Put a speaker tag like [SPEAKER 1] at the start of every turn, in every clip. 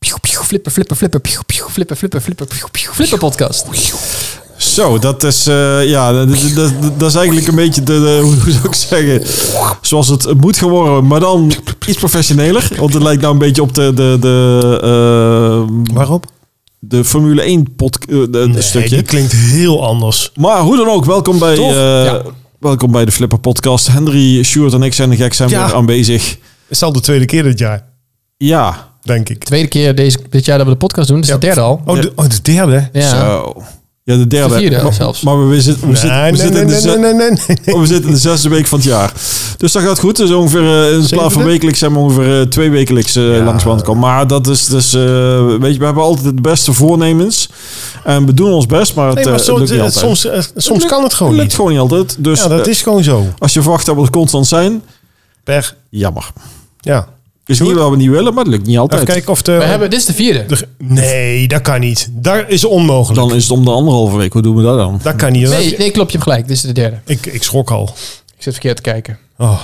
[SPEAKER 1] flippen, flippen, flippen, pjoe, pjoe, flippen, flippen, flippen, pjoe, pjoe, flippen podcast.
[SPEAKER 2] Zo, dat is, eh, ja, dat, dat- dat, dat is eigenlijk een beetje, de, de- hoe zou ik zeggen, zoals het moet geworden, maar dan iets professioneler. Want het lijkt nou een beetje op de, de, de, eh,
[SPEAKER 3] Waarop?
[SPEAKER 2] de Formule 1 pod, eh, de- de
[SPEAKER 3] Nee,
[SPEAKER 2] stukje.
[SPEAKER 3] die klinkt heel anders.
[SPEAKER 2] Maar hoe dan ook, welkom bij,
[SPEAKER 1] Tof,
[SPEAKER 2] eh,
[SPEAKER 1] ja.
[SPEAKER 2] welkom bij de Flipper Podcast. Henry, Stuart en ik zijn de gek zijn
[SPEAKER 3] Ja.
[SPEAKER 2] weer aanwezig.
[SPEAKER 3] Het is al de tweede keer dit jaar,
[SPEAKER 2] Ja,
[SPEAKER 3] denk ik.
[SPEAKER 1] Tweede keer deze, dit jaar dat we de podcast doen. Dat is
[SPEAKER 3] Ja.
[SPEAKER 1] de derde al.
[SPEAKER 3] Oh, de, oh, de derde?
[SPEAKER 1] Ja.
[SPEAKER 2] zo. Ja, de derde.
[SPEAKER 1] De vierde
[SPEAKER 2] maar,
[SPEAKER 1] zelfs.
[SPEAKER 2] Maar we, zitten- we, zitten- we
[SPEAKER 3] Nee, nee,
[SPEAKER 2] zitten
[SPEAKER 3] nee,
[SPEAKER 2] in de
[SPEAKER 3] nee,
[SPEAKER 2] ze-
[SPEAKER 3] nee, nee, nee, nee.
[SPEAKER 2] Oh, we zitten in de zesde week van het jaar. Dus dat gaat goed. Dus ongeveer eh, in plaats van
[SPEAKER 3] Zevende?
[SPEAKER 2] wekelijks zijn we ongeveer eh, twee wekelijks eh, langs land komen. Maar dat is dus, eh, weet je, we hebben altijd de beste voornemens. En we doen ons best, maar het
[SPEAKER 3] Nee, maar
[SPEAKER 2] eh,
[SPEAKER 3] zo-
[SPEAKER 2] lukt niet
[SPEAKER 3] eh,
[SPEAKER 2] altijd.
[SPEAKER 3] soms, eh, soms kan het gewoon
[SPEAKER 2] Het
[SPEAKER 3] niet.
[SPEAKER 2] lukt gewoon niet altijd. Dus
[SPEAKER 3] Ja, dat
[SPEAKER 2] eh,
[SPEAKER 3] is gewoon zo.
[SPEAKER 2] als je verwacht dat we er constant zijn,
[SPEAKER 3] Per,
[SPEAKER 2] jammer.
[SPEAKER 3] ja.
[SPEAKER 2] Is niet wat we niet willen, maar het lukt niet
[SPEAKER 3] Even
[SPEAKER 2] altijd.
[SPEAKER 3] kijken of de...
[SPEAKER 1] We hebben, dit is de vierde.
[SPEAKER 3] de- nee, dat kan niet. Dat is onmogelijk.
[SPEAKER 2] Dan is het om de anderhalve week. Hoe doen we dat dan?
[SPEAKER 3] dat kan niet.
[SPEAKER 1] Nee, nee, klopt, je hebt gelijk. Dit is de derde.
[SPEAKER 3] Ik, dus- ik schrok al.
[SPEAKER 1] Ik zit verkeerd te kijken.
[SPEAKER 3] Oh.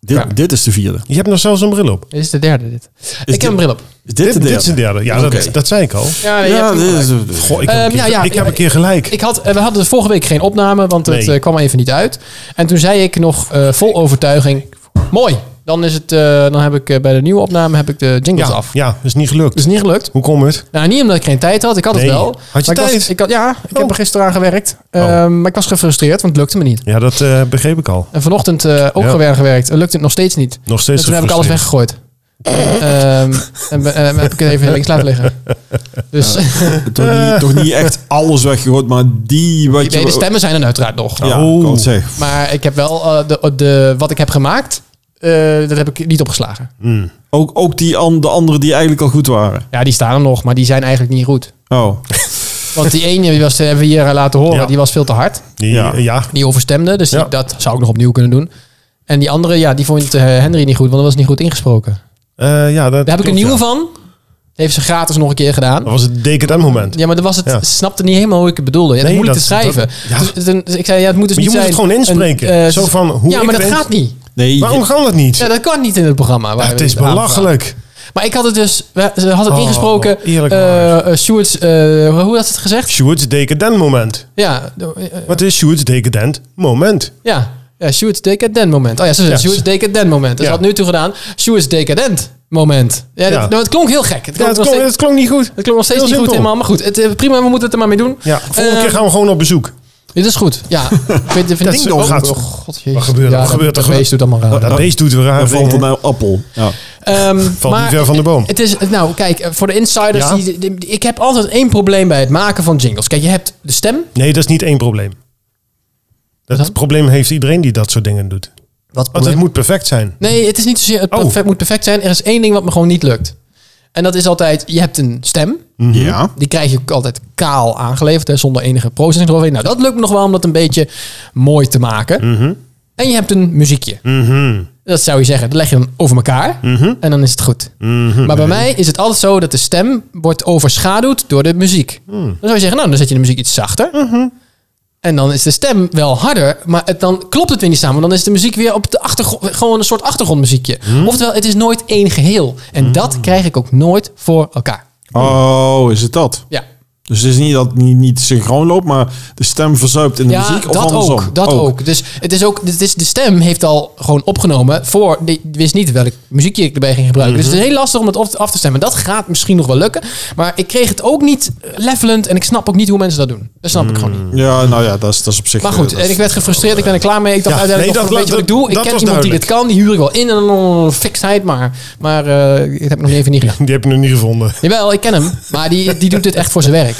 [SPEAKER 2] Dit,
[SPEAKER 1] Ja.
[SPEAKER 2] dit is de vierde.
[SPEAKER 3] Je hebt nog zelfs een bril op.
[SPEAKER 1] Dit is de derde, dit. ik
[SPEAKER 2] dit-
[SPEAKER 1] heb een bril op.
[SPEAKER 2] Is dit, de
[SPEAKER 3] dit
[SPEAKER 2] derde?
[SPEAKER 3] is de derde. Ja,
[SPEAKER 2] Oké.
[SPEAKER 3] dat, dat zei ik al.
[SPEAKER 1] Ja, nee, je
[SPEAKER 2] Ja,
[SPEAKER 1] hebt
[SPEAKER 2] dit
[SPEAKER 1] gelijk.
[SPEAKER 2] is de-
[SPEAKER 3] Goh, ik heb,
[SPEAKER 1] Ehm,
[SPEAKER 3] een, keer,
[SPEAKER 1] ja, ja,
[SPEAKER 3] ik heb een keer gelijk.
[SPEAKER 1] Ik had, eh, we hadden dus vorige week geen opname, want het
[SPEAKER 3] Nee.
[SPEAKER 1] eh, kwam even niet uit. En toen zei ik nog eh, vol overtuiging: Mooi, dan, is het, eh, dan heb ik eh, bij de nieuwe opname heb ik de jingles
[SPEAKER 3] ja,
[SPEAKER 1] af. Dus-
[SPEAKER 3] ja, is niet gelukt.
[SPEAKER 1] Dat is niet gelukt.
[SPEAKER 3] Hoe komt het?
[SPEAKER 1] Nou, niet omdat ik geen tijd had. Ik had het
[SPEAKER 3] Nee.
[SPEAKER 1] wel.
[SPEAKER 3] Had je
[SPEAKER 1] Maar ik was-
[SPEAKER 3] tijd?
[SPEAKER 1] ik had, ja, ik heb
[SPEAKER 3] Oh.
[SPEAKER 1] er gisteren aan gewerkt.
[SPEAKER 3] Oh.
[SPEAKER 1] Ehm, maar ik was gefrustreerd, want het lukte me niet.
[SPEAKER 3] Ja, dat eh, begreep ik al.
[SPEAKER 1] En vanochtend eh, ook
[SPEAKER 3] Ja.
[SPEAKER 1] weer gewerkt. En lukte het nog steeds niet.
[SPEAKER 3] Nog
[SPEAKER 1] En
[SPEAKER 3] steeds
[SPEAKER 1] toen heb ik alles
[SPEAKER 3] gefrustreerd.
[SPEAKER 1] weggegooid. Ehm, en ben- en heb ik het even links laten liggen. Dus
[SPEAKER 2] Toch, niet, toch niet echt alles weggegooid, maar die wat
[SPEAKER 1] nee,
[SPEAKER 2] je...
[SPEAKER 1] de stemmen zijn er uiteraard nog.
[SPEAKER 2] Ja, ik kan het zeggen.
[SPEAKER 1] Maar ik heb wel eh, de, de, wat ik heb gemaakt, eh, dat heb ik niet opgeslagen.
[SPEAKER 2] Ook, ook die an, de anderen die eigenlijk al goed waren.
[SPEAKER 1] Ja, die staan er nog, maar die zijn eigenlijk niet goed.
[SPEAKER 2] Oh,
[SPEAKER 1] Want die ene die was, die hebben we hier eh, laten horen,
[SPEAKER 3] Ja.
[SPEAKER 1] die was veel te hard.
[SPEAKER 3] Die-
[SPEAKER 2] Ja.
[SPEAKER 3] ja. ja.
[SPEAKER 1] Die overstemde, dus die-
[SPEAKER 3] Ja.
[SPEAKER 1] dat zou ik nog opnieuw kunnen doen. En die andere, ja, die vond eh, Henry niet goed, want dat was niet goed ingesproken.
[SPEAKER 3] Eh, ja, dat
[SPEAKER 1] Daar heb ik
[SPEAKER 3] klopt,
[SPEAKER 1] een nieuwe
[SPEAKER 3] ja.
[SPEAKER 1] van. Die heeft ze gratis nog een keer gedaan.
[SPEAKER 3] Dat was het DKM moment.
[SPEAKER 1] Ja, maar dat was het,
[SPEAKER 3] Ja.
[SPEAKER 1] ze snapte niet helemaal hoe ik het bedoelde. Ja, het is
[SPEAKER 3] Nee,
[SPEAKER 1] moeilijk te
[SPEAKER 3] dat-
[SPEAKER 1] schrijven.
[SPEAKER 3] dat- ja.
[SPEAKER 1] Dus, toen- dus ik zei, ja, het moet dus
[SPEAKER 3] Maar je
[SPEAKER 1] niet
[SPEAKER 3] moet het
[SPEAKER 1] zijn
[SPEAKER 3] gewoon inspreken.
[SPEAKER 1] een, eh,
[SPEAKER 3] Zo van, hoe
[SPEAKER 1] ja,
[SPEAKER 3] ik
[SPEAKER 1] maar dat
[SPEAKER 3] denk-
[SPEAKER 1] gaat niet.
[SPEAKER 2] nee.
[SPEAKER 3] Waarom kan dat niet?
[SPEAKER 1] Ja, dat kan niet in het programma. waar
[SPEAKER 3] Ja, het
[SPEAKER 1] we
[SPEAKER 3] is
[SPEAKER 1] aan-
[SPEAKER 3] belachelijk.
[SPEAKER 1] Maar ik had het dus, we- ze had het
[SPEAKER 3] Oh,
[SPEAKER 1] ingesproken.
[SPEAKER 3] eerlijk
[SPEAKER 1] eh,
[SPEAKER 3] waar.
[SPEAKER 1] eh, Sjoerds, eh, hoe had ze het gezegd?
[SPEAKER 3] Sjoerd's decadent moment.
[SPEAKER 1] Ja, eh,
[SPEAKER 3] Wat is Sjoerd's decadent moment?
[SPEAKER 1] ja. ja Sjoerds decadent moment. Oh ja, ze zei
[SPEAKER 3] Ja,
[SPEAKER 1] Sjoerds
[SPEAKER 3] ze-
[SPEAKER 1] decadent moment. Dus
[SPEAKER 3] Ja.
[SPEAKER 1] had nu toe gedaan, Sjoerds decadent moment. Ja, dat,
[SPEAKER 3] Ja.
[SPEAKER 1] nou, het klonk heel gek. Het klonk,
[SPEAKER 3] Ja,
[SPEAKER 1] nog
[SPEAKER 3] het, klonk,
[SPEAKER 1] steeds-
[SPEAKER 3] het klonk niet goed.
[SPEAKER 1] het klonk nog steeds
[SPEAKER 3] heel
[SPEAKER 1] niet goed
[SPEAKER 3] simpel.
[SPEAKER 1] helemaal. Maar goed, het, eh, prima, we moeten het er maar mee doen.
[SPEAKER 3] Ja, volgende
[SPEAKER 1] Eh,
[SPEAKER 3] keer gaan we gewoon op bezoek.
[SPEAKER 1] Dit is goed, ja. ik weet het
[SPEAKER 3] Dat is-
[SPEAKER 1] oh,
[SPEAKER 3] gaat-
[SPEAKER 1] oh, god, jezus.
[SPEAKER 3] Wat gebeurt er?
[SPEAKER 1] Ja,
[SPEAKER 3] Wat
[SPEAKER 1] dat-
[SPEAKER 3] gebeurt er?
[SPEAKER 1] Dat beest doet allemaal raar.
[SPEAKER 3] dat beest doet weer
[SPEAKER 2] Daar
[SPEAKER 3] raar.
[SPEAKER 2] valt
[SPEAKER 3] dingen.
[SPEAKER 2] een appel. Ja.
[SPEAKER 1] Ehm,
[SPEAKER 3] Valt niet ver van de boom.
[SPEAKER 1] Het is, nou kijk, eh, voor de insiders,
[SPEAKER 3] Ja?
[SPEAKER 1] die, die- die- ik heb altijd één probleem bij het maken van jingles. Kijk, je hebt de stem.
[SPEAKER 3] Nee, dat is niet één probleem. Dat
[SPEAKER 1] dan?
[SPEAKER 3] probleem heeft iedereen die dat soort dingen doet.
[SPEAKER 1] Wat
[SPEAKER 3] Want het moet perfect zijn.
[SPEAKER 1] Nee, het is niet zozeer, het
[SPEAKER 3] Oh.
[SPEAKER 1] perfect, moet perfect zijn. Er is één ding wat me gewoon niet lukt. En dat is altijd, je hebt een stem.
[SPEAKER 2] ja.
[SPEAKER 1] Die krijg je ook altijd kaal aangeleverd, hè, zonder enige processing eroverheen. Nou, dat lukt me nog wel om dat een beetje mooi te maken. En je hebt een muziekje.
[SPEAKER 3] Mhm.
[SPEAKER 1] Dat zou je zeggen, dat leg je dan over elkaar en dan is het goed. Maar bij mij is het altijd zo dat de stem wordt overschaduwd door de muziek. Dan zou je zeggen, nou, dan zet je de muziek iets zachter. En dan is de stem wel harder, maar het, dan klopt het weer niet samen. Want dan is de muziek weer op de achtergrond, gewoon een soort achtergrondmuziekje. Oftewel, het is nooit één geheel. En dat krijg ik ook nooit voor elkaar.
[SPEAKER 2] Oh, is het dat?
[SPEAKER 1] Ja,
[SPEAKER 2] Dus het is niet dat het niet, niet synchroon loopt, maar de stem verzuipt in de
[SPEAKER 1] ja
[SPEAKER 2] muziek. Of
[SPEAKER 1] dat
[SPEAKER 2] andersom.
[SPEAKER 1] ook. Dat ook. Dus het is ook, het is, de stem heeft al gewoon opgenomen voor, die wist niet welk muziekje ik erbij ging gebruiken. Dus het is heel lastig om het op- af te stemmen. Dat gaat misschien nog wel lukken, maar ik kreeg het ook niet eh, levelend en ik snap ook niet hoe mensen dat doen. Dat snap ik gewoon niet.
[SPEAKER 2] Ja, nou ja, dat is, dat is op zich...
[SPEAKER 1] Maar
[SPEAKER 2] eh,
[SPEAKER 1] goed,
[SPEAKER 2] dat
[SPEAKER 1] en
[SPEAKER 2] is-
[SPEAKER 1] ik werd gefrustreerd. Ik ben er klaar mee. Ik dacht
[SPEAKER 3] Ja,
[SPEAKER 1] uiteindelijk,
[SPEAKER 3] nee,
[SPEAKER 1] nog
[SPEAKER 3] dat-
[SPEAKER 1] weet je wat ik
[SPEAKER 3] dat-
[SPEAKER 1] doe? Ik
[SPEAKER 3] dat
[SPEAKER 1] ken
[SPEAKER 3] was
[SPEAKER 1] iemand die dit kan. Die huur ik wel in. En dan oh, fixheid maar. Maar eh dat heb ik nog even niet gedaan.
[SPEAKER 3] Die heb je nog niet gevonden. Oké.
[SPEAKER 1] Jawel, ik ken hem. Maar die, die doet dit echt voor zijn werk.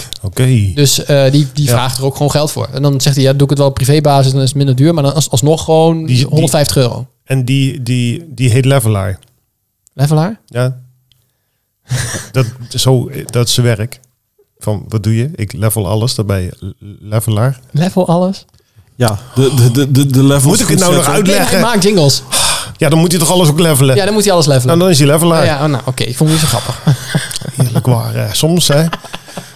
[SPEAKER 1] Dus eh, die, die
[SPEAKER 3] Ja.
[SPEAKER 1] vraagt er ook gewoon geld voor. En dan zegt hij, ja, doe ik het wel op privébasis. Dan is het minder duur. Maar dan als, alsnog gewoon
[SPEAKER 3] Die- die-
[SPEAKER 1] 150 euro.
[SPEAKER 3] En die, die, die heet Levelaar.
[SPEAKER 1] Levelaar?
[SPEAKER 3] Ja. dat, zo, dat is zijn werk. Van, wat doe je? Ik level alles, daarbij levelaar.
[SPEAKER 1] Level alles?
[SPEAKER 2] Ja, de, de, de, de, de level...
[SPEAKER 3] Moet ik het nou
[SPEAKER 1] Nee,
[SPEAKER 3] nog
[SPEAKER 1] maar hij
[SPEAKER 3] uitleggen?
[SPEAKER 1] maakt jingles.
[SPEAKER 3] Ja, dan moet hij toch alles ook levelen?
[SPEAKER 1] Ja, dan moet hij alles levelen.
[SPEAKER 3] Nou, dan is hij levelaar.
[SPEAKER 1] Ah, ja, oh, nou, oké. Ik vond het niet zo grappig.
[SPEAKER 3] Eerlijk waar, hè. soms hè.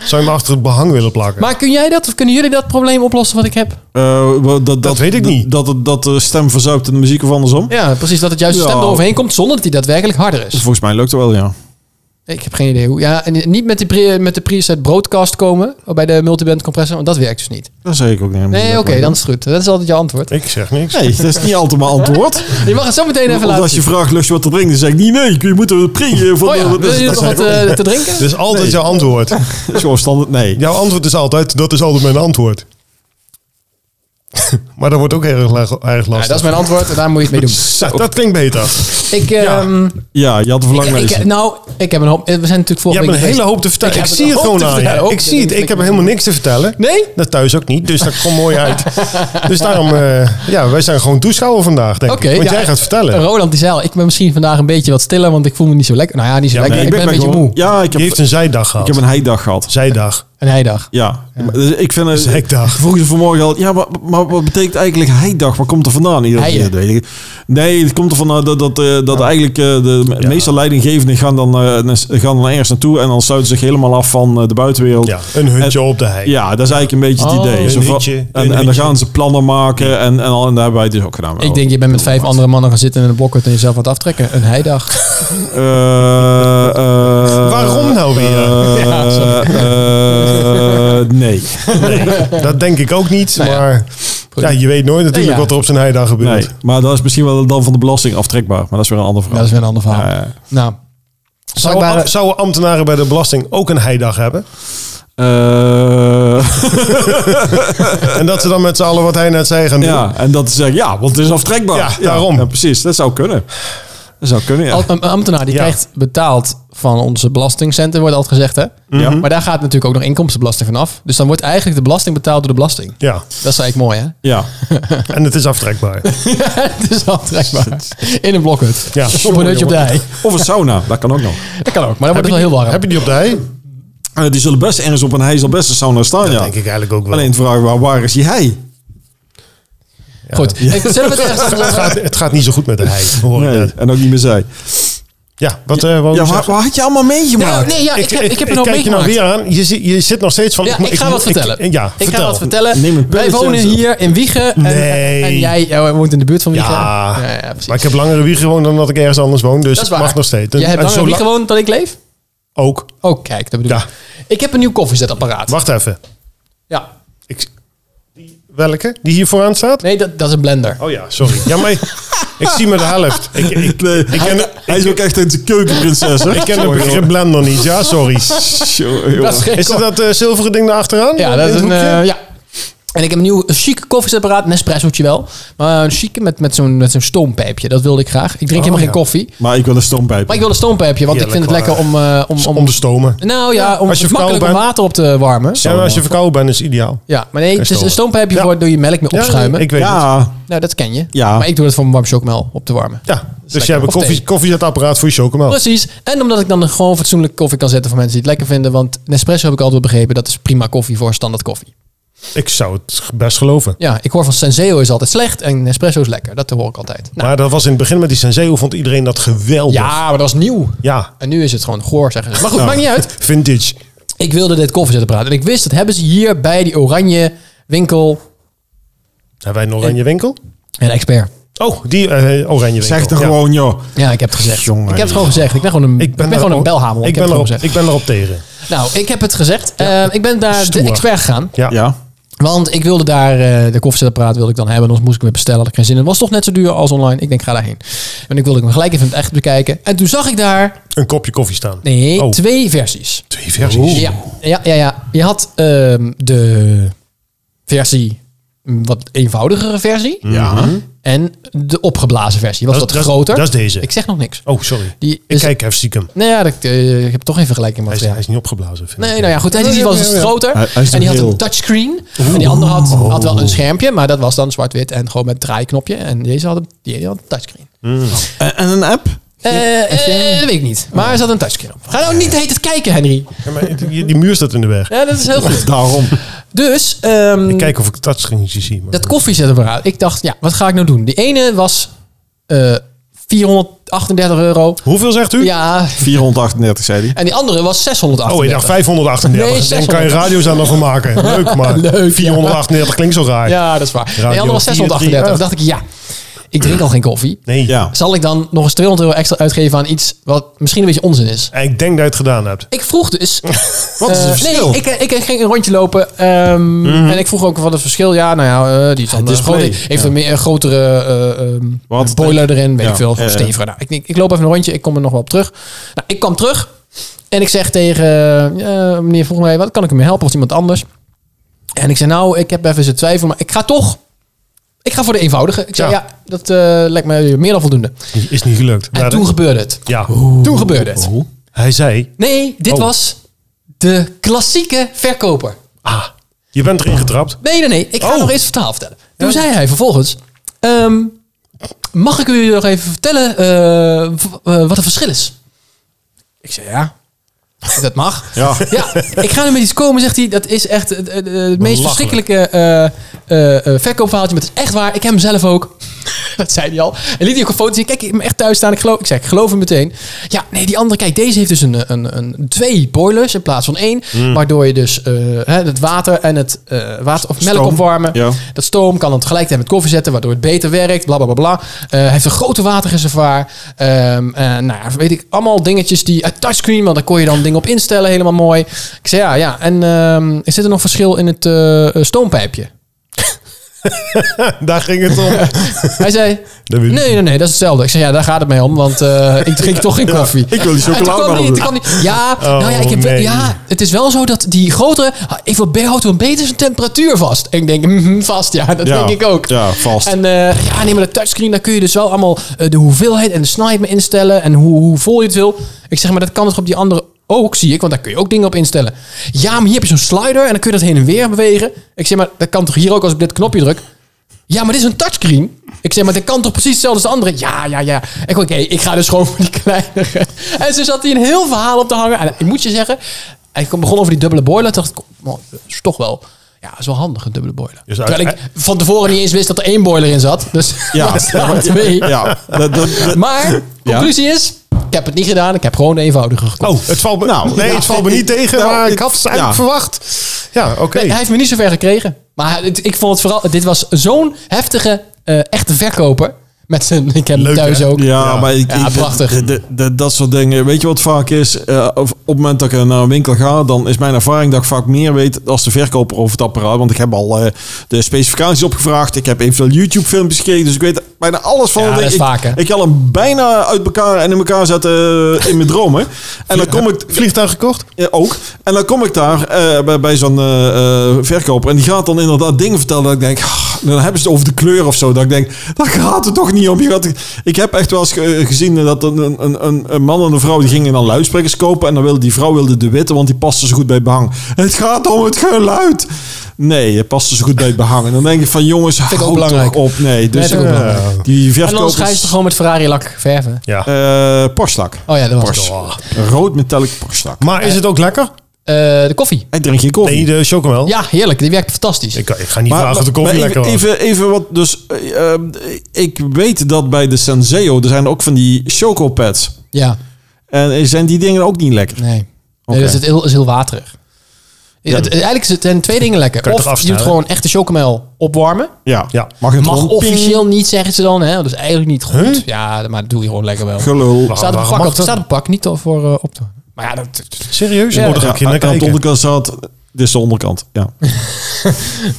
[SPEAKER 3] Zou je hem achter het behang willen plakken?
[SPEAKER 1] Maar kun jij dat? Of kunnen jullie dat probleem oplossen wat ik heb?
[SPEAKER 2] Eh, wel, dat, dat,
[SPEAKER 3] weet ik niet.
[SPEAKER 2] Dat, dat, dat de stem verzuipt in de muziek of andersom.
[SPEAKER 1] Ja, precies. Dat het juist de stem
[SPEAKER 2] Ja.
[SPEAKER 1] eroverheen komt zonder dat hij daadwerkelijk harder is.
[SPEAKER 2] Volgens mij lukt het wel, ja.
[SPEAKER 1] Ik heb geen idee hoe. Ja, en niet met de, pre, met de preset broadcast komen oh, bij de multiband compressor, want dat werkt dus niet.
[SPEAKER 2] Dat zei ik ook niet.
[SPEAKER 1] Nee, oké, dan is het goed. Dat is altijd je antwoord.
[SPEAKER 3] Ik zeg niks.
[SPEAKER 2] Nee, dat is niet altijd mijn antwoord.
[SPEAKER 1] Je mag het zo meteen even
[SPEAKER 2] Want
[SPEAKER 1] laten
[SPEAKER 2] als je
[SPEAKER 1] zien.
[SPEAKER 2] vraagt, lust je wat te drinken? Dan zeg ik, niet, nee, je moet er drinken. Van,
[SPEAKER 1] Oh ja,
[SPEAKER 2] dat-
[SPEAKER 1] wil
[SPEAKER 2] dat-
[SPEAKER 1] je nog
[SPEAKER 2] dat-
[SPEAKER 1] wat eh, te drinken?
[SPEAKER 3] Dus altijd jouw antwoord.
[SPEAKER 2] dat is gewoon standaard, nee.
[SPEAKER 3] Jouw antwoord is altijd, dat is altijd mijn antwoord. maar dat wordt ook erg, la- erg
[SPEAKER 1] Ja,
[SPEAKER 3] lastig.
[SPEAKER 1] dat is mijn antwoord en daar moet je het mee doen.
[SPEAKER 3] Zo, dat klinkt beter.
[SPEAKER 1] Ik, ehm,
[SPEAKER 2] Ja, je had er verlang naar
[SPEAKER 1] ik,
[SPEAKER 2] de
[SPEAKER 1] ik- nou, ik heb een hoop. We zijn natuurlijk
[SPEAKER 3] Je
[SPEAKER 1] vorige
[SPEAKER 3] hebt
[SPEAKER 1] week
[SPEAKER 3] een hele
[SPEAKER 1] geweest.
[SPEAKER 3] hoop te vertellen.
[SPEAKER 1] Ik
[SPEAKER 3] Ik,
[SPEAKER 1] heb
[SPEAKER 3] zie
[SPEAKER 1] een
[SPEAKER 3] het
[SPEAKER 1] hoop
[SPEAKER 3] gewoon
[SPEAKER 1] te
[SPEAKER 3] aan
[SPEAKER 1] vertellen.
[SPEAKER 3] je.
[SPEAKER 1] Ook.
[SPEAKER 3] Ik zie het. Ik heb helemaal niks te vertellen.
[SPEAKER 1] Nee?
[SPEAKER 3] Dat thuis ook niet, dus dat komt mooi uit. dus daarom, eh, ja, wij zijn gewoon toeschouwer vandaag, denk
[SPEAKER 1] Oké,
[SPEAKER 3] ik. Want
[SPEAKER 1] ja.
[SPEAKER 3] jij gaat vertellen.
[SPEAKER 1] Roland die zei al, ik ben misschien vandaag een beetje wat stiller, want ik voel me niet zo lekker. Nou ja, niet zo
[SPEAKER 3] Ja,
[SPEAKER 1] lekker.
[SPEAKER 3] nee,
[SPEAKER 1] ik ben een beetje
[SPEAKER 2] wel-
[SPEAKER 1] moe.
[SPEAKER 2] Ja, ik
[SPEAKER 3] Je
[SPEAKER 2] heb,
[SPEAKER 3] heeft een zijdag
[SPEAKER 2] ik
[SPEAKER 3] gehad.
[SPEAKER 2] heb een heidag gehad.
[SPEAKER 3] Zijdag.
[SPEAKER 1] Een heidag.
[SPEAKER 2] Ja, maar dus ik vind het.
[SPEAKER 3] Zijdag.
[SPEAKER 2] Vroeg ze vanmorgen al, ja, maar, maar wat betekent eigenlijk heidag? Waar komt er vandaan? Iedereen
[SPEAKER 1] Heide.
[SPEAKER 2] zegt, dat weet ik. Nee, het komt er vandaan dat, dat, eh, dat eigenlijk eh, de me- meeste leidinggevenden gaan dan, eh, nes- gaan dan ergens naartoe en dan sluiten ze zich helemaal af van eh, de buitenwereld.
[SPEAKER 3] Ja, een hutje op de hei.
[SPEAKER 2] Ja, dat is eigenlijk een beetje het
[SPEAKER 1] Oh.
[SPEAKER 2] idee.
[SPEAKER 1] Een
[SPEAKER 2] Zo van-
[SPEAKER 3] hutje, een
[SPEAKER 2] en, en dan
[SPEAKER 3] hutje.
[SPEAKER 2] gaan ze plannen maken en, en, al- en daar hebben wij het dus ook gedaan.
[SPEAKER 3] Oh.
[SPEAKER 1] Ik denk, je bent met vijf andere mannen gaan zitten in een blokhut en jezelf wat aftrekken. Een heidag.
[SPEAKER 3] Oh.
[SPEAKER 2] Eh, eh,
[SPEAKER 3] Waarom nou weer?
[SPEAKER 2] eh,
[SPEAKER 1] Ja, sorry.
[SPEAKER 2] eh, nee.
[SPEAKER 3] Dat denk ik ook niet,
[SPEAKER 1] Nou ja.
[SPEAKER 3] maar ja, je weet nooit natuurlijk
[SPEAKER 1] Nou ja.
[SPEAKER 3] wat er op zijn heidag gebeurt.
[SPEAKER 2] Nee, maar dat is misschien wel dan van de belasting aftrekbaar. Maar dat is weer een ander verhaal.
[SPEAKER 1] Dat is weer een ander verhaal.
[SPEAKER 2] Ja, ja.
[SPEAKER 1] Nou,
[SPEAKER 3] Zou-
[SPEAKER 1] Blijkbaar-
[SPEAKER 3] Zouden ambtenaren bij de belasting ook een heidag hebben?
[SPEAKER 2] Eh,
[SPEAKER 3] En dat ze dan met z'n allen wat hij net zei gaan doen?
[SPEAKER 2] ja, en dat is zeggen, ja, want het is aftrekbaar.
[SPEAKER 3] Ja, daarom.
[SPEAKER 2] precies, dat zou kunnen. Dat zou kunnen, ja.
[SPEAKER 1] al- een ambtenaar die
[SPEAKER 3] Ja.
[SPEAKER 1] krijgt betaald van onze belastingcenten, wordt altijd gezegd hè.
[SPEAKER 2] Ja.
[SPEAKER 1] Maar daar gaat natuurlijk ook nog inkomstenbelasting vanaf. Dus dan wordt eigenlijk de belasting betaald door de belasting.
[SPEAKER 3] Ja,
[SPEAKER 1] Dat is eigenlijk mooi hè.
[SPEAKER 2] ja.
[SPEAKER 3] en het is aftrekbaar.
[SPEAKER 1] Het is aantrekbaar. In een blokhut.
[SPEAKER 3] Ja.
[SPEAKER 1] Op een
[SPEAKER 3] Sorry,
[SPEAKER 1] hutje op de hei.
[SPEAKER 2] Of een sauna, dat kan ook nog.
[SPEAKER 1] Dat kan ook, maar dan wordt het wel
[SPEAKER 3] die-
[SPEAKER 1] heel warm.
[SPEAKER 3] Heb je die op de hei?
[SPEAKER 2] Eh, die zullen best ergens op een hei, zal best een sauna staan, ja.
[SPEAKER 3] Denk ik eigenlijk ook wel.
[SPEAKER 2] Alleen de vraag, waar, waar is die hei?
[SPEAKER 1] Goed. Ik zullen we het ergens anders
[SPEAKER 3] Het,
[SPEAKER 1] over
[SPEAKER 3] gaat, het gaat niet zo goed met de hei, hoor ik
[SPEAKER 2] Nee,
[SPEAKER 3] net.
[SPEAKER 2] en ook niet meer zij.
[SPEAKER 3] Ja, wat... eh wat
[SPEAKER 2] Ja, waar, waar had je allemaal meegemaakt?
[SPEAKER 1] Nou, nee, ja, ik, heb, ik heb er nog
[SPEAKER 3] kijk je nou
[SPEAKER 1] meegemaakt.
[SPEAKER 3] weer aan. Je, zit- je zit nog steeds van...
[SPEAKER 1] Ja,
[SPEAKER 3] moet-
[SPEAKER 1] ik ga wat
[SPEAKER 3] moet-
[SPEAKER 1] vertellen.
[SPEAKER 3] Ik, ja,
[SPEAKER 1] Ik
[SPEAKER 3] vertel.
[SPEAKER 1] ga wat vertellen.
[SPEAKER 2] Neem een
[SPEAKER 1] Wij
[SPEAKER 2] pilletje
[SPEAKER 1] wonen
[SPEAKER 2] en zo.
[SPEAKER 1] hier in Wiegen. En,
[SPEAKER 3] Nee.
[SPEAKER 1] en jij jij woont in de buurt van Wiegen.
[SPEAKER 3] Ja,
[SPEAKER 1] ja, ja, precies.
[SPEAKER 3] maar ik heb langere wieg gewoond dan dat ik ergens anders woon. Dus
[SPEAKER 1] dat
[SPEAKER 3] dat
[SPEAKER 1] is waar.
[SPEAKER 3] mag nog steeds.
[SPEAKER 1] Jij hebt
[SPEAKER 3] En
[SPEAKER 1] langer
[SPEAKER 3] zolang-
[SPEAKER 1] in Wiegen gewoond dan ik leef?
[SPEAKER 3] Ook.
[SPEAKER 1] Oh, kijk, dat bedoel ik.
[SPEAKER 3] Ja.
[SPEAKER 1] Ik heb een nieuw koffiezetapparaat.
[SPEAKER 3] Wacht even.
[SPEAKER 1] Ja.
[SPEAKER 3] Ik, die- welke? Die hier vooraan staat?
[SPEAKER 1] Nee, dat, dat is een blender.
[SPEAKER 3] Oh ja, sorry. Ja, maar ik, ik zie me de helft. Ik, ik,
[SPEAKER 2] Nee,
[SPEAKER 3] ik ken, de-
[SPEAKER 2] hij is ook echt een keukenprinses, hè?
[SPEAKER 3] ik ken het begrip blender niet. Ja, sorry.
[SPEAKER 2] Tjoh, joh.
[SPEAKER 1] Dat is geen
[SPEAKER 3] Is dat
[SPEAKER 1] koffie-
[SPEAKER 3] dat eh, zilveren ding daar achteraan?
[SPEAKER 1] Ja, dat is
[SPEAKER 3] In
[SPEAKER 1] een...
[SPEAKER 3] het hoekje?
[SPEAKER 1] eh, ja. En ik heb een nieuw eh, chic koffiezetapparaat. Een espressootje wel. Maar een chique met, met zo'n met zo'n stoompijpje. Dat wilde ik graag. Ik drink helemaal
[SPEAKER 3] Oh, ja.
[SPEAKER 1] geen koffie.
[SPEAKER 2] Maar ik wil een stoompijp.
[SPEAKER 1] Maar ik wil een stoompijpje, want ik
[SPEAKER 3] Heerlijk
[SPEAKER 1] vind het lekker om, eh, om, om,
[SPEAKER 3] Om de stomen.
[SPEAKER 1] Nou ja, om
[SPEAKER 3] Als je
[SPEAKER 1] het is makkelijk om
[SPEAKER 3] verkouden bent-
[SPEAKER 1] water op te warmen.
[SPEAKER 3] Ja, maar als je verkouden bent, is het ideaal.
[SPEAKER 1] Ja, maar nee, het is een
[SPEAKER 3] stomen.
[SPEAKER 1] stoompijpje
[SPEAKER 3] Ja.
[SPEAKER 1] voor doe je melk mee
[SPEAKER 3] Ja,
[SPEAKER 1] opschuimen.
[SPEAKER 3] Ik weet het.
[SPEAKER 2] Ja,
[SPEAKER 1] Nou, dat ken je.
[SPEAKER 2] Ja.
[SPEAKER 1] Maar ik doe het voor mijn warm chocomel op te warmen.
[SPEAKER 3] Ja, dus
[SPEAKER 1] lekker.
[SPEAKER 3] jij hebt
[SPEAKER 1] Of
[SPEAKER 3] een koffie,
[SPEAKER 1] thee.
[SPEAKER 3] koffiezetapparaat voor je chocomel.
[SPEAKER 1] Precies. En omdat ik dan gewoon fatsoenlijk koffie kan zetten voor mensen die het lekker vinden. Want Nespresso heb ik altijd begrepen, dat is prima koffie voor standaard koffie.
[SPEAKER 3] Ik zou het best geloven.
[SPEAKER 1] Ja, ik hoor van Senseo is altijd slecht en Nespresso is lekker. Dat hoor ik altijd. Nou,
[SPEAKER 3] Maar dat was in het begin met die Senseo, vond iedereen dat geweldig.
[SPEAKER 1] ja, maar dat was nieuw.
[SPEAKER 3] Ja,
[SPEAKER 1] En nu is het gewoon goor, zeggen ze. Maar
[SPEAKER 3] Nou.
[SPEAKER 1] goed, maakt niet uit.
[SPEAKER 3] vintage.
[SPEAKER 1] Ik wilde dit koffiezetapparaat. En ik wist, dat hebben ze hier bij die oranje winkel.
[SPEAKER 3] Hebben wij een oranje winkel?
[SPEAKER 1] En expert.
[SPEAKER 3] Oh, die eh, oranje winkel.
[SPEAKER 2] zeg er
[SPEAKER 3] Ja.
[SPEAKER 2] gewoon, joh.
[SPEAKER 1] Ja ik heb het gezegd.
[SPEAKER 2] Jongen,
[SPEAKER 1] ik heb het gewoon gezegd. Ik ben gewoon een, ik ben
[SPEAKER 3] daar
[SPEAKER 1] gewoon een
[SPEAKER 3] ook-
[SPEAKER 1] belhamel.
[SPEAKER 3] Ik,
[SPEAKER 1] Ik, heb het
[SPEAKER 3] ben erop,
[SPEAKER 1] gewoon gezegd.
[SPEAKER 3] ik ben erop tegen.
[SPEAKER 1] Nou, ik heb het gezegd. Eh, ik ben daar
[SPEAKER 3] Stoer.
[SPEAKER 1] de expert gegaan.
[SPEAKER 3] Ja.
[SPEAKER 2] Ja.
[SPEAKER 1] Want ik wilde daar eh, de koffiezetapparaat wilde ik dan hebben. Anders moest ik hem weer bestellen. Had ik geen zin in. Het was toch net zo duur als online. Ik denk, ga daarheen. En ik wilde hem gelijk even in het echt bekijken. En toen zag ik daar
[SPEAKER 3] Een kopje koffie staan.
[SPEAKER 1] nee,
[SPEAKER 3] Oh.
[SPEAKER 1] twee versies.
[SPEAKER 3] Twee versies.
[SPEAKER 1] Ja, ja, ja, ja. Je had ehm, de versie, een wat eenvoudigere versie.
[SPEAKER 2] Ja.
[SPEAKER 1] En de opgeblazen versie. Wat
[SPEAKER 3] Dat-
[SPEAKER 1] wat
[SPEAKER 3] dat-
[SPEAKER 1] groter.
[SPEAKER 3] dat is deze.
[SPEAKER 1] Ik zeg nog niks.
[SPEAKER 3] Oh, sorry.
[SPEAKER 1] Die
[SPEAKER 3] ik
[SPEAKER 1] is-
[SPEAKER 3] kijk even stiekem.
[SPEAKER 1] Nou ja, dat, eh, ik heb toch even gelijk in
[SPEAKER 3] Hij
[SPEAKER 1] mijn
[SPEAKER 3] is, hij is niet opgeblazen. vind
[SPEAKER 1] Nee,
[SPEAKER 3] ik.
[SPEAKER 1] nou ja, goed. Hij die was dus groter.
[SPEAKER 2] Hij- hij is
[SPEAKER 1] en die had
[SPEAKER 2] nog
[SPEAKER 1] een
[SPEAKER 2] heel.
[SPEAKER 1] touchscreen. En die andere had, had wel een schermpje, maar dat was dan zwart-wit en gewoon met een draaiknopje. En deze had een, die had een touchscreen.
[SPEAKER 2] En, en een app?
[SPEAKER 1] Eh, eh, dat weet ik niet. Maar er zat een touchscreen op. Ga nou niet heet het kijken, Henry.
[SPEAKER 3] Ja, maar die, die muur staat in de weg.
[SPEAKER 1] Ja, dat is heel goed.
[SPEAKER 2] Daarom.
[SPEAKER 1] Dus, ehm,
[SPEAKER 3] Ik kijk of ik touchscreentjes zie. Maar
[SPEAKER 1] dat koffiezetapparaat. Ik dacht, ja, wat ga ik nou doen? Die ene was eh 438 euro.
[SPEAKER 3] Hoeveel zegt u?
[SPEAKER 1] Ja,
[SPEAKER 2] 438, zei hij.
[SPEAKER 1] en die andere was 638.
[SPEAKER 3] Oh, ik dacht 538.
[SPEAKER 1] Nee,
[SPEAKER 3] Dan kan je
[SPEAKER 1] 600.
[SPEAKER 3] radio's aan van maken. Leuk, maar
[SPEAKER 1] Leuk, ja.
[SPEAKER 3] 438 klinkt zo raar.
[SPEAKER 1] Ja, dat is waar.
[SPEAKER 3] Radio
[SPEAKER 1] nee, ander was 638.
[SPEAKER 3] 438.
[SPEAKER 1] dacht ik, ja. ik drink al geen koffie.
[SPEAKER 3] Nee.
[SPEAKER 2] Ja.
[SPEAKER 1] Zal ik dan nog eens 200 euro extra uitgeven aan iets wat misschien een beetje onzin is?
[SPEAKER 3] En ik denk dat je het gedaan hebt.
[SPEAKER 1] Ik vroeg dus.
[SPEAKER 2] Wat is
[SPEAKER 1] eh,
[SPEAKER 2] het verschil? Mhm.
[SPEAKER 1] nee, ik, ik, ik ging een rondje lopen. ehm, En ik vroeg ook wat het verschil. Ja, nou ja, eh, die is dan
[SPEAKER 2] Het
[SPEAKER 1] eh,
[SPEAKER 2] display,
[SPEAKER 1] groot- heeft
[SPEAKER 2] ja.
[SPEAKER 1] een, meer, een grotere eh, ehm,
[SPEAKER 2] Wat?
[SPEAKER 1] boiler erin. Weet
[SPEAKER 2] Ja, eh,
[SPEAKER 1] ik veel, gewoon
[SPEAKER 2] ja, ja.
[SPEAKER 1] steviger. Nou, ik, denk, ik loop even een rondje. Ik kom er nog wel op terug. Nou, ik kwam terug. En ik zeg tegen eh, meneer vroeg mij, wat kan ik hem helpen? Of iemand anders? En ik zei, nou, ik heb even zijn twijfel, maar ik ga toch. Ik ga voor de eenvoudige. Ik zei, ja,
[SPEAKER 3] Ja.
[SPEAKER 1] dat eh, lijkt me meer dan voldoende.
[SPEAKER 3] Is niet gelukt.
[SPEAKER 1] En
[SPEAKER 3] Maar
[SPEAKER 1] toen
[SPEAKER 3] dat-
[SPEAKER 1] gebeurde het.
[SPEAKER 3] ja.
[SPEAKER 1] Toen gebeurde het.
[SPEAKER 3] Hij zei,
[SPEAKER 1] Nee, dit
[SPEAKER 3] Oh.
[SPEAKER 1] was de klassieke verkoper.
[SPEAKER 3] ah, je bent erin getrapt.
[SPEAKER 1] Nee, nee, nee. Ik ga
[SPEAKER 3] Oh.
[SPEAKER 1] nog eens het verhaal vertellen. Toen zei hij vervolgens... ehm, mag ik u nog even vertellen eh, v- eh, wat het verschil is? Ik zei ja. Dat mag.
[SPEAKER 2] Ja.
[SPEAKER 1] Ja, ik ga nu met iets komen, zegt hij. Dat is echt eh, het, het- het meest
[SPEAKER 3] Belachelijk.
[SPEAKER 1] verschrikkelijke eh, eh, eh, verkoopverhaaltje. Maar het is echt waar. Ik heb hem zelf ook. dat zei hij al. En liet hij ook een foto zien. Kijk, ik heb hem echt thuis staan. Ik geloof, ik zei, ik geloof hem meteen. Ja, nee, die andere. Kijk, deze heeft dus een, een, een twee boilers in plaats van één. Waardoor je dus eh, hè, het water en het eh, water of melk
[SPEAKER 2] Stoom.
[SPEAKER 1] opwarmen.
[SPEAKER 2] Ja.
[SPEAKER 1] Dat stoom kan dan tegelijkertijd met koffie zetten, waardoor het beter werkt. Bla bla bla. bla. Eh, hij heeft een grote waterreservoir. Ehm, eh, nou ja, weet ik, allemaal dingetjes die uit touchscreen, want daar kon je dan dingen op instellen, helemaal mooi. Ik zei ja, ja. En ehm, is zit er nog verschil in het eh, eh, stoompijpje?
[SPEAKER 3] Daar ging het om.
[SPEAKER 1] Hij zei.
[SPEAKER 3] Dat
[SPEAKER 1] Nee,
[SPEAKER 3] wil-
[SPEAKER 1] nee, nee, dat is hetzelfde. Ik zei, ja, daar gaat het mee om, want eh, ik drink toch geen koffie.
[SPEAKER 2] ik wil die
[SPEAKER 1] En toen
[SPEAKER 2] chocola
[SPEAKER 1] kwam
[SPEAKER 2] maar Oh,
[SPEAKER 1] die-
[SPEAKER 2] op.
[SPEAKER 1] toen kwam die- Ja, nou ja, ik heb, wel-
[SPEAKER 3] nee.
[SPEAKER 1] ja, het is wel zo dat die grotere... Ik wil houdt wel beter zijn temperatuur vast. En ik denk, mhm, vast, ja, dat
[SPEAKER 2] Ja.
[SPEAKER 1] denk ik ook.
[SPEAKER 2] Ja, vast.
[SPEAKER 1] En eh, ja, neem maar de touchscreen, daar kun je dus wel allemaal eh, de hoeveelheid en de snelheid mee instellen en hoe, hoe vol je het wil. Ik zeg, maar dat kan toch op die andere ook, zie ik, want daar kun je ook dingen op instellen. Ja, maar hier heb je zo'n slider en dan kun je dat heen en weer bewegen. Ik zeg, maar dat kan toch hier ook als ik dit knopje druk? Ja, maar dit is een touchscreen. Ik zeg, maar dat kan toch precies hetzelfde als de andere? Ja, ja, ja. Ik oké, ik ga dus gewoon voor die kleinere. En zo zat hij een heel verhaal op te hangen. En ik moet je zeggen, ik begon over die dubbele boiler. Toen dacht ik, oh, dat is toch wel... Ja, dat is wel handig, een dubbele boiler.
[SPEAKER 3] Dus uit-
[SPEAKER 1] Terwijl ik van tevoren niet eens wist dat er één boiler in zat. Dus
[SPEAKER 2] Ja.
[SPEAKER 1] ja, twee.
[SPEAKER 2] Ja, dat, dat, dat-
[SPEAKER 1] Maar, conclusie is, ik heb het niet gedaan. Ik heb gewoon de eenvoudige gekocht.
[SPEAKER 3] Oh, het valt me,
[SPEAKER 2] Nou,
[SPEAKER 3] nee,
[SPEAKER 2] ja.
[SPEAKER 3] het valt me niet tegen,
[SPEAKER 2] Nou,
[SPEAKER 3] maar ik
[SPEAKER 2] ik-
[SPEAKER 3] had het eigenlijk
[SPEAKER 2] ja.
[SPEAKER 3] verwacht. Ja, oké.
[SPEAKER 1] Nee, hij heeft me niet zover gekregen. Maar hij- het- ik vond het vooral, dit was zo'n heftige, eh, echte verkoper. Met zijn, ik heb hem
[SPEAKER 3] Leuk,
[SPEAKER 1] thuis
[SPEAKER 3] hè?
[SPEAKER 1] ook.
[SPEAKER 2] Ja, maar ik,
[SPEAKER 1] Ja,
[SPEAKER 2] ik-
[SPEAKER 1] prachtig.
[SPEAKER 2] de- de- de- dat soort dingen. Weet je wat vaak is? Eh, of op het moment dat ik naar een winkel ga, dan is mijn ervaring dat ik vaak meer weet als de verkoper over het apparaat. Want ik heb al eh, de specificaties opgevraagd. Ik heb eventueel YouTube-filmpjes gekeken. Dus ik weet bijna alles van.
[SPEAKER 1] Ja,
[SPEAKER 2] het ding.
[SPEAKER 1] dat is
[SPEAKER 2] ik,
[SPEAKER 1] vaak, hè?
[SPEAKER 2] ik kan hem bijna uit elkaar en in elkaar zetten eh, in mijn dromen. En dan kom ik
[SPEAKER 3] Vliegtuig gekocht?
[SPEAKER 2] ja, ook. En dan kom ik daar eh, bij, bij zo'n eh, eh, verkoper. En die gaat dan inderdaad dingen vertellen. Dat ik denk, ah, dan hebben ze het over de kleur of zo. Dat ik denk, daar gaat het toch niet om. Je gaat, ik heb echt wel eens ge- eh, gezien dat een, een, een, een man en een vrouw. die gingen dan luidsprekers kopen. En dan wilde die vrouw wilde de witte, want die paste zo goed bij het behang. Het gaat om het geluid. Nee, het paste zo goed bij het behang. En dan denk ik van jongens,
[SPEAKER 1] ik ook
[SPEAKER 2] hou toch
[SPEAKER 1] belangrijk.
[SPEAKER 2] op. Nee, dus
[SPEAKER 1] vind ik ook
[SPEAKER 2] eh,
[SPEAKER 1] belangrijk.
[SPEAKER 2] die
[SPEAKER 1] En anders ga je
[SPEAKER 2] verkopers...
[SPEAKER 1] ze gewoon met Ferrari lak verven.
[SPEAKER 3] Ja.
[SPEAKER 2] eh porstlak.
[SPEAKER 1] Oh ja, dat was het.
[SPEAKER 2] Pors. Rood metallic porstlak.
[SPEAKER 3] maar is het ook lekker?
[SPEAKER 1] Eh, de koffie.
[SPEAKER 2] Ik drink geen koffie.
[SPEAKER 3] Nee, de chocomel.
[SPEAKER 1] Ja, heerlijk. Die werkt fantastisch.
[SPEAKER 3] Ik, ik ga niet vragen of de koffie
[SPEAKER 2] maar even,
[SPEAKER 3] lekker was.
[SPEAKER 2] even, even wat, dus eh, eh, ik weet dat bij de Senseo, er zijn ook van die chocopads.
[SPEAKER 1] Ja,
[SPEAKER 2] En eh, zijn die dingen ook niet lekker?
[SPEAKER 1] nee. nee
[SPEAKER 2] Oké.
[SPEAKER 1] dat is, heel, is heel waterig. Het, het- eigenlijk is het- zijn twee dingen lekker.
[SPEAKER 3] Kan je toch
[SPEAKER 1] Of je doet
[SPEAKER 3] afsnijden?
[SPEAKER 1] gewoon echte chocomel opwarmen.
[SPEAKER 2] Ja.
[SPEAKER 3] Ja.
[SPEAKER 2] Mag het
[SPEAKER 1] Mag
[SPEAKER 2] gewoon
[SPEAKER 1] officieel niet, zeggen ze dan. Hè? Dat is eigenlijk niet goed. Ja, maar dat doe je gewoon lekker wel.
[SPEAKER 2] ping, gelul.
[SPEAKER 3] Wacht,
[SPEAKER 1] Staat op een
[SPEAKER 3] waarom
[SPEAKER 1] pak,
[SPEAKER 3] mag
[SPEAKER 1] op,
[SPEAKER 3] dat?
[SPEAKER 1] staat op een pak niet al voor eh, op te... Maar ja, dat,
[SPEAKER 3] Serieus?
[SPEAKER 1] Ja,
[SPEAKER 3] Ja, dan ga
[SPEAKER 2] Ja,
[SPEAKER 3] ik hier naar
[SPEAKER 2] aan de
[SPEAKER 3] kijken.
[SPEAKER 2] onderkant staat, dit is de onderkant. Ja.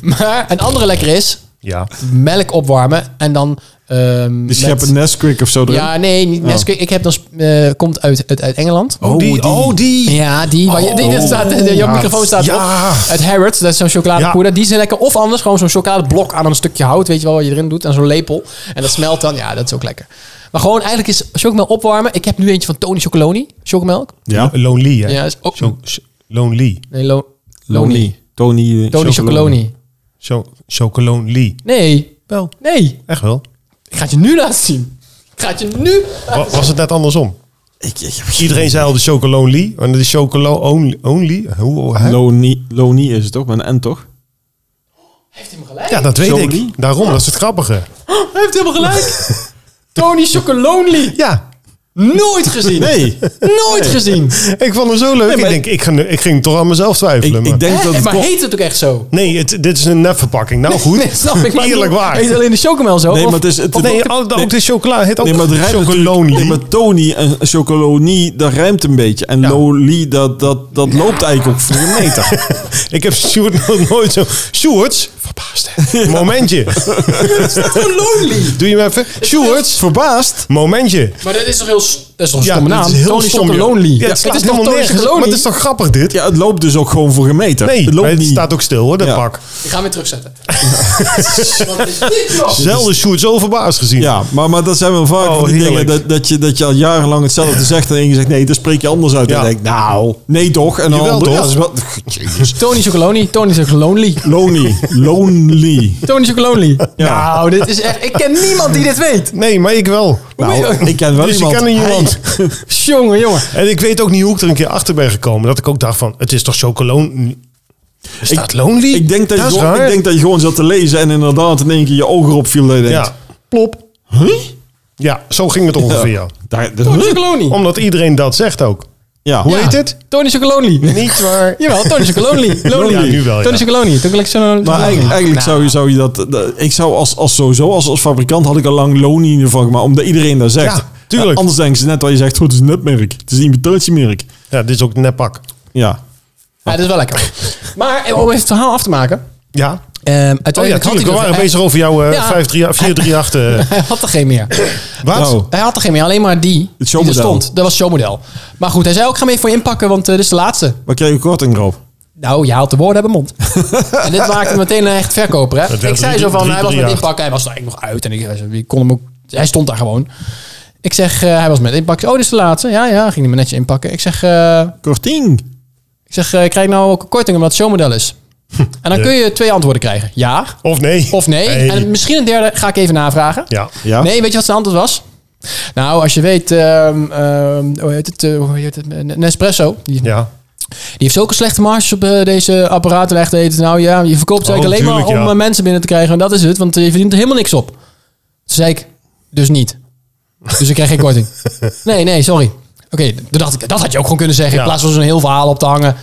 [SPEAKER 1] maar een andere lekker is
[SPEAKER 3] Ja.
[SPEAKER 1] melk opwarmen en dan... ehm,
[SPEAKER 2] Die
[SPEAKER 1] met-
[SPEAKER 2] scheppen Nesquik of zo erin.
[SPEAKER 1] Ja, nee, niet Nesquik. Ik heb dan... sp- eh, komt uit, uit, uit Engeland.
[SPEAKER 3] Oh, die. Oh, die.
[SPEAKER 1] Ja, die. Waar je, die dat staat, de, jouw microfoon staat
[SPEAKER 3] Ja.
[SPEAKER 1] op. Het Harrods, dat is zo'n chocoladepoeder. Die zijn lekker. Of anders gewoon zo'n chocoladeblok aan een stukje hout. Weet je wel wat je erin doet. En zo'n lepel. En dat smelt dan. Ja, dat is ook lekker. Maar gewoon eigenlijk is chocomel opwarmen. Ik heb nu eentje van Tony Chocoloni. Chocomelk.
[SPEAKER 3] Oh.
[SPEAKER 2] Ja.
[SPEAKER 3] Lonely, hè?
[SPEAKER 1] Ja, is ook...
[SPEAKER 3] Zo, ch- lonely.
[SPEAKER 1] Nee, lo, Loni.
[SPEAKER 2] Lonely. Tony. eh,
[SPEAKER 1] Tony Chocoloni.
[SPEAKER 3] Zo, chocolonely.
[SPEAKER 1] Nee.
[SPEAKER 3] Wel,
[SPEAKER 1] Nee.
[SPEAKER 3] echt wel.
[SPEAKER 1] Ik ga het je nu laten zien. Ik ga het je nu...
[SPEAKER 3] Wa- was het net andersom?
[SPEAKER 2] Ik, ik,
[SPEAKER 3] Iedereen zei al de chocolonely, maar dat is chocolo only. only. Hoe, hè?
[SPEAKER 2] Lonely, Lonely is het toch? Met een N toch?
[SPEAKER 1] Heeft hij me gelijk?
[SPEAKER 3] Ja, dat weet
[SPEAKER 2] Chocolonely?
[SPEAKER 3] Ah. ik. Daarom, dat is het grappige.
[SPEAKER 1] Hij heeft helemaal gelijk. Tony Chocolonely.
[SPEAKER 3] Ja,
[SPEAKER 1] Nooit gezien.
[SPEAKER 2] Nee.
[SPEAKER 1] Nooit gezien.
[SPEAKER 3] Ik vond hem zo leuk.
[SPEAKER 2] maar-
[SPEAKER 3] ik, denk, ik, ga nu, ik ging toch aan mezelf
[SPEAKER 2] Ik,
[SPEAKER 3] twijfelen.
[SPEAKER 2] ik
[SPEAKER 3] maar-
[SPEAKER 2] denk
[SPEAKER 1] Hè?
[SPEAKER 2] dat het
[SPEAKER 1] maar
[SPEAKER 2] komt-
[SPEAKER 1] heet het ook echt zo?
[SPEAKER 3] Nee, het, dit is een nepverpakking. Nou goed.
[SPEAKER 1] Nee, snap ik. Maar
[SPEAKER 3] Eerlijk waar.
[SPEAKER 1] Heet alleen de chocomel zo?
[SPEAKER 2] Nee, maar
[SPEAKER 1] Of-
[SPEAKER 2] het is... Het,
[SPEAKER 3] Of nee, oh,
[SPEAKER 2] het-
[SPEAKER 3] ook, ook de chocola. Het ook
[SPEAKER 2] Nee, maar het rijmt
[SPEAKER 3] chocoloni.
[SPEAKER 2] Nee, maar Tony en Chocoloni, dat rijmt een beetje. En
[SPEAKER 3] Ja.
[SPEAKER 2] Loli, dat, dat, dat loopt eigenlijk ook voor een meter.
[SPEAKER 3] ik heb Sjoerd nog nooit zo... Sjoerd, verbaasd. Momentje. Doe je hem even. Sjoerd,
[SPEAKER 2] Verbaasd?
[SPEAKER 3] momentje.
[SPEAKER 1] Maar dat is toch heel... s- Dat is toch een stomme
[SPEAKER 3] dit
[SPEAKER 1] naam?
[SPEAKER 3] is heel
[SPEAKER 1] Tony
[SPEAKER 3] stom, joh.
[SPEAKER 1] Chocolonely.
[SPEAKER 3] Ja, het
[SPEAKER 1] het
[SPEAKER 3] slaat
[SPEAKER 1] is toch
[SPEAKER 3] helemaal
[SPEAKER 1] Tony
[SPEAKER 3] nergens. op, Maar
[SPEAKER 1] Chocolonely?
[SPEAKER 3] het is toch grappig dit?
[SPEAKER 2] Ja, het loopt dus ook gewoon voor een meter.
[SPEAKER 3] Nee,
[SPEAKER 2] het
[SPEAKER 3] maar
[SPEAKER 2] loopt
[SPEAKER 3] het
[SPEAKER 2] niet.
[SPEAKER 3] staat ook stil hoor, dat
[SPEAKER 2] Ja. Oh,
[SPEAKER 3] pak.
[SPEAKER 1] Ik ga hem weer terugzetten. Wat is dit, joh?
[SPEAKER 3] Zelden Sjoerd zo verbaasd gezien.
[SPEAKER 2] Ja, maar, maar dat zijn wel vaak
[SPEAKER 3] Oh,
[SPEAKER 2] van die dingen
[SPEAKER 3] heerlijk.
[SPEAKER 2] dat, dat, je, dat je al jarenlang hetzelfde zegt. En je zegt nee, dan spreek je anders uit.
[SPEAKER 3] Ja.
[SPEAKER 2] En dan denk ik, nou, nee toch? En dan
[SPEAKER 3] Jawel,
[SPEAKER 2] ander-
[SPEAKER 3] toch?
[SPEAKER 2] Ja, dat is wel,
[SPEAKER 1] Tony Chocolonely. Tony Chocolonely.
[SPEAKER 2] lonely. Lonely.
[SPEAKER 1] Tony Chocolonely. Nou, dit is echt... Ik ken niemand die dit weet.
[SPEAKER 3] Nee, maar ik wel.
[SPEAKER 2] Nou, ik ken wel
[SPEAKER 3] Dus je
[SPEAKER 2] iemand.
[SPEAKER 3] kan in je
[SPEAKER 2] Hij-
[SPEAKER 3] land.
[SPEAKER 1] Jongen, jongen.
[SPEAKER 3] En ik weet ook niet hoe ik er een keer achter ben gekomen. Dat ik ook dacht van, het is toch chocolon... Er staat lonely?
[SPEAKER 2] Ik denk dat,
[SPEAKER 3] is
[SPEAKER 2] je, gewoon-
[SPEAKER 3] raar.
[SPEAKER 2] ik denk dat je gewoon zat te lezen en inderdaad in één keer je ogen erop viel. Dat je denkt,
[SPEAKER 3] Ja, plop. Ja, zo ging het ongeveer.
[SPEAKER 2] daar, dat-
[SPEAKER 1] Tony Chocolonely.
[SPEAKER 3] Omdat iedereen dat zegt ook.
[SPEAKER 2] ja.
[SPEAKER 3] Hoe
[SPEAKER 1] Ja.
[SPEAKER 3] heet het?
[SPEAKER 1] Tony Chocolonely.
[SPEAKER 3] Niet waar.
[SPEAKER 1] Jawel, Tony Chocolonely. Lonely.
[SPEAKER 3] Ja, nu wel, ja.
[SPEAKER 1] Tony Chocolonely. Toen ik zo... Nou,
[SPEAKER 2] Maar eigenlijk, eigenlijk zou, je, zou je dat, dat- Ik zou als, als sowieso, als, als fabrikant had ik al lang loonien ervan gemaakt. Omdat iedereen dat zegt.
[SPEAKER 3] Ja, tuurlijk.
[SPEAKER 2] anders denken ze net wat je zegt. Goed, het is een nutmerk. Het is een imitatiemerk.
[SPEAKER 3] Ja, dit is ook een neppak.
[SPEAKER 2] Ja.
[SPEAKER 1] Ja, dat is wel lekker. Maar eh, om even het verhaal af te maken.
[SPEAKER 3] Ja.
[SPEAKER 1] Ehm
[SPEAKER 3] Oh ja,
[SPEAKER 1] uiteindelijk had hij,
[SPEAKER 3] natuurlijk. We
[SPEAKER 1] dus-
[SPEAKER 3] waren
[SPEAKER 1] hij,
[SPEAKER 3] bezig over jouw eh,
[SPEAKER 1] Ja.
[SPEAKER 3] 53 438.
[SPEAKER 1] hij had er geen meer.
[SPEAKER 3] eh, Wat?
[SPEAKER 2] Nou,
[SPEAKER 1] Hij had er geen meer, alleen maar die
[SPEAKER 2] Het
[SPEAKER 1] die er
[SPEAKER 2] showmodel.
[SPEAKER 1] stond. Dat was showmodel. Maar goed, hij zei ook, ik ga hem even voor je inpakken, want eh, dit is de laatste.
[SPEAKER 2] Waar krijg je korting op?
[SPEAKER 1] Nou, je haalt de woorden uit mijn mond. en dit maakte hem meteen een echt verkoper,
[SPEAKER 3] Het
[SPEAKER 1] hè?
[SPEAKER 3] werd
[SPEAKER 1] Ik zei
[SPEAKER 3] drie-
[SPEAKER 1] zo van,
[SPEAKER 3] drie-
[SPEAKER 1] hij was met
[SPEAKER 3] 338.
[SPEAKER 1] inpakken, hij was er eigenlijk nog uit. En ik, ik kon hem ook, hij stond daar gewoon. Ik zeg, eh, hij was met inpakken. Oh, dit is de laatste. Ja, ja, ging hij me netjes inpakken. Ik zeg, eh,
[SPEAKER 2] Korting.
[SPEAKER 1] ik zeg eh, ik krijg nou ook een korting omdat het showmodel is. en dan
[SPEAKER 3] Ja.
[SPEAKER 1] kun je twee antwoorden krijgen. Ja
[SPEAKER 3] Of nee?
[SPEAKER 1] of nee.
[SPEAKER 3] Hey.
[SPEAKER 1] En misschien een derde ga ik even navragen.
[SPEAKER 3] Ja.
[SPEAKER 2] Ja.
[SPEAKER 1] Nee, weet je wat zijn antwoord was? Nou, als je weet, ehm, ehm, hoe heet het? eh, hoe heet het? N- Nespresso. Die, die
[SPEAKER 3] Ja.
[SPEAKER 1] heeft ook een slechte marge op eh, deze apparaten. En echt eten. Nou ja, je verkoopt het
[SPEAKER 3] Oh,
[SPEAKER 1] eigenlijk alleen maar
[SPEAKER 3] tuurlijk,
[SPEAKER 1] om
[SPEAKER 3] ja.
[SPEAKER 1] eh, mensen binnen te krijgen. En dat is het, want je verdient er helemaal niks op. Toen zei ik, dus niet. Dus ik kreeg geen korting. Nee, nee, sorry. Oké, toen dacht ik, dat had je ook gewoon kunnen zeggen.
[SPEAKER 3] Ja.
[SPEAKER 1] In plaats van zo'n heel verhaal op te hangen.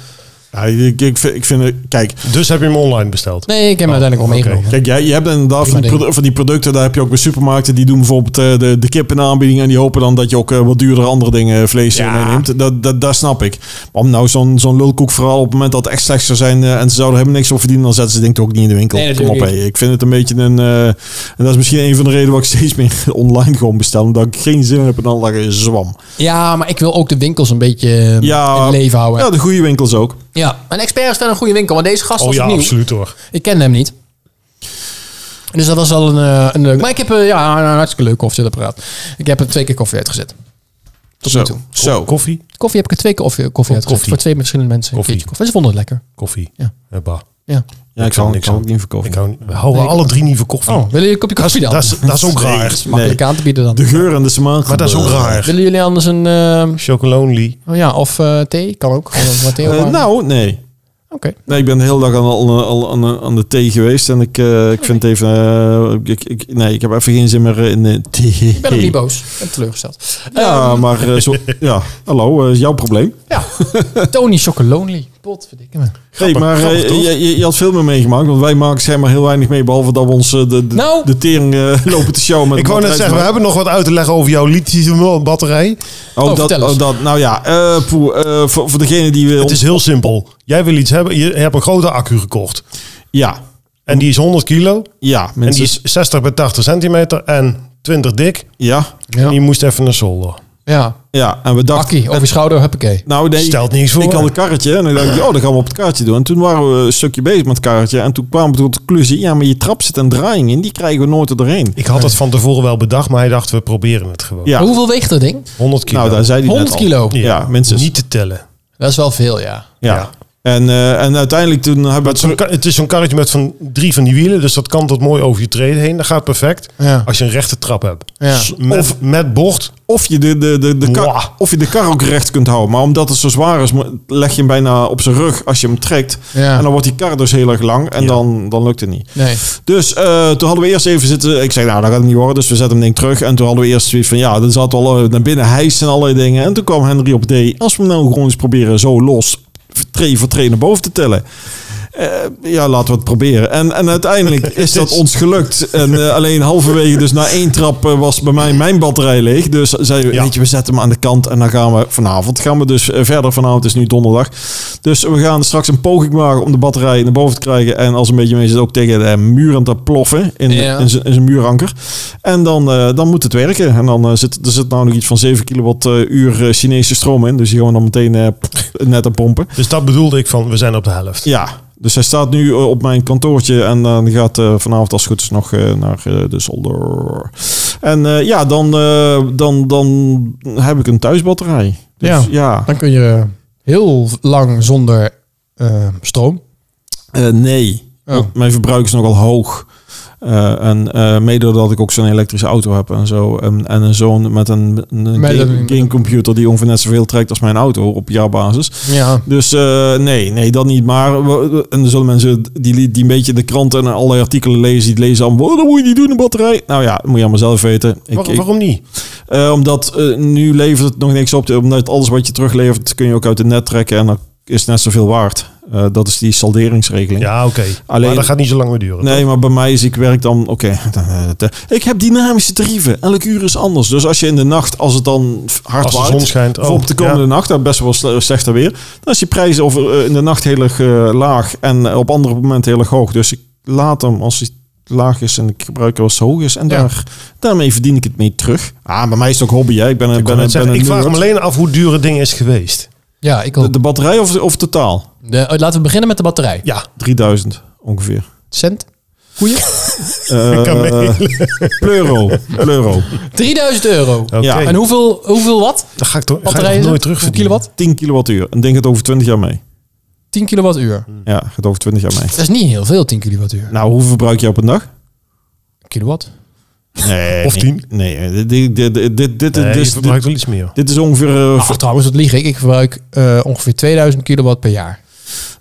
[SPEAKER 2] Ja, ik, ik, vind- ik vind... het- Kijk,
[SPEAKER 3] Dus heb je hem online besteld?
[SPEAKER 1] Nee, ik heb hem uiteindelijk wel
[SPEAKER 3] Oh, oké.
[SPEAKER 1] meegenomen.
[SPEAKER 2] Kijk, jij, je hebt inderdaad van die,
[SPEAKER 1] ding.
[SPEAKER 2] produ- van die producten, daar heb je ook bij supermarkten, die doen bijvoorbeeld eh, de, de kip in de aanbieding en die hopen dan dat je ook eh, wat duurdere andere dingen eh, vlees
[SPEAKER 3] Ja.
[SPEAKER 2] neemt. Dat, dat, dat snap ik. Maar om nou zo'n zo'n lulkoek vooral op het moment dat het echt slecht zou zijn eh, en ze zouden helemaal niks op verdienen, dan zetten ze het denk ik ook niet in de winkel.
[SPEAKER 1] Nee,
[SPEAKER 2] Kom op,
[SPEAKER 1] natuurlijk
[SPEAKER 2] hé. ik vind het een beetje een... eh, en dat is misschien een van de redenen waarom ik steeds meer online gewoon bestel, omdat ik geen zin heb in allerlei zwam.
[SPEAKER 1] Ja, maar ik wil ook de winkels een beetje eh, in
[SPEAKER 2] Ja,
[SPEAKER 1] het leven houden.
[SPEAKER 2] ja, de goede winkels ook.
[SPEAKER 1] Ja, een expert is wel een goede winkel, want deze gast
[SPEAKER 3] Oh
[SPEAKER 1] was
[SPEAKER 3] ja,
[SPEAKER 1] nieuw.
[SPEAKER 3] absoluut hoor.
[SPEAKER 1] Ik kende hem niet. Dus dat was al een, eh, een leuk. Maar ik heb eh, ja, een hartstikke leuk koffiezetapparaat. Ik heb er twee keer koffie uitgezet. Tot
[SPEAKER 2] zo,
[SPEAKER 1] nu toe.
[SPEAKER 2] zo.
[SPEAKER 3] Koffie?
[SPEAKER 1] Koffie heb ik er twee keer koffie, koffie uitgezet.
[SPEAKER 3] koffie.
[SPEAKER 1] Voor twee verschillende mensen.
[SPEAKER 3] Koffie.
[SPEAKER 1] Koffie. Oh, koffie. Ze vonden het lekker.
[SPEAKER 3] Koffie.
[SPEAKER 1] Ja.
[SPEAKER 3] Eh, bah.
[SPEAKER 1] Ja.
[SPEAKER 2] Ja, ik
[SPEAKER 3] kan
[SPEAKER 2] zou
[SPEAKER 3] niks
[SPEAKER 2] niks ook
[SPEAKER 3] aan.
[SPEAKER 2] niet verkopen.
[SPEAKER 3] Ik hou, niet- we houden alle drie niet van koffie.
[SPEAKER 1] Oh, willen jullie een kopje koffie dan?
[SPEAKER 3] dat, is, dat is ook raar.
[SPEAKER 1] Makkelijk aan te bieden dan.
[SPEAKER 2] De geur en de smaak.
[SPEAKER 3] Maar dat is ook raar.
[SPEAKER 1] Willen jullie anders een... eh,
[SPEAKER 3] Chocolonely.
[SPEAKER 1] oh ja, of eh, thee? Kan ook. Gewoon wat thee
[SPEAKER 2] Eh,
[SPEAKER 1] opwarmen.
[SPEAKER 2] nou, nee.
[SPEAKER 1] Oké.
[SPEAKER 2] Nee, ik ben de hele dag aan, al- eh, al- aan, aan de thee geweest en ik, eh, ik vind het even... eh, ik, ik, nee, ik heb even geen zin meer in de thee.
[SPEAKER 1] Ik ben ook niet boos. Ik ben teleurgesteld.
[SPEAKER 2] Ja,
[SPEAKER 1] Ehm,
[SPEAKER 2] maar eh, zo, ja, hallo, eh, is jouw probleem.
[SPEAKER 1] ja. Ehm, Tony Chocolonely. Potverdikke me.
[SPEAKER 2] hey, maar eh,
[SPEAKER 3] grappig, toch?
[SPEAKER 2] je, je, je had veel meer meegemaakt, want wij maken schijnbaar heel weinig mee, behalve dat we ons eh, de, de,
[SPEAKER 1] Nou.
[SPEAKER 2] de tering eh, lopen te showen. Met
[SPEAKER 3] Ik wou
[SPEAKER 2] batterij
[SPEAKER 3] net zeggen, we
[SPEAKER 2] van-
[SPEAKER 3] hebben nog wat uit te leggen over jouw lithium-batterij.
[SPEAKER 2] Oh,
[SPEAKER 1] Oh,
[SPEAKER 2] dat,
[SPEAKER 1] vertel eens.
[SPEAKER 2] oh, dat, nou ja, eh, poeh, eh, voor, voor degene die wil...
[SPEAKER 3] Het is heel simpel. Jij wil iets hebben. Je hebt een grote accu gekocht.
[SPEAKER 2] Ja,
[SPEAKER 3] En die is 100 kilo.
[SPEAKER 2] ja,
[SPEAKER 3] En die
[SPEAKER 2] mensen.
[SPEAKER 3] is 60 bij 80 centimeter en 20 dik.
[SPEAKER 2] Ja,
[SPEAKER 3] En
[SPEAKER 1] Ja.
[SPEAKER 3] je moest even naar zolder.
[SPEAKER 1] ja.
[SPEAKER 2] ja, en we dachten...
[SPEAKER 1] Akkie, over schouder, huppakee.
[SPEAKER 2] Nou, nee,
[SPEAKER 3] Stelt niks voor.
[SPEAKER 2] Ik had een karretje en dan dacht ik, oh, dan gaan we op het karretje doen. En toen waren we een stukje bezig met het karretje. En toen kwamen we tot de conclusie, ja, maar je trap zit een draaiing in. Die krijgen we nooit er doorheen.
[SPEAKER 3] Ik had dat van tevoren wel bedacht, maar hij dacht, we proberen het gewoon.
[SPEAKER 2] Ja.
[SPEAKER 1] Maar hoeveel weegt dat ding?
[SPEAKER 3] 100 kilo.
[SPEAKER 2] Nou, daar zei hij net
[SPEAKER 1] 100 kilo.
[SPEAKER 2] al. Ja, mensen.
[SPEAKER 3] Niet te tellen.
[SPEAKER 1] Dat is wel veel, ja.
[SPEAKER 2] Ja.
[SPEAKER 3] ja.
[SPEAKER 2] En, eh, en uiteindelijk toen hebben we
[SPEAKER 3] Maar het, is zo'n ka- het is zo'n karretje met van drie van die wielen, dus dat kan tot mooi over je treden heen. Dat gaat perfect.
[SPEAKER 1] Ja.
[SPEAKER 3] Als je een rechte trap hebt.
[SPEAKER 1] Ja.
[SPEAKER 3] S- Met, of met bocht.
[SPEAKER 2] of je de, de, de, de, kar,
[SPEAKER 3] Mwah.
[SPEAKER 2] of je de kar ook recht kunt houden. Maar omdat het zo zwaar is, mo- leg je hem bijna op zijn rug als je hem trekt.
[SPEAKER 1] Ja.
[SPEAKER 2] En dan wordt die kar dus heel erg lang en dan, dan lukt het niet.
[SPEAKER 1] Nee.
[SPEAKER 2] Dus eh, toen hadden we eerst even zitten. Ik zei, nou, dat gaat het niet worden. Dus we zetten hem denk ik terug. En toen hadden we eerst zoiets van, ja, dan zat al eh, naar binnen hijs en allerlei dingen. En toen kwam Henry op D. Als we hem nou gewoon eens proberen zo los, tree voor tree naar boven te tellen. Eh, ja, laten we het proberen. En, en uiteindelijk is dat ons gelukt. En eh, alleen halverwege, dus na één trap, eh, was bij mij mijn batterij leeg. Dus zeiden we,
[SPEAKER 3] Ja.
[SPEAKER 2] weet je, we zetten hem aan de kant. En dan gaan we vanavond, gaan we dus eh, verder. Vanavond is nu donderdag. Dus we gaan straks een poging maken om de batterij naar boven te krijgen. En als een beetje mee zit, ook tegen de muur aan te ploffen. In,
[SPEAKER 1] Ja.
[SPEAKER 2] in, zijn- in zijn muuranker. En dan, eh, dan moet het werken. En dan eh, zit er zit nou nog iets van 7 kilowattuur eh, Chinese stroom in. Dus die gaan we dan meteen eh, net aan pompen.
[SPEAKER 3] Dus dat bedoelde ik van, we zijn op de helft.
[SPEAKER 2] Ja, dus hij staat nu eh, op mijn kantoortje en dan gaat eh, vanavond als het goed is nog eh, naar eh, de zolder. En eh, ja, dan, eh, dan, dan heb ik een thuisbatterij. Dus,
[SPEAKER 1] Ja.
[SPEAKER 2] ja.
[SPEAKER 1] Dan kun je eh, heel lang zonder eh, stroom.
[SPEAKER 2] Eh, nee,
[SPEAKER 1] Oh.
[SPEAKER 2] Want mijn verbruik is nogal hoog. Eh, en eh mede doordat ik ook zo'n elektrische auto heb en zo. En, en een zoon met een, een
[SPEAKER 1] Met
[SPEAKER 2] game-
[SPEAKER 1] een-
[SPEAKER 2] gamecomputer die ongeveer net zoveel trekt als mijn auto op jaarbasis.
[SPEAKER 1] Ja.
[SPEAKER 2] Dus eh, nee, nee, dat niet. Maar we- we- en er zullen mensen die, die een beetje de kranten en alle artikelen lezen, die lezen allemaal, "Oh, dat moet je niet doen, een batterij. Nou ja, dat moet je allemaal zelf weten. Ik,
[SPEAKER 3] Waar-
[SPEAKER 2] ik-
[SPEAKER 3] waarom niet?
[SPEAKER 2] eh, omdat eh, nu levert het nog niks op. Omdat alles wat je teruglevert, kun je ook uit het net trekken en dan is het net zoveel waard. Eh, dat is die salderingsregeling.
[SPEAKER 3] Ja, oké.
[SPEAKER 2] Alleen-
[SPEAKER 3] Maar dat gaat niet zo lang meer duren.
[SPEAKER 2] Nee, maar bij mij is ik werk dan. Oké, ik heb dynamische tarieven. Elk uur is anders. Dus als je in de nacht, als het dan hard
[SPEAKER 3] Als de
[SPEAKER 2] waait,
[SPEAKER 3] zon schijnt, oh,
[SPEAKER 2] of op de komende
[SPEAKER 3] ja.
[SPEAKER 2] nacht, dan best wel sle- slechter weer. Dan is je prijs of eh, in de nacht heel erg eh, laag en eh, op andere momenten heel erg hoog. Dus ik laat hem als hij laag is en ik gebruik hem als het hoog is. En
[SPEAKER 1] Ja.
[SPEAKER 2] daar, daarmee verdien ik het mee terug. Ah, bij mij is het ook hobby. Hè. Ik ben een, ben,
[SPEAKER 3] Ik, wou
[SPEAKER 2] een,
[SPEAKER 3] net zeggen,
[SPEAKER 2] ben een
[SPEAKER 3] ik vraag me
[SPEAKER 2] nerd.
[SPEAKER 3] alleen af hoe duur het ding is geweest.
[SPEAKER 1] Ja, ik
[SPEAKER 2] de,
[SPEAKER 1] ook.
[SPEAKER 2] de batterij of, of totaal?
[SPEAKER 1] De- oh, laten we beginnen met de batterij.
[SPEAKER 3] Ja,
[SPEAKER 2] 3000 ongeveer.
[SPEAKER 1] Cent? Koeien?
[SPEAKER 2] Eh, pleuro. Pleuro.
[SPEAKER 1] 3000 euro.
[SPEAKER 3] oké.
[SPEAKER 2] Ja.
[SPEAKER 1] En hoeveel, hoeveel wat?
[SPEAKER 3] Dan ga ik toch, ga ik
[SPEAKER 1] Batterijen?
[SPEAKER 3] toch nooit
[SPEAKER 1] Hoeveel
[SPEAKER 3] terugverdienen.
[SPEAKER 1] kilowatt?
[SPEAKER 2] 10 kilowattuur. En denk het over 20 jaar mee.
[SPEAKER 1] 10 kilowattuur.
[SPEAKER 2] Ja, gaat over 20 jaar mee.
[SPEAKER 1] Dat is niet heel veel, 10 kilowattuur.
[SPEAKER 2] Nou, hoeveel verbruik je op een dag?
[SPEAKER 1] Kilowatt?
[SPEAKER 2] Nee.
[SPEAKER 3] Of tien?
[SPEAKER 2] Nee, dit, dit, dit, dit, dit,
[SPEAKER 3] Nee, je
[SPEAKER 2] dit, dit,
[SPEAKER 3] verbruikt wel iets meer.
[SPEAKER 2] dit is ongeveer... eh,
[SPEAKER 1] Ach, trouwens, dat lieg ik. Ik verbruik eh, ongeveer 2000 kilowatt per jaar.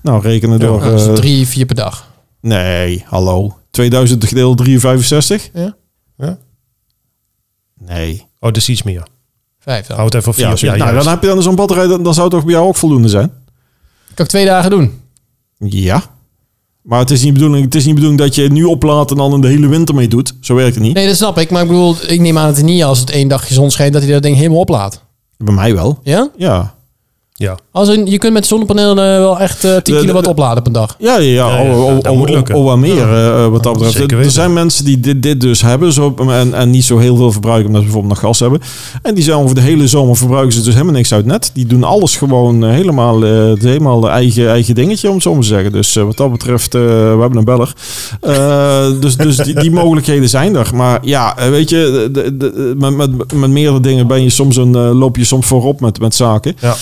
[SPEAKER 2] nou, rekenen door...
[SPEAKER 1] Dat is
[SPEAKER 2] eh,
[SPEAKER 1] 3, 4 per dag.
[SPEAKER 2] nee, hallo. 2000 gedeeld 365?
[SPEAKER 1] Ja.
[SPEAKER 3] Ja?
[SPEAKER 2] Nee.
[SPEAKER 3] Oh, dus iets meer.
[SPEAKER 1] Vijf dan.
[SPEAKER 3] Houd even op vier.
[SPEAKER 2] Ja,
[SPEAKER 3] Ja,
[SPEAKER 2] nou,
[SPEAKER 3] juist.
[SPEAKER 2] dan heb je dan zo'n batterij, dan, dan zou het toch bij jou ook voldoende zijn?
[SPEAKER 1] Kan ik twee dagen doen?
[SPEAKER 2] Ja. Maar het is niet bedoeling, het is niet bedoeling dat je het nu oplaat en dan de hele winter mee doet. Zo werkt het niet.
[SPEAKER 1] Nee, dat snap ik. Maar ik bedoel, ik neem aan dat het niet als het één dagje zon schijnt, dat hij dat ding helemaal oplaat.
[SPEAKER 2] Bij mij wel.
[SPEAKER 1] Ja?
[SPEAKER 2] Ja.
[SPEAKER 3] ja.
[SPEAKER 1] Als een, je kunt met zonnepanelen eh, wel echt eh, 10
[SPEAKER 2] de-
[SPEAKER 1] kilowatt
[SPEAKER 2] de-
[SPEAKER 1] opladen per dag.
[SPEAKER 2] Ja, ja,
[SPEAKER 3] Ja,
[SPEAKER 2] ja.
[SPEAKER 3] ja,
[SPEAKER 2] Oh,
[SPEAKER 3] dat-
[SPEAKER 2] oh,
[SPEAKER 3] dat
[SPEAKER 2] oh,
[SPEAKER 3] moet
[SPEAKER 2] oh,
[SPEAKER 3] lukken.
[SPEAKER 2] oh, wat meer eh, eh, wat dat betreft.
[SPEAKER 3] zeker
[SPEAKER 2] Er- Er
[SPEAKER 3] weten.
[SPEAKER 2] zijn mensen die dit, dit dus hebben zo, en, en niet zo heel veel verbruiken omdat ze bijvoorbeeld nog gas hebben. En die zijn over de hele zomer verbruiken ze dus helemaal niks uit net. Die doen alles gewoon eh, helemaal, eh, helemaal eigen, eigen dingetje, om het zo maar te zeggen. Dus eh, wat dat betreft, eh, we hebben een beller. Eh, dus dus die, die mogelijkheden zijn er. Maar ja, eh, weet je, de- de- de- met, met, met meerdere dingen ben je soms een, eh, loop je soms voorop met, met zaken.
[SPEAKER 3] Ja.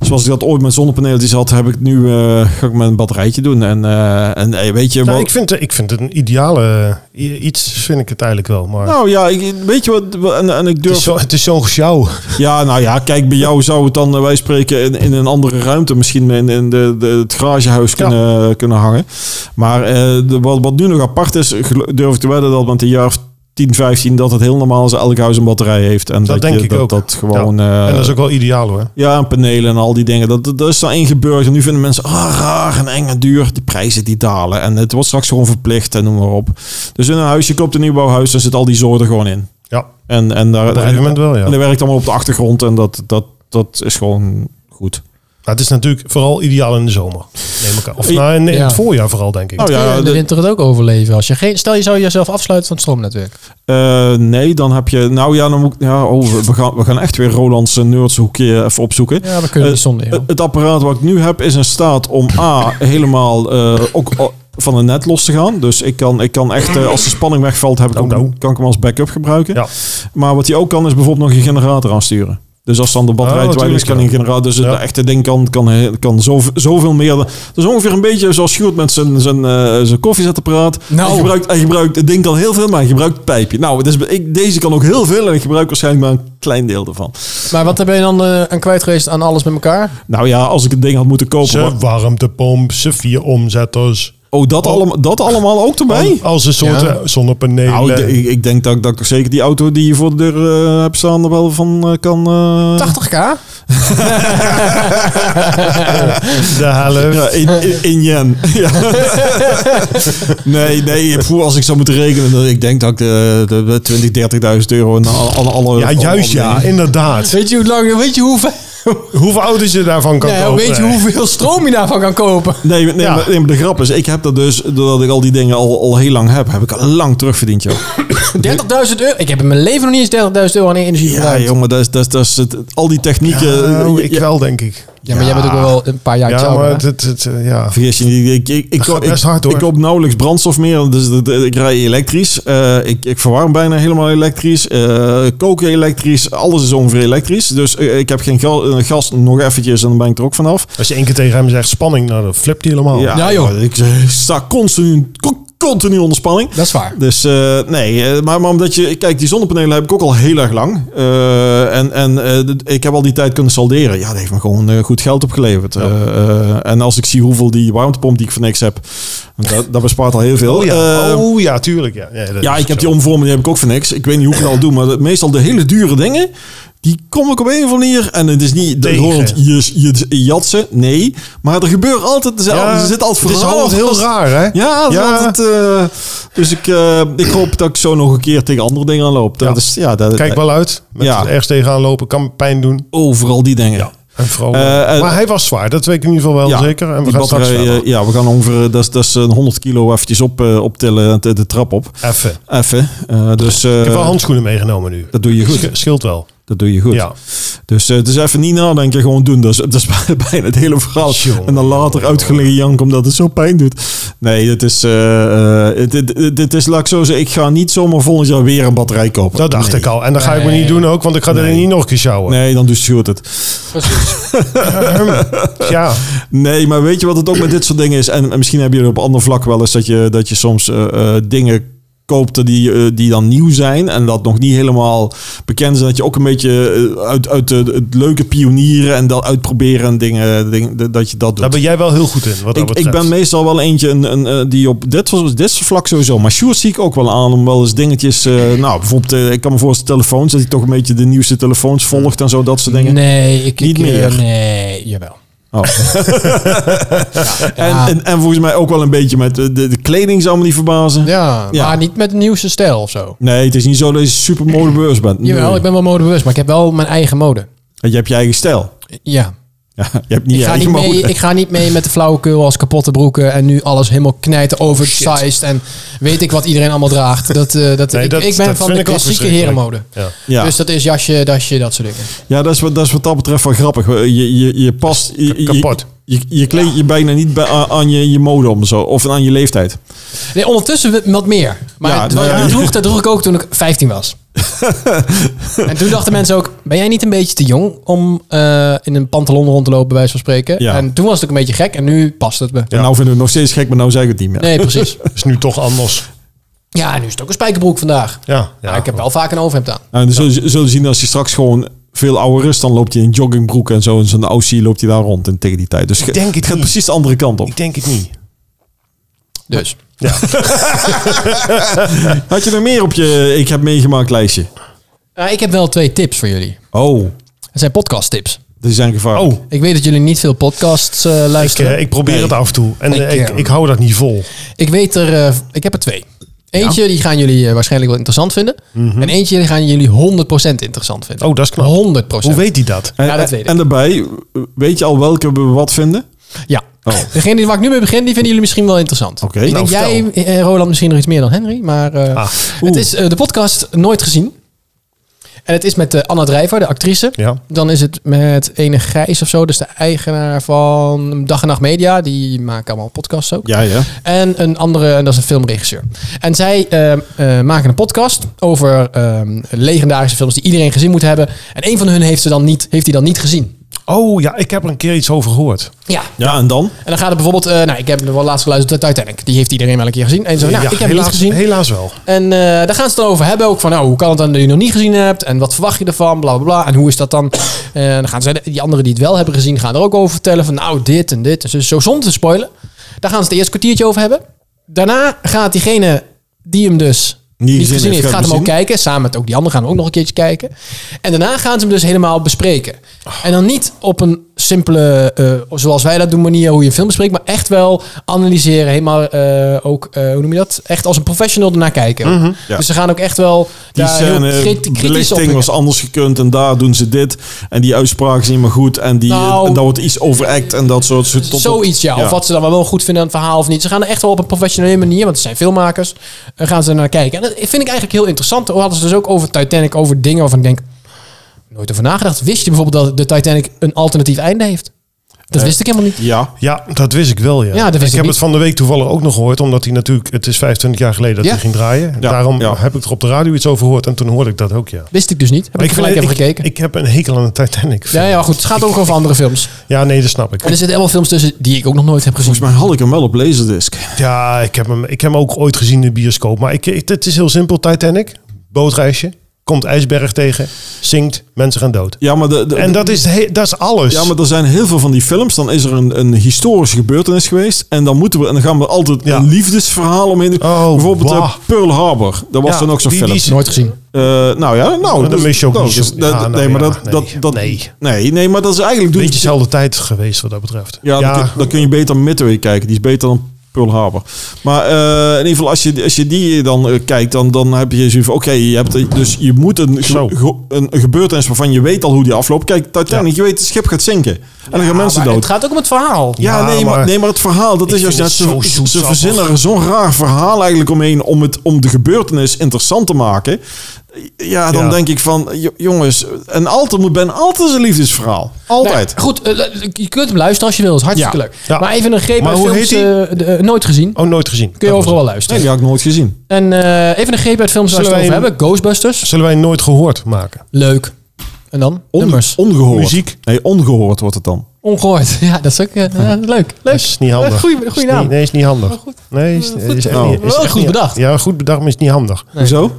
[SPEAKER 2] Zoals ik dat ooit met zonnepaneeltjes had, heb ik nu eh, ga ik met een batterijtje doen. En, eh, en eh, weet je
[SPEAKER 3] Nou,
[SPEAKER 2] wat?
[SPEAKER 3] ik, vind, ik vind het een ideale i- iets, vind ik het eigenlijk wel. Maar
[SPEAKER 2] Nou ja, ik, weet je wat? En, en ik
[SPEAKER 3] het, is
[SPEAKER 2] durf.
[SPEAKER 3] zo, het is zo'n gesjouw.
[SPEAKER 2] Ja, nou ja, kijk, bij jou zou het dan, eh, wij spreken, in, in een andere ruimte, misschien in, in de, de, het garagehuis kunnen, eh, kunnen hangen. Maar eh, de, wat, wat nu nog apart is, gelo- durf ik te wedden dat met een jaar of 10, 15, dat het heel normaal is, elk huis een batterij heeft. En dat,
[SPEAKER 3] denk
[SPEAKER 2] je,
[SPEAKER 3] ik
[SPEAKER 2] dat,
[SPEAKER 3] ook.
[SPEAKER 2] Dat gewoon.
[SPEAKER 3] en
[SPEAKER 2] eh,
[SPEAKER 3] dat is ook wel ideaal hoor.
[SPEAKER 2] Ja, en panelen en al die dingen. Dat, dat, dat is dan ingeburgerd. En nu vinden mensen ah, raar en eng en duur. Die prijzen die dalen. En het wordt straks gewoon verplicht en noem maar op. Dus in een huisje koopt een nieuwbouwhuis, dan zit al die zorg er gewoon in.
[SPEAKER 3] Ja,
[SPEAKER 2] En, en daar,
[SPEAKER 3] op een gegeven
[SPEAKER 2] en,
[SPEAKER 3] moment wel ja.
[SPEAKER 2] en dat werkt allemaal op de achtergrond. En dat, dat, dat is gewoon goed.
[SPEAKER 3] Maar Nou, het is natuurlijk vooral ideaal in de zomer. Neem ik aan. Of
[SPEAKER 2] I-
[SPEAKER 3] nou, in, in
[SPEAKER 1] Ja.
[SPEAKER 3] het voorjaar vooral denk ik.
[SPEAKER 2] Oh,
[SPEAKER 1] Kun je
[SPEAKER 2] ja,
[SPEAKER 1] in de
[SPEAKER 2] de-
[SPEAKER 1] winter het ook overleven? Als je geen, stel, je zou jezelf afsluiten van het stroomnetwerk.
[SPEAKER 2] Eh, nee, dan heb je... Nou ja, dan moet ik- ja, oh, we, we gaan, we gaan echt weer Roland's eh, nerdse hoekje even opzoeken.
[SPEAKER 1] Ja, we kunnen
[SPEAKER 2] Eh,
[SPEAKER 1] niet zonder. joh.
[SPEAKER 2] Het- Het apparaat wat ik nu heb is in staat om A, helemaal eh, ook o- van het net los te gaan. Dus ik kan, ik kan echt, eh, als de spanning wegvalt, heb ik
[SPEAKER 3] Nou,
[SPEAKER 2] ook,
[SPEAKER 3] nou.
[SPEAKER 2] kan ik hem als backup gebruiken.
[SPEAKER 3] Ja.
[SPEAKER 2] Maar wat hij ook kan, is bijvoorbeeld nog een generator aansturen. Dus als dan de batterij
[SPEAKER 3] Oh,
[SPEAKER 2] te weinig is, kan
[SPEAKER 3] tuurlijk,
[SPEAKER 2] een
[SPEAKER 3] ja.
[SPEAKER 2] generator... Dus
[SPEAKER 3] Ja.
[SPEAKER 2] het echte ding kan, kan, kan zoveel, zoveel meer... dan- Dat is ongeveer een beetje zoals Sjoerd met zijn, zijn, eh zijn koffiezetapparaat.
[SPEAKER 1] Nou.
[SPEAKER 2] Hij, gebruikt, hij gebruikt het ding kan heel veel, maar hij gebruikt het pijpje. Nou, dus ik, deze kan ook heel veel en ik gebruik waarschijnlijk maar een klein deel ervan.
[SPEAKER 1] Maar wat ben je dan eh, aan kwijt geweest aan alles met elkaar?
[SPEAKER 2] Nou ja, als ik het ding had moeten kopen... wa-
[SPEAKER 3] Zijn warmtepomp, zijn vier omzetters.
[SPEAKER 2] Oh, dat, allem- dat allemaal ook erbij?
[SPEAKER 3] Al- Als een soort
[SPEAKER 1] Ja.
[SPEAKER 3] eh, zonnepanelen.
[SPEAKER 2] Nou, ik, ik- ik denk dat, ik- dat ik zeker die auto die je voor de deur eh, hebt staan er wel van eh, kan... eh,
[SPEAKER 1] 80k?
[SPEAKER 3] de helft.
[SPEAKER 2] Ja, in, in, in yen. Ja. nee, nee. Voor als ik zou moeten rekenen, dan ik denk dat ik de, de, de 20, 30.000 euro en alle, alle, alle
[SPEAKER 3] Ja,
[SPEAKER 2] alle-
[SPEAKER 3] juist ja,
[SPEAKER 2] alle-
[SPEAKER 3] inderdaad.
[SPEAKER 1] Weet je hoe lang, weet je hoeveel,
[SPEAKER 3] Hoeveel auto's je daarvan kan
[SPEAKER 1] nee,
[SPEAKER 3] kopen?
[SPEAKER 1] weet je hoeveel stroom je daarvan kan kopen?
[SPEAKER 2] Nee, nee,
[SPEAKER 3] Ja.
[SPEAKER 2] maar, nee, maar de grap is, ik heb dat dus, doordat ik al die dingen al, al heel lang heb, heb ik al lang terugverdiend, joh.
[SPEAKER 1] 30.000 euro? Ik heb in mijn leven nog niet eens 30.000 euro aan energie
[SPEAKER 2] Ja,
[SPEAKER 1] gebruikt. Ja,
[SPEAKER 2] jongen, dat is, dat is, dat is het, al die technieken. eh,
[SPEAKER 3] Nou, ik
[SPEAKER 2] ja,
[SPEAKER 3] wel, denk ik.
[SPEAKER 1] maar jij bent ook wel een paar jaar
[SPEAKER 3] Ja,
[SPEAKER 1] ouder.
[SPEAKER 3] maar
[SPEAKER 1] hè?
[SPEAKER 3] het, het, het, eh, ja.
[SPEAKER 2] Vergis je niet, ik, ik, ik,
[SPEAKER 3] gaat
[SPEAKER 2] koop- ik,
[SPEAKER 3] best hard, hoor.
[SPEAKER 2] ik koop nauwelijks brandstof meer. Dus dat- dat- ik rij elektrisch. Eh, ik, ik verwarm bijna helemaal elektrisch. Eh, koken elektrisch. Alles is ongeveer elektrisch. Dus eh, ik heb geen gal- eh, gas nog eventjes en dan ben ik er ook vanaf.
[SPEAKER 3] Als je één keer tegen hem zegt spanning, nou, dan flipt hij helemaal.
[SPEAKER 1] Ja, joh.
[SPEAKER 2] Ik eh, sta continu, co- continu onder spanning.
[SPEAKER 1] Dat is waar.
[SPEAKER 2] Dus eh, nee, eh, maar, maar omdat je... Kijk, die zonnepanelen heb ik ook al heel erg lang. Eh, en en eh, d- ik heb al die tijd kunnen salderen. Ja, dat heeft me gewoon eh, goed geld opgeleverd. Eh, eh, en als ik zie hoeveel die warmtepomp die ik voor niks heb... Dat, dat bespaart al heel veel.
[SPEAKER 3] Oh ja,
[SPEAKER 2] Eh,
[SPEAKER 3] oh, ja tuurlijk. Ja, ja, dat
[SPEAKER 2] ja,
[SPEAKER 3] is
[SPEAKER 2] ik heb
[SPEAKER 3] zo.
[SPEAKER 2] die omvorming die heb ik ook voor niks. Ik weet niet hoe ik het al doe, maar dat- meestal de hele dure dingen, die kom ik op een of andere manier. En het is niet de
[SPEAKER 3] Tegen.
[SPEAKER 2] Holland je, je, jatsen, nee. Maar er gebeurt altijd dezelfde.
[SPEAKER 3] Ja,
[SPEAKER 2] er oh, zit altijd
[SPEAKER 3] Het is
[SPEAKER 2] verhaal
[SPEAKER 3] altijd heel
[SPEAKER 2] vast.
[SPEAKER 3] raar, hè?
[SPEAKER 2] Ja, het is
[SPEAKER 3] Ja.
[SPEAKER 2] altijd, eh, dus ik, eh, ik hoop dat ik zo nog een keer tegen andere dingen aan loop. Dat
[SPEAKER 3] Ja.
[SPEAKER 2] is, ja, dat,
[SPEAKER 3] Kijk wel uit. Met
[SPEAKER 2] Ja.
[SPEAKER 3] Ergens tegenaan lopen kan pijn doen.
[SPEAKER 2] overal die dingen.
[SPEAKER 3] En vooral,
[SPEAKER 2] Eh, eh,
[SPEAKER 3] maar hij was zwaar, dat weet ik in ieder geval wel zeker. En we
[SPEAKER 2] die
[SPEAKER 3] gaan straks
[SPEAKER 2] batterij,
[SPEAKER 3] verder.
[SPEAKER 2] eh, ja, we gaan ongeveer, dat is, dat is een 100 kilo eventjes op, eh, optillen, de, de trap op.
[SPEAKER 3] Even. Ik
[SPEAKER 2] Even. Eh, dus eh,
[SPEAKER 3] heb wel handschoenen meegenomen nu.
[SPEAKER 2] dat doe je goed.
[SPEAKER 3] Sch- Scheelt wel.
[SPEAKER 2] Dat doe je goed.
[SPEAKER 3] Ja.
[SPEAKER 2] Dus eh, het is even niet nadenken, gewoon doen. Dat is, dat is bijna het hele verhaal.
[SPEAKER 3] Jongen,
[SPEAKER 2] en dan later
[SPEAKER 3] jongen,
[SPEAKER 2] uitgelegen janken omdat het zo pijn doet. Nee, het is, eh, eh, het, het, het- het is, laat ik zo zeggen, ik ga niet zomaar volgend jaar weer een batterij kopen.
[SPEAKER 3] Dat dacht
[SPEAKER 2] Nee.
[SPEAKER 3] ik al. En dat ga ik me
[SPEAKER 1] Nee.
[SPEAKER 3] niet doen ook, want ik ga er niet nog een keer sjouwen.
[SPEAKER 2] Nee, dan doet Sjoerd het.
[SPEAKER 3] Ja,
[SPEAKER 2] Nee, maar weet je wat het ook met dit soort dingen is? En, en misschien hebben jullie op ander vlak wel eens dat je, dat je soms eh, eh, dingen koopt die, eh, die dan nieuw zijn en dat nog niet helemaal bekend zijn. Dat je ook een beetje eh, uit, uit de, het leuke pionieren en dat uitproberen en dingen, ding- dat je dat doet.
[SPEAKER 3] daar ben jij wel heel goed in. Wat dat
[SPEAKER 2] Ik, ik
[SPEAKER 3] betreft.
[SPEAKER 2] ben meestal wel eentje een, een, eh, die op dit, soort- dit soort vlak sowieso. Maar Sjoerd zie ik ook wel aan om wel eens dingetjes... eh, nou, bijvoorbeeld, eh, ik kan me voorstellen telefoons. Dat hij toch een beetje de nieuwste telefoons volgt en zo. Dat soort dingen.
[SPEAKER 1] Nee, ik...
[SPEAKER 2] Niet
[SPEAKER 1] ik, eh,
[SPEAKER 2] meer.
[SPEAKER 1] Nee, jawel.
[SPEAKER 2] Oh. en,
[SPEAKER 1] Ja.
[SPEAKER 2] en, en volgens mij ook wel een beetje met de, de, de kleding zou me niet verbazen.
[SPEAKER 1] Ja,
[SPEAKER 2] Ja.
[SPEAKER 1] maar niet met de nieuwste stijl of zo.
[SPEAKER 2] Nee, het is niet zo dat je super modebeurs bent. Nee.
[SPEAKER 1] Jawel, ik ben wel modebewust, maar ik heb wel mijn eigen mode.
[SPEAKER 2] Je hebt je eigen stijl.
[SPEAKER 1] Ja.
[SPEAKER 2] Ja, je hebt niet
[SPEAKER 1] Ik
[SPEAKER 2] je
[SPEAKER 1] ga,
[SPEAKER 2] eigen
[SPEAKER 1] niet mee,
[SPEAKER 2] mode.
[SPEAKER 1] ik ga niet mee met de flauwekul als kapotte broeken en nu alles helemaal knijten, oversized en weet ik wat iedereen allemaal draagt. Dat, eh, dat,
[SPEAKER 3] Nee,
[SPEAKER 1] ik,
[SPEAKER 3] dat-
[SPEAKER 1] ik ben
[SPEAKER 3] dat
[SPEAKER 1] van
[SPEAKER 3] vind
[SPEAKER 1] de
[SPEAKER 3] ik ook
[SPEAKER 1] klassieke
[SPEAKER 3] verschrikkelijk.
[SPEAKER 1] herenmode.
[SPEAKER 3] Ja.
[SPEAKER 2] Ja,
[SPEAKER 1] Dus dat is jasje, dasje, dat soort dingen.
[SPEAKER 2] ja dat, is wat, dat is wat dat betreft wel grappig. Je, je, je past... Je, je-
[SPEAKER 3] Kapot.
[SPEAKER 2] Je, je kleed je bijna niet bij, aan aan je, je mode om zo. Of aan je leeftijd.
[SPEAKER 1] Nee, ondertussen wat meer. Maar
[SPEAKER 2] Ja,
[SPEAKER 1] dat,
[SPEAKER 2] nou ja.
[SPEAKER 1] dat droeg, dat droeg ik ook toen ik 15 was. en toen dachten mensen ook, ben jij niet een beetje te jong om eh, in een pantalon rond te lopen, bij wijze van spreken?
[SPEAKER 2] Ja.
[SPEAKER 1] En toen was het ook een beetje gek en nu past het me.
[SPEAKER 2] En nou vinden we het nog steeds gek, maar nou zeg ik het niet meer.
[SPEAKER 1] Nee, precies.
[SPEAKER 3] Is nu toch anders.
[SPEAKER 1] Ja, nu is het ook een spijkerbroek vandaag.
[SPEAKER 3] Ja,
[SPEAKER 1] Maar ik heb wel vaak een overhemd aan.
[SPEAKER 2] Nou, en dan zul je, zul je zien als je straks gewoon veel ouder is, dan loopt hij in joggingbroek en zo. En zo'n OC loopt hij daar rond en tegen die tijd. Dus ik
[SPEAKER 3] denk het
[SPEAKER 2] het gaat
[SPEAKER 3] niet.
[SPEAKER 2] precies de andere kant op.
[SPEAKER 3] Ik denk het niet.
[SPEAKER 1] Dus.
[SPEAKER 2] Had je nog meer op je ik heb meegemaakt lijstje?
[SPEAKER 1] Nou, ik heb wel twee tips voor jullie.
[SPEAKER 2] Oh,
[SPEAKER 1] Het zijn podcast tips.
[SPEAKER 2] die zijn gevaarlijk.
[SPEAKER 3] Oh,
[SPEAKER 1] Ik weet dat jullie niet veel podcasts eh,
[SPEAKER 3] ik,
[SPEAKER 1] luisteren.
[SPEAKER 3] eh, ik probeer
[SPEAKER 2] Nee.
[SPEAKER 3] het af en toe. En eh,
[SPEAKER 1] Ik,
[SPEAKER 3] ik,
[SPEAKER 1] eh,
[SPEAKER 3] ik hou dat niet vol.
[SPEAKER 1] Ik weet er, eh, ik heb er twee. Eentje, die gaan jullie eh, waarschijnlijk wel interessant vinden. En eentje, die gaan jullie 100% interessant vinden.
[SPEAKER 3] Mhm. Oh, dat is knap.
[SPEAKER 1] 100%.
[SPEAKER 3] Hoe weet hij dat?
[SPEAKER 2] En,
[SPEAKER 1] Ja, dat weet ik.
[SPEAKER 2] En daarbij, weet je al welke we wat vinden?
[SPEAKER 1] Ja.
[SPEAKER 2] Oh.
[SPEAKER 1] Degene die waar ik nu mee begin, die vinden jullie misschien wel interessant.
[SPEAKER 2] Oké.
[SPEAKER 1] Ik denk
[SPEAKER 2] Nou,
[SPEAKER 1] jij, eh, Roland, misschien nog iets meer dan Henry. Maar eh,
[SPEAKER 3] Ah,
[SPEAKER 1] het is eh, de podcast Nooit Gezien. En het is met eh, Anna Drijver, de actrice.
[SPEAKER 3] Ja.
[SPEAKER 1] Dan is het met ene Gijs of zo. Dus de eigenaar van Dag en Nacht Media. Die maken allemaal podcasts ook.
[SPEAKER 2] Ja, ja.
[SPEAKER 1] En een andere, en dat is een filmregisseur. En zij ehm, eh, maken een podcast over ehm, legendarische films die iedereen gezien moet hebben. En een van hun heeft, ze dan niet, heeft die dan niet gezien.
[SPEAKER 3] Oh ja, ik heb er een keer iets over gehoord.
[SPEAKER 1] Ja.
[SPEAKER 2] Ja, en dan?
[SPEAKER 1] En dan gaat het bijvoorbeeld, eh, nou, ik heb er wel laatst geluisterd naar Titanic. Die heeft iedereen wel een keer gezien. En zo, nou, ik
[SPEAKER 3] Ja,
[SPEAKER 1] heb hem
[SPEAKER 3] helaas,
[SPEAKER 1] niet gezien.
[SPEAKER 3] Helaas wel.
[SPEAKER 1] En eh, daar gaan ze het dan over hebben. Ook van, nou, hoe kan het dan dat je nog niet gezien hebt? En wat verwacht je ervan? Bla, bla, bla. En hoe is dat dan? Eh, dan gaan ze, die anderen die het wel hebben gezien, gaan er ook over vertellen. Van, nou, dit en dit. En zo, zo zonder te spoilen. Daar gaan ze het eerst kwartiertje over hebben. Daarna gaat diegene die hem dus
[SPEAKER 2] Niet
[SPEAKER 1] niet
[SPEAKER 2] gezien
[SPEAKER 1] gezien
[SPEAKER 2] heeft,
[SPEAKER 1] heeft,
[SPEAKER 2] gaat
[SPEAKER 1] gaat hem ook
[SPEAKER 2] bezien.
[SPEAKER 1] kijken. Samen met ook die anderen gaan we ook nog een keertje kijken. En daarna gaan ze hem dus helemaal bespreken.
[SPEAKER 2] Oh.
[SPEAKER 1] En dan niet op een simpele, eh, zoals wij dat doen, manier hoe je een film bespreekt. Maar echt wel analyseren. Helemaal eh, ook, eh, hoe noem je dat? Echt als een professional ernaar kijken.
[SPEAKER 2] ja.
[SPEAKER 1] Dus ze gaan ook echt wel
[SPEAKER 2] Mhm. Die
[SPEAKER 1] daar heel
[SPEAKER 2] scène,
[SPEAKER 1] krit- kritisch op.
[SPEAKER 2] belichting was anders gekund en daar doen ze dit. En die uitspraak is niet meer goed. En, die,
[SPEAKER 1] Nou,
[SPEAKER 2] en dat wordt iets overact en dat soort soort- tot-
[SPEAKER 1] Zoiets, ja.
[SPEAKER 2] Ja.
[SPEAKER 1] Of wat ze dan wel goed vinden aan het verhaal of niet. Ze gaan er echt wel op een professionele manier, want het zijn filmmakers, eh, gaan ze naar kijken. En dat vind ik eigenlijk heel interessant. Hoe hadden ze dus ook over Titanic, over dingen waarvan ik denk, nooit over nagedacht. Wist je bijvoorbeeld dat de Titanic een alternatief einde heeft? Dat wist ik helemaal niet.
[SPEAKER 2] Ja,
[SPEAKER 3] Ja, dat wist ik wel. Ja,
[SPEAKER 1] Ja, dat wist
[SPEAKER 3] ik
[SPEAKER 1] ik
[SPEAKER 3] heb
[SPEAKER 1] niet.
[SPEAKER 3] het van de week toevallig ook nog gehoord, omdat hij natuurlijk, het is 25 jaar geleden dat
[SPEAKER 1] Ja.
[SPEAKER 3] hij ging draaien.
[SPEAKER 2] Ja,
[SPEAKER 3] Daarom
[SPEAKER 2] ja.
[SPEAKER 3] heb ik er op de radio iets over gehoord en toen hoorde ik dat ook, ja.
[SPEAKER 1] Wist ik dus niet. Heb ik,
[SPEAKER 3] vind-
[SPEAKER 1] gelijk even
[SPEAKER 3] ik-
[SPEAKER 1] gekeken.
[SPEAKER 3] Ik heb een hekel aan de Titanic.
[SPEAKER 1] ja, ja, maar goed. Het gaat ook over andere films.
[SPEAKER 3] Ja, nee, dat snap ik.
[SPEAKER 1] En dus- er zitten helemaal films tussen die ik ook nog nooit heb gezien.
[SPEAKER 2] volgens mij had ik hem wel op laserdisc.
[SPEAKER 3] Ja, ik heb, hem, ik heb hem ook ooit gezien in de bioscoop. Maar ik, ik- het is heel simpel, Titanic. Bootreisje. Komt ijsberg tegen. Zinkt. Mensen gaan dood.
[SPEAKER 2] Ja, maar de, de-
[SPEAKER 3] En dat is, he- dat is alles.
[SPEAKER 2] Ja, maar er zijn heel veel van die films. Dan is er een, een historische gebeurtenis geweest. En dan, moeten we, en dan gaan we altijd
[SPEAKER 3] Ja.
[SPEAKER 2] een liefdesverhaal omheen.
[SPEAKER 3] Oh,
[SPEAKER 2] Bijvoorbeeld
[SPEAKER 3] wauw.
[SPEAKER 2] eh, Pearl Harbor. Dat was
[SPEAKER 3] Ja,
[SPEAKER 2] dan ook zo'n
[SPEAKER 3] die-
[SPEAKER 2] film.
[SPEAKER 3] die is-
[SPEAKER 1] Nooit gezien.
[SPEAKER 2] Eh, nou ja, nou.
[SPEAKER 3] Dan mis je ook
[SPEAKER 2] nou,
[SPEAKER 3] niet
[SPEAKER 2] dus
[SPEAKER 3] zo-
[SPEAKER 2] dat-
[SPEAKER 3] ja, nou
[SPEAKER 2] nee, maar
[SPEAKER 3] ja,
[SPEAKER 2] dat,
[SPEAKER 3] nee.
[SPEAKER 2] dat, dat,
[SPEAKER 3] Nee.
[SPEAKER 2] nee. Nee, maar dat is eigenlijk...
[SPEAKER 3] Beetje
[SPEAKER 2] Doe,
[SPEAKER 3] dezelfde tijd geweest wat dat betreft.
[SPEAKER 2] ja, Dan, kun, dan kun je beter Midway kijken. Die is beter dan Pearl Harbor. Maar eh, in ieder geval, als je, als je die dan eh, kijkt, dan, dan heb je zoiets van... Oké, je hebt dus je moet een, ge-
[SPEAKER 3] Zo.
[SPEAKER 2] ge- een gebeurtenis waarvan je weet al hoe die afloopt. Kijk, Titanic, je weet, het schip gaat zinken. En dan gaan mensen
[SPEAKER 1] Nou, Maar
[SPEAKER 2] dood.
[SPEAKER 1] het gaat ook om het verhaal.
[SPEAKER 2] Ja,
[SPEAKER 3] Ja,
[SPEAKER 2] nee, maar,
[SPEAKER 3] maar-
[SPEAKER 2] nee, maar het verhaal, dat
[SPEAKER 3] Ik
[SPEAKER 2] is juist
[SPEAKER 3] vind
[SPEAKER 2] net
[SPEAKER 3] het
[SPEAKER 2] zo.
[SPEAKER 3] zo zoetsappig.
[SPEAKER 2] Ze verzinnen er zo'n raar verhaal eigenlijk omheen om, het, om de gebeurtenis interessant te maken. Ja, dan
[SPEAKER 3] Ja.
[SPEAKER 2] denk ik van, jo- jongens, en altijd moet Ben altijd een liefdesverhaal. Altijd.
[SPEAKER 1] Nou, goed, eh, le- je kunt hem luisteren als je wil. Dat is hartstikke
[SPEAKER 2] Ja.
[SPEAKER 1] leuk.
[SPEAKER 3] Ja.
[SPEAKER 1] Maar even een greep
[SPEAKER 3] Maar
[SPEAKER 1] uit
[SPEAKER 3] hoe
[SPEAKER 1] films
[SPEAKER 3] heet
[SPEAKER 1] eh, de- eh, nooit gezien.
[SPEAKER 3] Oh, nooit gezien.
[SPEAKER 1] Kun je
[SPEAKER 3] Dat
[SPEAKER 1] overal
[SPEAKER 3] was
[SPEAKER 1] wel
[SPEAKER 2] nee,
[SPEAKER 3] het.
[SPEAKER 1] luisteren.
[SPEAKER 2] die had ik nooit gezien.
[SPEAKER 1] En eh, even een greep uit films waar we het
[SPEAKER 3] Zullen
[SPEAKER 1] over
[SPEAKER 3] wij
[SPEAKER 1] hebben. Ghostbusters.
[SPEAKER 3] Zullen wij nooit gehoord maken?
[SPEAKER 1] Leuk. En dan?
[SPEAKER 2] On-
[SPEAKER 1] Nummers.
[SPEAKER 2] Ongehoord.
[SPEAKER 3] Muziek.
[SPEAKER 2] Nee, ongehoord wordt het dan.
[SPEAKER 1] Ongehoord. Ja, dat is ook eh, ja, leuk.
[SPEAKER 3] Dat
[SPEAKER 1] Leuk.
[SPEAKER 3] is niet handig.
[SPEAKER 1] Eh, goeie- goeie
[SPEAKER 3] Is niet-
[SPEAKER 1] naam. Oh,
[SPEAKER 3] Nee, is niet handig.
[SPEAKER 1] goed.
[SPEAKER 3] Nee, is, is echt
[SPEAKER 2] nou,
[SPEAKER 3] niet, is
[SPEAKER 1] wel
[SPEAKER 3] echt
[SPEAKER 1] goed
[SPEAKER 3] niet-
[SPEAKER 1] bedacht.
[SPEAKER 3] Ja, goed bedacht, maar is niet handig.
[SPEAKER 2] Hoezo?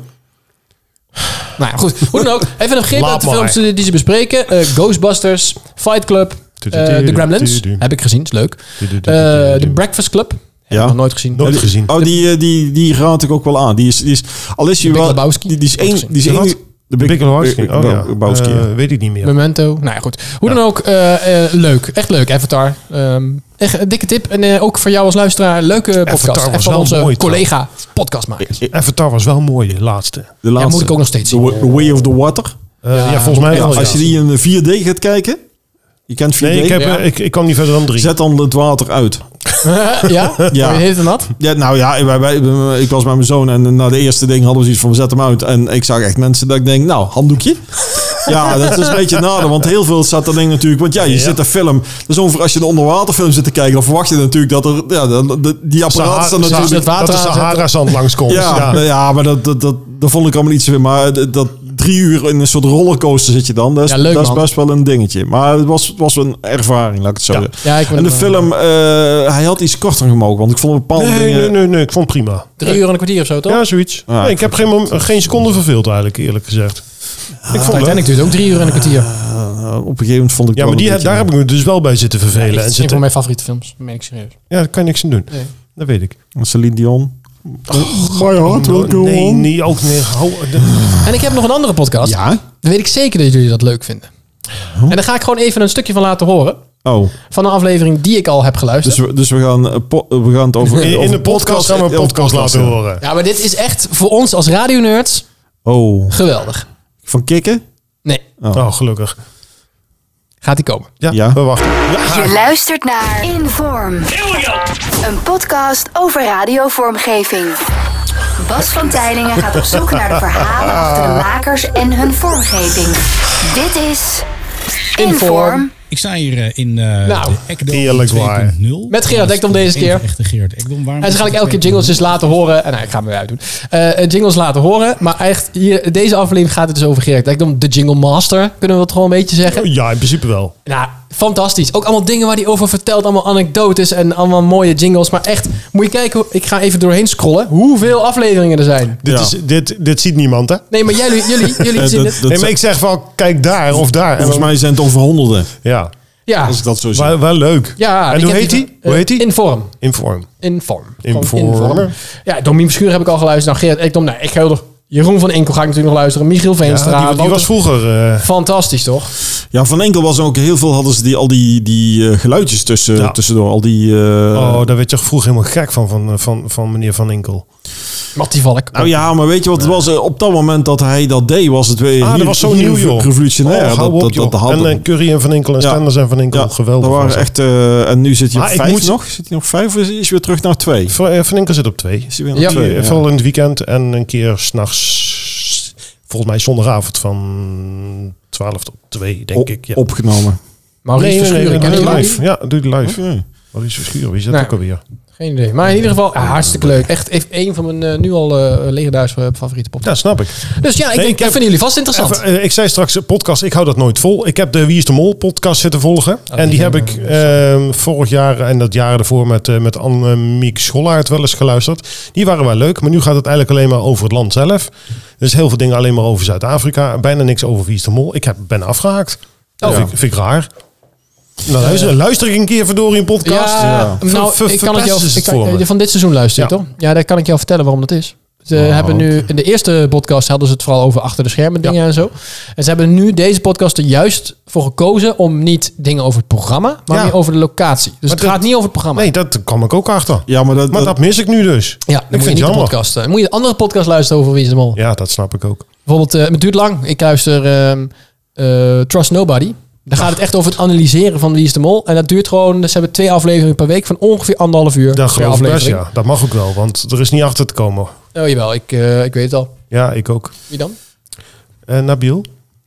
[SPEAKER 1] Nou ja, goed. Hoe dan ook. Even een greep
[SPEAKER 3] Laat
[SPEAKER 1] uit de
[SPEAKER 3] maar.
[SPEAKER 1] films die die ze bespreken. Eh, Ghostbusters. Fight Club. eh, The Gremlins. Heb ik gezien. Is leuk. Eh, The Breakfast Club. Heb
[SPEAKER 2] Ja.
[SPEAKER 1] ik nog nooit gezien.
[SPEAKER 3] Nooit
[SPEAKER 2] Ja, die-
[SPEAKER 3] gezien.
[SPEAKER 2] Oh, die, eh, die, die raad ik ook wel aan. Die is, die is al is je
[SPEAKER 1] Big
[SPEAKER 2] wel...
[SPEAKER 1] Lebowski.
[SPEAKER 2] Die, die is één... Die is
[SPEAKER 3] De
[SPEAKER 2] één
[SPEAKER 3] wat?
[SPEAKER 2] de
[SPEAKER 3] Big Lebowski.
[SPEAKER 2] Big
[SPEAKER 3] Oh ja.
[SPEAKER 2] Lebowski, ja.
[SPEAKER 3] Eh, weet ik niet meer.
[SPEAKER 1] Memento. Nou ja, goed. Hoe dan ook, eh, eh, leuk. Echt leuk, Avatar. Ehm, echt een dikke tip. En eh, ook voor jou als luisteraar, een leuke podcast.
[SPEAKER 3] Avatar was
[SPEAKER 1] Echt van
[SPEAKER 3] wel
[SPEAKER 1] onze
[SPEAKER 3] mooi,
[SPEAKER 1] collega podcastmakers.
[SPEAKER 3] Avatar was wel mooi, de laatste.
[SPEAKER 2] De
[SPEAKER 1] Ja,
[SPEAKER 2] laatste.
[SPEAKER 1] moet ik ook nog steeds zien.
[SPEAKER 2] The Way of the Water.
[SPEAKER 3] Eh, ja,
[SPEAKER 1] Ja,
[SPEAKER 3] volgens mij
[SPEAKER 1] ja,
[SPEAKER 3] wel.
[SPEAKER 2] Als je
[SPEAKER 3] ja.
[SPEAKER 2] die in 4D gaat kijken, je kent 4D,
[SPEAKER 3] Nee, ik, heb,
[SPEAKER 1] Ja.
[SPEAKER 3] eh, ik, ik kwam niet verder dan drie.
[SPEAKER 2] zet dan het water uit.
[SPEAKER 1] ja?
[SPEAKER 2] Ja.
[SPEAKER 1] Hoe heet het nat?
[SPEAKER 2] Ja, nou ja, wij, wij, ik was met mijn zoon en na de eerste ding hadden we zoiets van, we zetten hem uit. En ik zag echt mensen dat ik denk, nou, handdoekje. ja, dat is een beetje het nadeel, want heel veel staat dat ding natuurlijk. Want ja, je
[SPEAKER 3] Ja.
[SPEAKER 2] zit een film, dus ongeveer als je een onderwaterfilm zit te kijken, dan verwacht je natuurlijk dat er, ja, dat- dat- die apparaten staan
[SPEAKER 3] Sahara-
[SPEAKER 2] natuurlijk...
[SPEAKER 1] het water
[SPEAKER 3] dat de
[SPEAKER 1] aanzetten.
[SPEAKER 3] Sahara-zand langskomt.
[SPEAKER 2] Ja,
[SPEAKER 3] Ja.
[SPEAKER 2] nou ja, maar dat, dat, dat, dat vond ik allemaal iets weer. Maar dat, dat drie uur in een soort rollercoaster zit je dan. Dat is,
[SPEAKER 1] Ja, leuk,
[SPEAKER 2] dat is
[SPEAKER 1] man.
[SPEAKER 2] best wel een dingetje. Maar het was, was een ervaring, laat ik het zo
[SPEAKER 3] Ja.
[SPEAKER 2] zeggen.
[SPEAKER 1] Ja, ik ben
[SPEAKER 2] en de
[SPEAKER 1] er wel-
[SPEAKER 2] film, eh, hij had iets korter gemogen. Want ik vond bepaalde
[SPEAKER 3] Nee,
[SPEAKER 2] dingen...
[SPEAKER 3] nee, nee, nee, ik vond het prima.
[SPEAKER 1] Drie uur en een kwartier of zo, toch?
[SPEAKER 3] Ja, zoiets.
[SPEAKER 2] Ja,
[SPEAKER 3] nee,
[SPEAKER 2] Ah, ik
[SPEAKER 3] ik heb geen, mom- geen seconde verveeld eigenlijk, eerlijk gezegd. ik vond het leuk.
[SPEAKER 1] Titanic Ah. duurt ook drie uur en een kwartier.
[SPEAKER 2] Eh, op een gegeven moment vond ik
[SPEAKER 3] Ja, maar die,
[SPEAKER 2] daar
[SPEAKER 3] heb- daar heb ik me dus wel bij zitten vervelen.
[SPEAKER 1] Dat
[SPEAKER 3] en
[SPEAKER 1] is een
[SPEAKER 3] zitten,
[SPEAKER 1] van mijn favoriete films, meen ik serieus.
[SPEAKER 3] ja, daar kan je niks aan doen.
[SPEAKER 1] Nee.
[SPEAKER 3] Dat weet ik. Oh,
[SPEAKER 2] Celine Dion. Ga je hard,
[SPEAKER 3] nee, nee, ook nee. Hou,
[SPEAKER 1] En ik heb nog een andere podcast.
[SPEAKER 2] Ja?
[SPEAKER 1] Dan weet ik zeker dat jullie dat leuk vinden. En daar ga ik gewoon even een stukje van laten horen.
[SPEAKER 2] Oh,
[SPEAKER 1] Van een aflevering die ik al heb
[SPEAKER 2] dus
[SPEAKER 1] geluisterd.
[SPEAKER 2] we, dus we, gaan, eh, po- eh, we gaan het over...
[SPEAKER 3] in, in
[SPEAKER 2] over
[SPEAKER 3] de podcast gaan we een
[SPEAKER 2] eh,
[SPEAKER 3] podcast laten
[SPEAKER 2] ja.
[SPEAKER 3] horen.
[SPEAKER 1] Ja, maar dit is echt voor ons als radionerds
[SPEAKER 2] Oh,
[SPEAKER 1] geweldig.
[SPEAKER 2] van kikken?
[SPEAKER 1] Nee,
[SPEAKER 3] Oh, gelukkig.
[SPEAKER 1] gaat die komen.
[SPEAKER 3] Ja,
[SPEAKER 2] Ja.
[SPEAKER 3] we wachten.
[SPEAKER 4] Je luistert naar Inform. Een podcast over radiovormgeving. Bas van Tijlingen gaat op zoek naar de verhalen achter de makers en hun vormgeving. Dit is Inform.
[SPEAKER 5] Ik sta hier eh, in eh
[SPEAKER 1] Nou,
[SPEAKER 5] de Ekdom
[SPEAKER 3] eerlijk waar.
[SPEAKER 5] 2.0.
[SPEAKER 1] Met Gerard
[SPEAKER 5] Dat is
[SPEAKER 1] Ekdom deze
[SPEAKER 5] de enige
[SPEAKER 1] keer.
[SPEAKER 5] Echte Gerard Ekdom. Waarom
[SPEAKER 1] En ze
[SPEAKER 5] is
[SPEAKER 1] gaan ik
[SPEAKER 5] dat
[SPEAKER 1] elke keer
[SPEAKER 5] 2.0?
[SPEAKER 1] jingles dus laten horen. En nou, ik ga hem weer uitdoen. Eh, eh, jingles laten horen. Maar echt, hier, deze aflevering gaat het dus over Gerard Ekdom. De Jingle Master, kunnen we het gewoon een beetje zeggen.
[SPEAKER 3] Ja, in principe wel.
[SPEAKER 1] Nou, fantastisch. Ook allemaal dingen waar hij over vertelt. Allemaal anekdotes en allemaal mooie jingles. Maar echt, moet je kijken. hoe- Ik ga even doorheen scrollen. Hoeveel afleveringen er zijn.
[SPEAKER 3] Dit,
[SPEAKER 2] Ja.
[SPEAKER 3] is, dit, dit ziet niemand, hè?
[SPEAKER 1] Nee, maar jullie, jullie, jullie
[SPEAKER 2] Eh,
[SPEAKER 1] zien
[SPEAKER 2] dat-
[SPEAKER 1] het.
[SPEAKER 2] dat
[SPEAKER 3] Nee, maar
[SPEAKER 2] zijn-
[SPEAKER 3] ik zeg wel, kijk daar of daar. En
[SPEAKER 2] Volgens Dus
[SPEAKER 3] dan-
[SPEAKER 2] mij zijn het over honderden,
[SPEAKER 3] ja,
[SPEAKER 1] Ja.
[SPEAKER 2] als ik dat zo zeg.
[SPEAKER 3] wel, wel leuk.
[SPEAKER 1] ja
[SPEAKER 3] en
[SPEAKER 1] ik
[SPEAKER 3] hoe
[SPEAKER 1] heb
[SPEAKER 3] heet
[SPEAKER 1] die-
[SPEAKER 3] hij? Hoe
[SPEAKER 1] eh,
[SPEAKER 3] heet hij?
[SPEAKER 1] In vorm.
[SPEAKER 3] In vorm.
[SPEAKER 1] In vorm.
[SPEAKER 3] In
[SPEAKER 1] Gewoon
[SPEAKER 3] vorm.
[SPEAKER 1] Ja, Domien Schuur heb ik al geluisterd. Nou, Gerard Ekdom. Nou, ik ga er... Jeroen van Enkel ga ik natuurlijk nog luisteren. Michiel
[SPEAKER 3] Ja,
[SPEAKER 1] Veenstra.
[SPEAKER 3] die, die
[SPEAKER 1] Wouter-
[SPEAKER 3] was vroeger... eh,
[SPEAKER 1] Fantastisch, toch?
[SPEAKER 2] Ja, van enkel was er ook heel veel hadden ze die, al die, die eh, geluidjes tussen,
[SPEAKER 3] Ja.
[SPEAKER 2] tussendoor. Al die. eh,
[SPEAKER 3] oh, daar werd je vroeger helemaal gek van, van, eh, van, van meneer Van Inkel.
[SPEAKER 1] Mattie Valk.
[SPEAKER 2] Nou ja, maar weet je wat het was? Eh, Op dat moment dat hij dat deed, was het weer.
[SPEAKER 3] Ah,
[SPEAKER 2] hier-
[SPEAKER 3] dat was zo
[SPEAKER 2] hier
[SPEAKER 3] nieuw, joh.
[SPEAKER 2] Revolutionair.
[SPEAKER 3] Oh,
[SPEAKER 2] dat,
[SPEAKER 3] hou op,
[SPEAKER 2] dat, dat,
[SPEAKER 3] joh.
[SPEAKER 2] had
[SPEAKER 3] en eh, Curry en Van Inkel en
[SPEAKER 2] Ja.
[SPEAKER 3] Stenders en Van Inkel, geweldig.
[SPEAKER 2] Dat waren
[SPEAKER 3] was
[SPEAKER 2] echt, eh, en nu zit hij op
[SPEAKER 3] Maar ik
[SPEAKER 2] vijf
[SPEAKER 3] moet-
[SPEAKER 2] nog. Zit hij nog vijf of is hij weer terug naar twee?
[SPEAKER 3] dat. Van, eh, van Inkel zit op twee.
[SPEAKER 2] Is hij weer naar
[SPEAKER 1] Ja.
[SPEAKER 2] twee?
[SPEAKER 3] Eh, Vooral in het weekend en een keer s'nachts, volgens mij zondagavond van 12 tot 2, denk
[SPEAKER 2] Op-
[SPEAKER 3] ik. Ja.
[SPEAKER 2] Opgenomen.
[SPEAKER 1] Maurice nee, Verschuren.
[SPEAKER 3] doe
[SPEAKER 1] ken
[SPEAKER 3] die
[SPEAKER 1] ik
[SPEAKER 3] live. Ja, doe die live.
[SPEAKER 2] Oké.
[SPEAKER 3] Wat is verschuren? Wie is dat
[SPEAKER 1] Nou.
[SPEAKER 3] ook alweer?
[SPEAKER 1] Geen idee. Maar in ieder geval, ah, hartstikke leuk. Echt even een van mijn eh, nu al eh legendarische eh, favoriete pop.
[SPEAKER 3] Ja, snap ik.
[SPEAKER 1] Dus ja, ik,
[SPEAKER 3] Nee,
[SPEAKER 1] denk,
[SPEAKER 3] ik heb-
[SPEAKER 1] dat vinden jullie vast interessant.
[SPEAKER 3] Even, eh, ik zei straks, eh, podcast, ik hou dat nooit vol. Ik heb de Wie is de Mol podcast zitten volgen. en die
[SPEAKER 1] die
[SPEAKER 3] heb
[SPEAKER 1] ken
[SPEAKER 3] ik ehm, vorig jaar en dat jaar ervoor met, eh, met Annemiek Schollaert wel eens geluisterd. Die waren wel leuk, maar nu gaat het eigenlijk alleen maar over het land zelf. Dus heel veel dingen alleen maar over Zuid-Afrika. Bijna niks over Wie is de Mol. Ik heb, ben afgehaakt. Dat
[SPEAKER 2] Oh.
[SPEAKER 3] vind, ik- vind ik raar. Nou, luister, luister ik een keer verdorie een podcast.
[SPEAKER 1] Eh. ja,
[SPEAKER 3] Ver-
[SPEAKER 1] nou, ik
[SPEAKER 3] ver-
[SPEAKER 1] kan het
[SPEAKER 3] verpesten
[SPEAKER 1] jou
[SPEAKER 3] ze
[SPEAKER 1] ik
[SPEAKER 3] het
[SPEAKER 1] kan- eh,
[SPEAKER 3] voor me.
[SPEAKER 1] van dit seizoen luisteren,
[SPEAKER 3] Ja.
[SPEAKER 1] toch? Ja, daar kan ik jou vertellen waarom dat is. Ze
[SPEAKER 2] Oh,
[SPEAKER 1] hebben nu in de eerste podcast hadden ze het vooral over achter de schermen dingen en zo. En ze hebben nu deze podcast er juist voor gekozen om niet dingen over het programma, maar
[SPEAKER 3] Ja.
[SPEAKER 1] meer over de locatie. Dus het
[SPEAKER 3] dat-
[SPEAKER 1] gaat niet over het programma.
[SPEAKER 3] Nee, dat kwam ik ook achter.
[SPEAKER 2] Ja, maar dat,
[SPEAKER 3] Maar dat mis ik nu dus.
[SPEAKER 1] Ja, dan moet je
[SPEAKER 3] ik vind
[SPEAKER 1] niet
[SPEAKER 3] het
[SPEAKER 1] de
[SPEAKER 3] jammer.
[SPEAKER 1] podcast. eh, Dan moet je een andere podcast luisteren over Wie is de Mol.
[SPEAKER 3] Ja, dat snap ik ook.
[SPEAKER 1] Bijvoorbeeld, eh, het duurt lang. Ik luister ehm, eh, Trust Nobody. Daar gaat het echt over het analyseren van Wie is de Mol. En dat duurt gewoon, dus ze hebben twee afleveringen per week van ongeveer anderhalf uur.
[SPEAKER 3] Dat
[SPEAKER 1] per
[SPEAKER 3] geloof ik best,
[SPEAKER 1] aflevering.
[SPEAKER 3] ja. Dat mag ook wel, want er is niet achter te komen.
[SPEAKER 1] Oh jawel, ik, eh, ik weet het al.
[SPEAKER 3] Ja, ik ook.
[SPEAKER 1] Wie dan?
[SPEAKER 3] Eh, Nabil?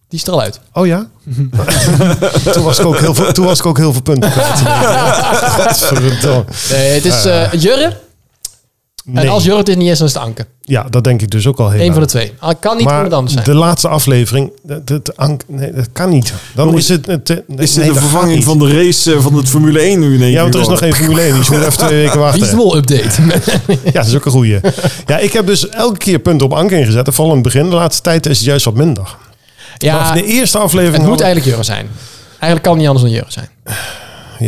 [SPEAKER 1] Die is er al uit.
[SPEAKER 3] Oh ja? toen, was ik ook heel veel, toen was ik ook heel veel punten. kwijt. Godverdomme.
[SPEAKER 1] Nee, het is eh Jurre.
[SPEAKER 3] Nee.
[SPEAKER 1] En als Jurre het is niet is, dan is het Anke.
[SPEAKER 3] Ja, dat denk ik dus ook al heel
[SPEAKER 1] Eén
[SPEAKER 3] lang.
[SPEAKER 1] van de twee. Het kan niet
[SPEAKER 3] maar
[SPEAKER 1] iemand anders zijn.
[SPEAKER 3] de laatste aflevering, dat, dat, Ank- nee, dat kan niet. Dan is het... het eh, nee,
[SPEAKER 2] is dit
[SPEAKER 3] nee,
[SPEAKER 2] de
[SPEAKER 3] dat gaat
[SPEAKER 2] vervanging
[SPEAKER 3] niet.
[SPEAKER 2] van de race eh, van het Formule 1 nu in één
[SPEAKER 3] Ja, want er
[SPEAKER 2] keer
[SPEAKER 3] is nog
[SPEAKER 2] geworden?
[SPEAKER 3] geen Formule 1, dus je moet even twee weken
[SPEAKER 1] Wie is de
[SPEAKER 3] wachten.
[SPEAKER 1] Mol update.
[SPEAKER 3] Ja, dat is ook een goeie. Ja, ik heb dus elke keer punten op Ank ingezet. En Vooral in het begin, de laatste tijd is het juist wat minder.
[SPEAKER 1] ja,
[SPEAKER 3] maar de
[SPEAKER 1] het
[SPEAKER 3] eerste aflevering...
[SPEAKER 1] moet
[SPEAKER 3] hadden-
[SPEAKER 1] eigenlijk Jurre zijn. Eigenlijk kan het niet anders dan Jurre zijn.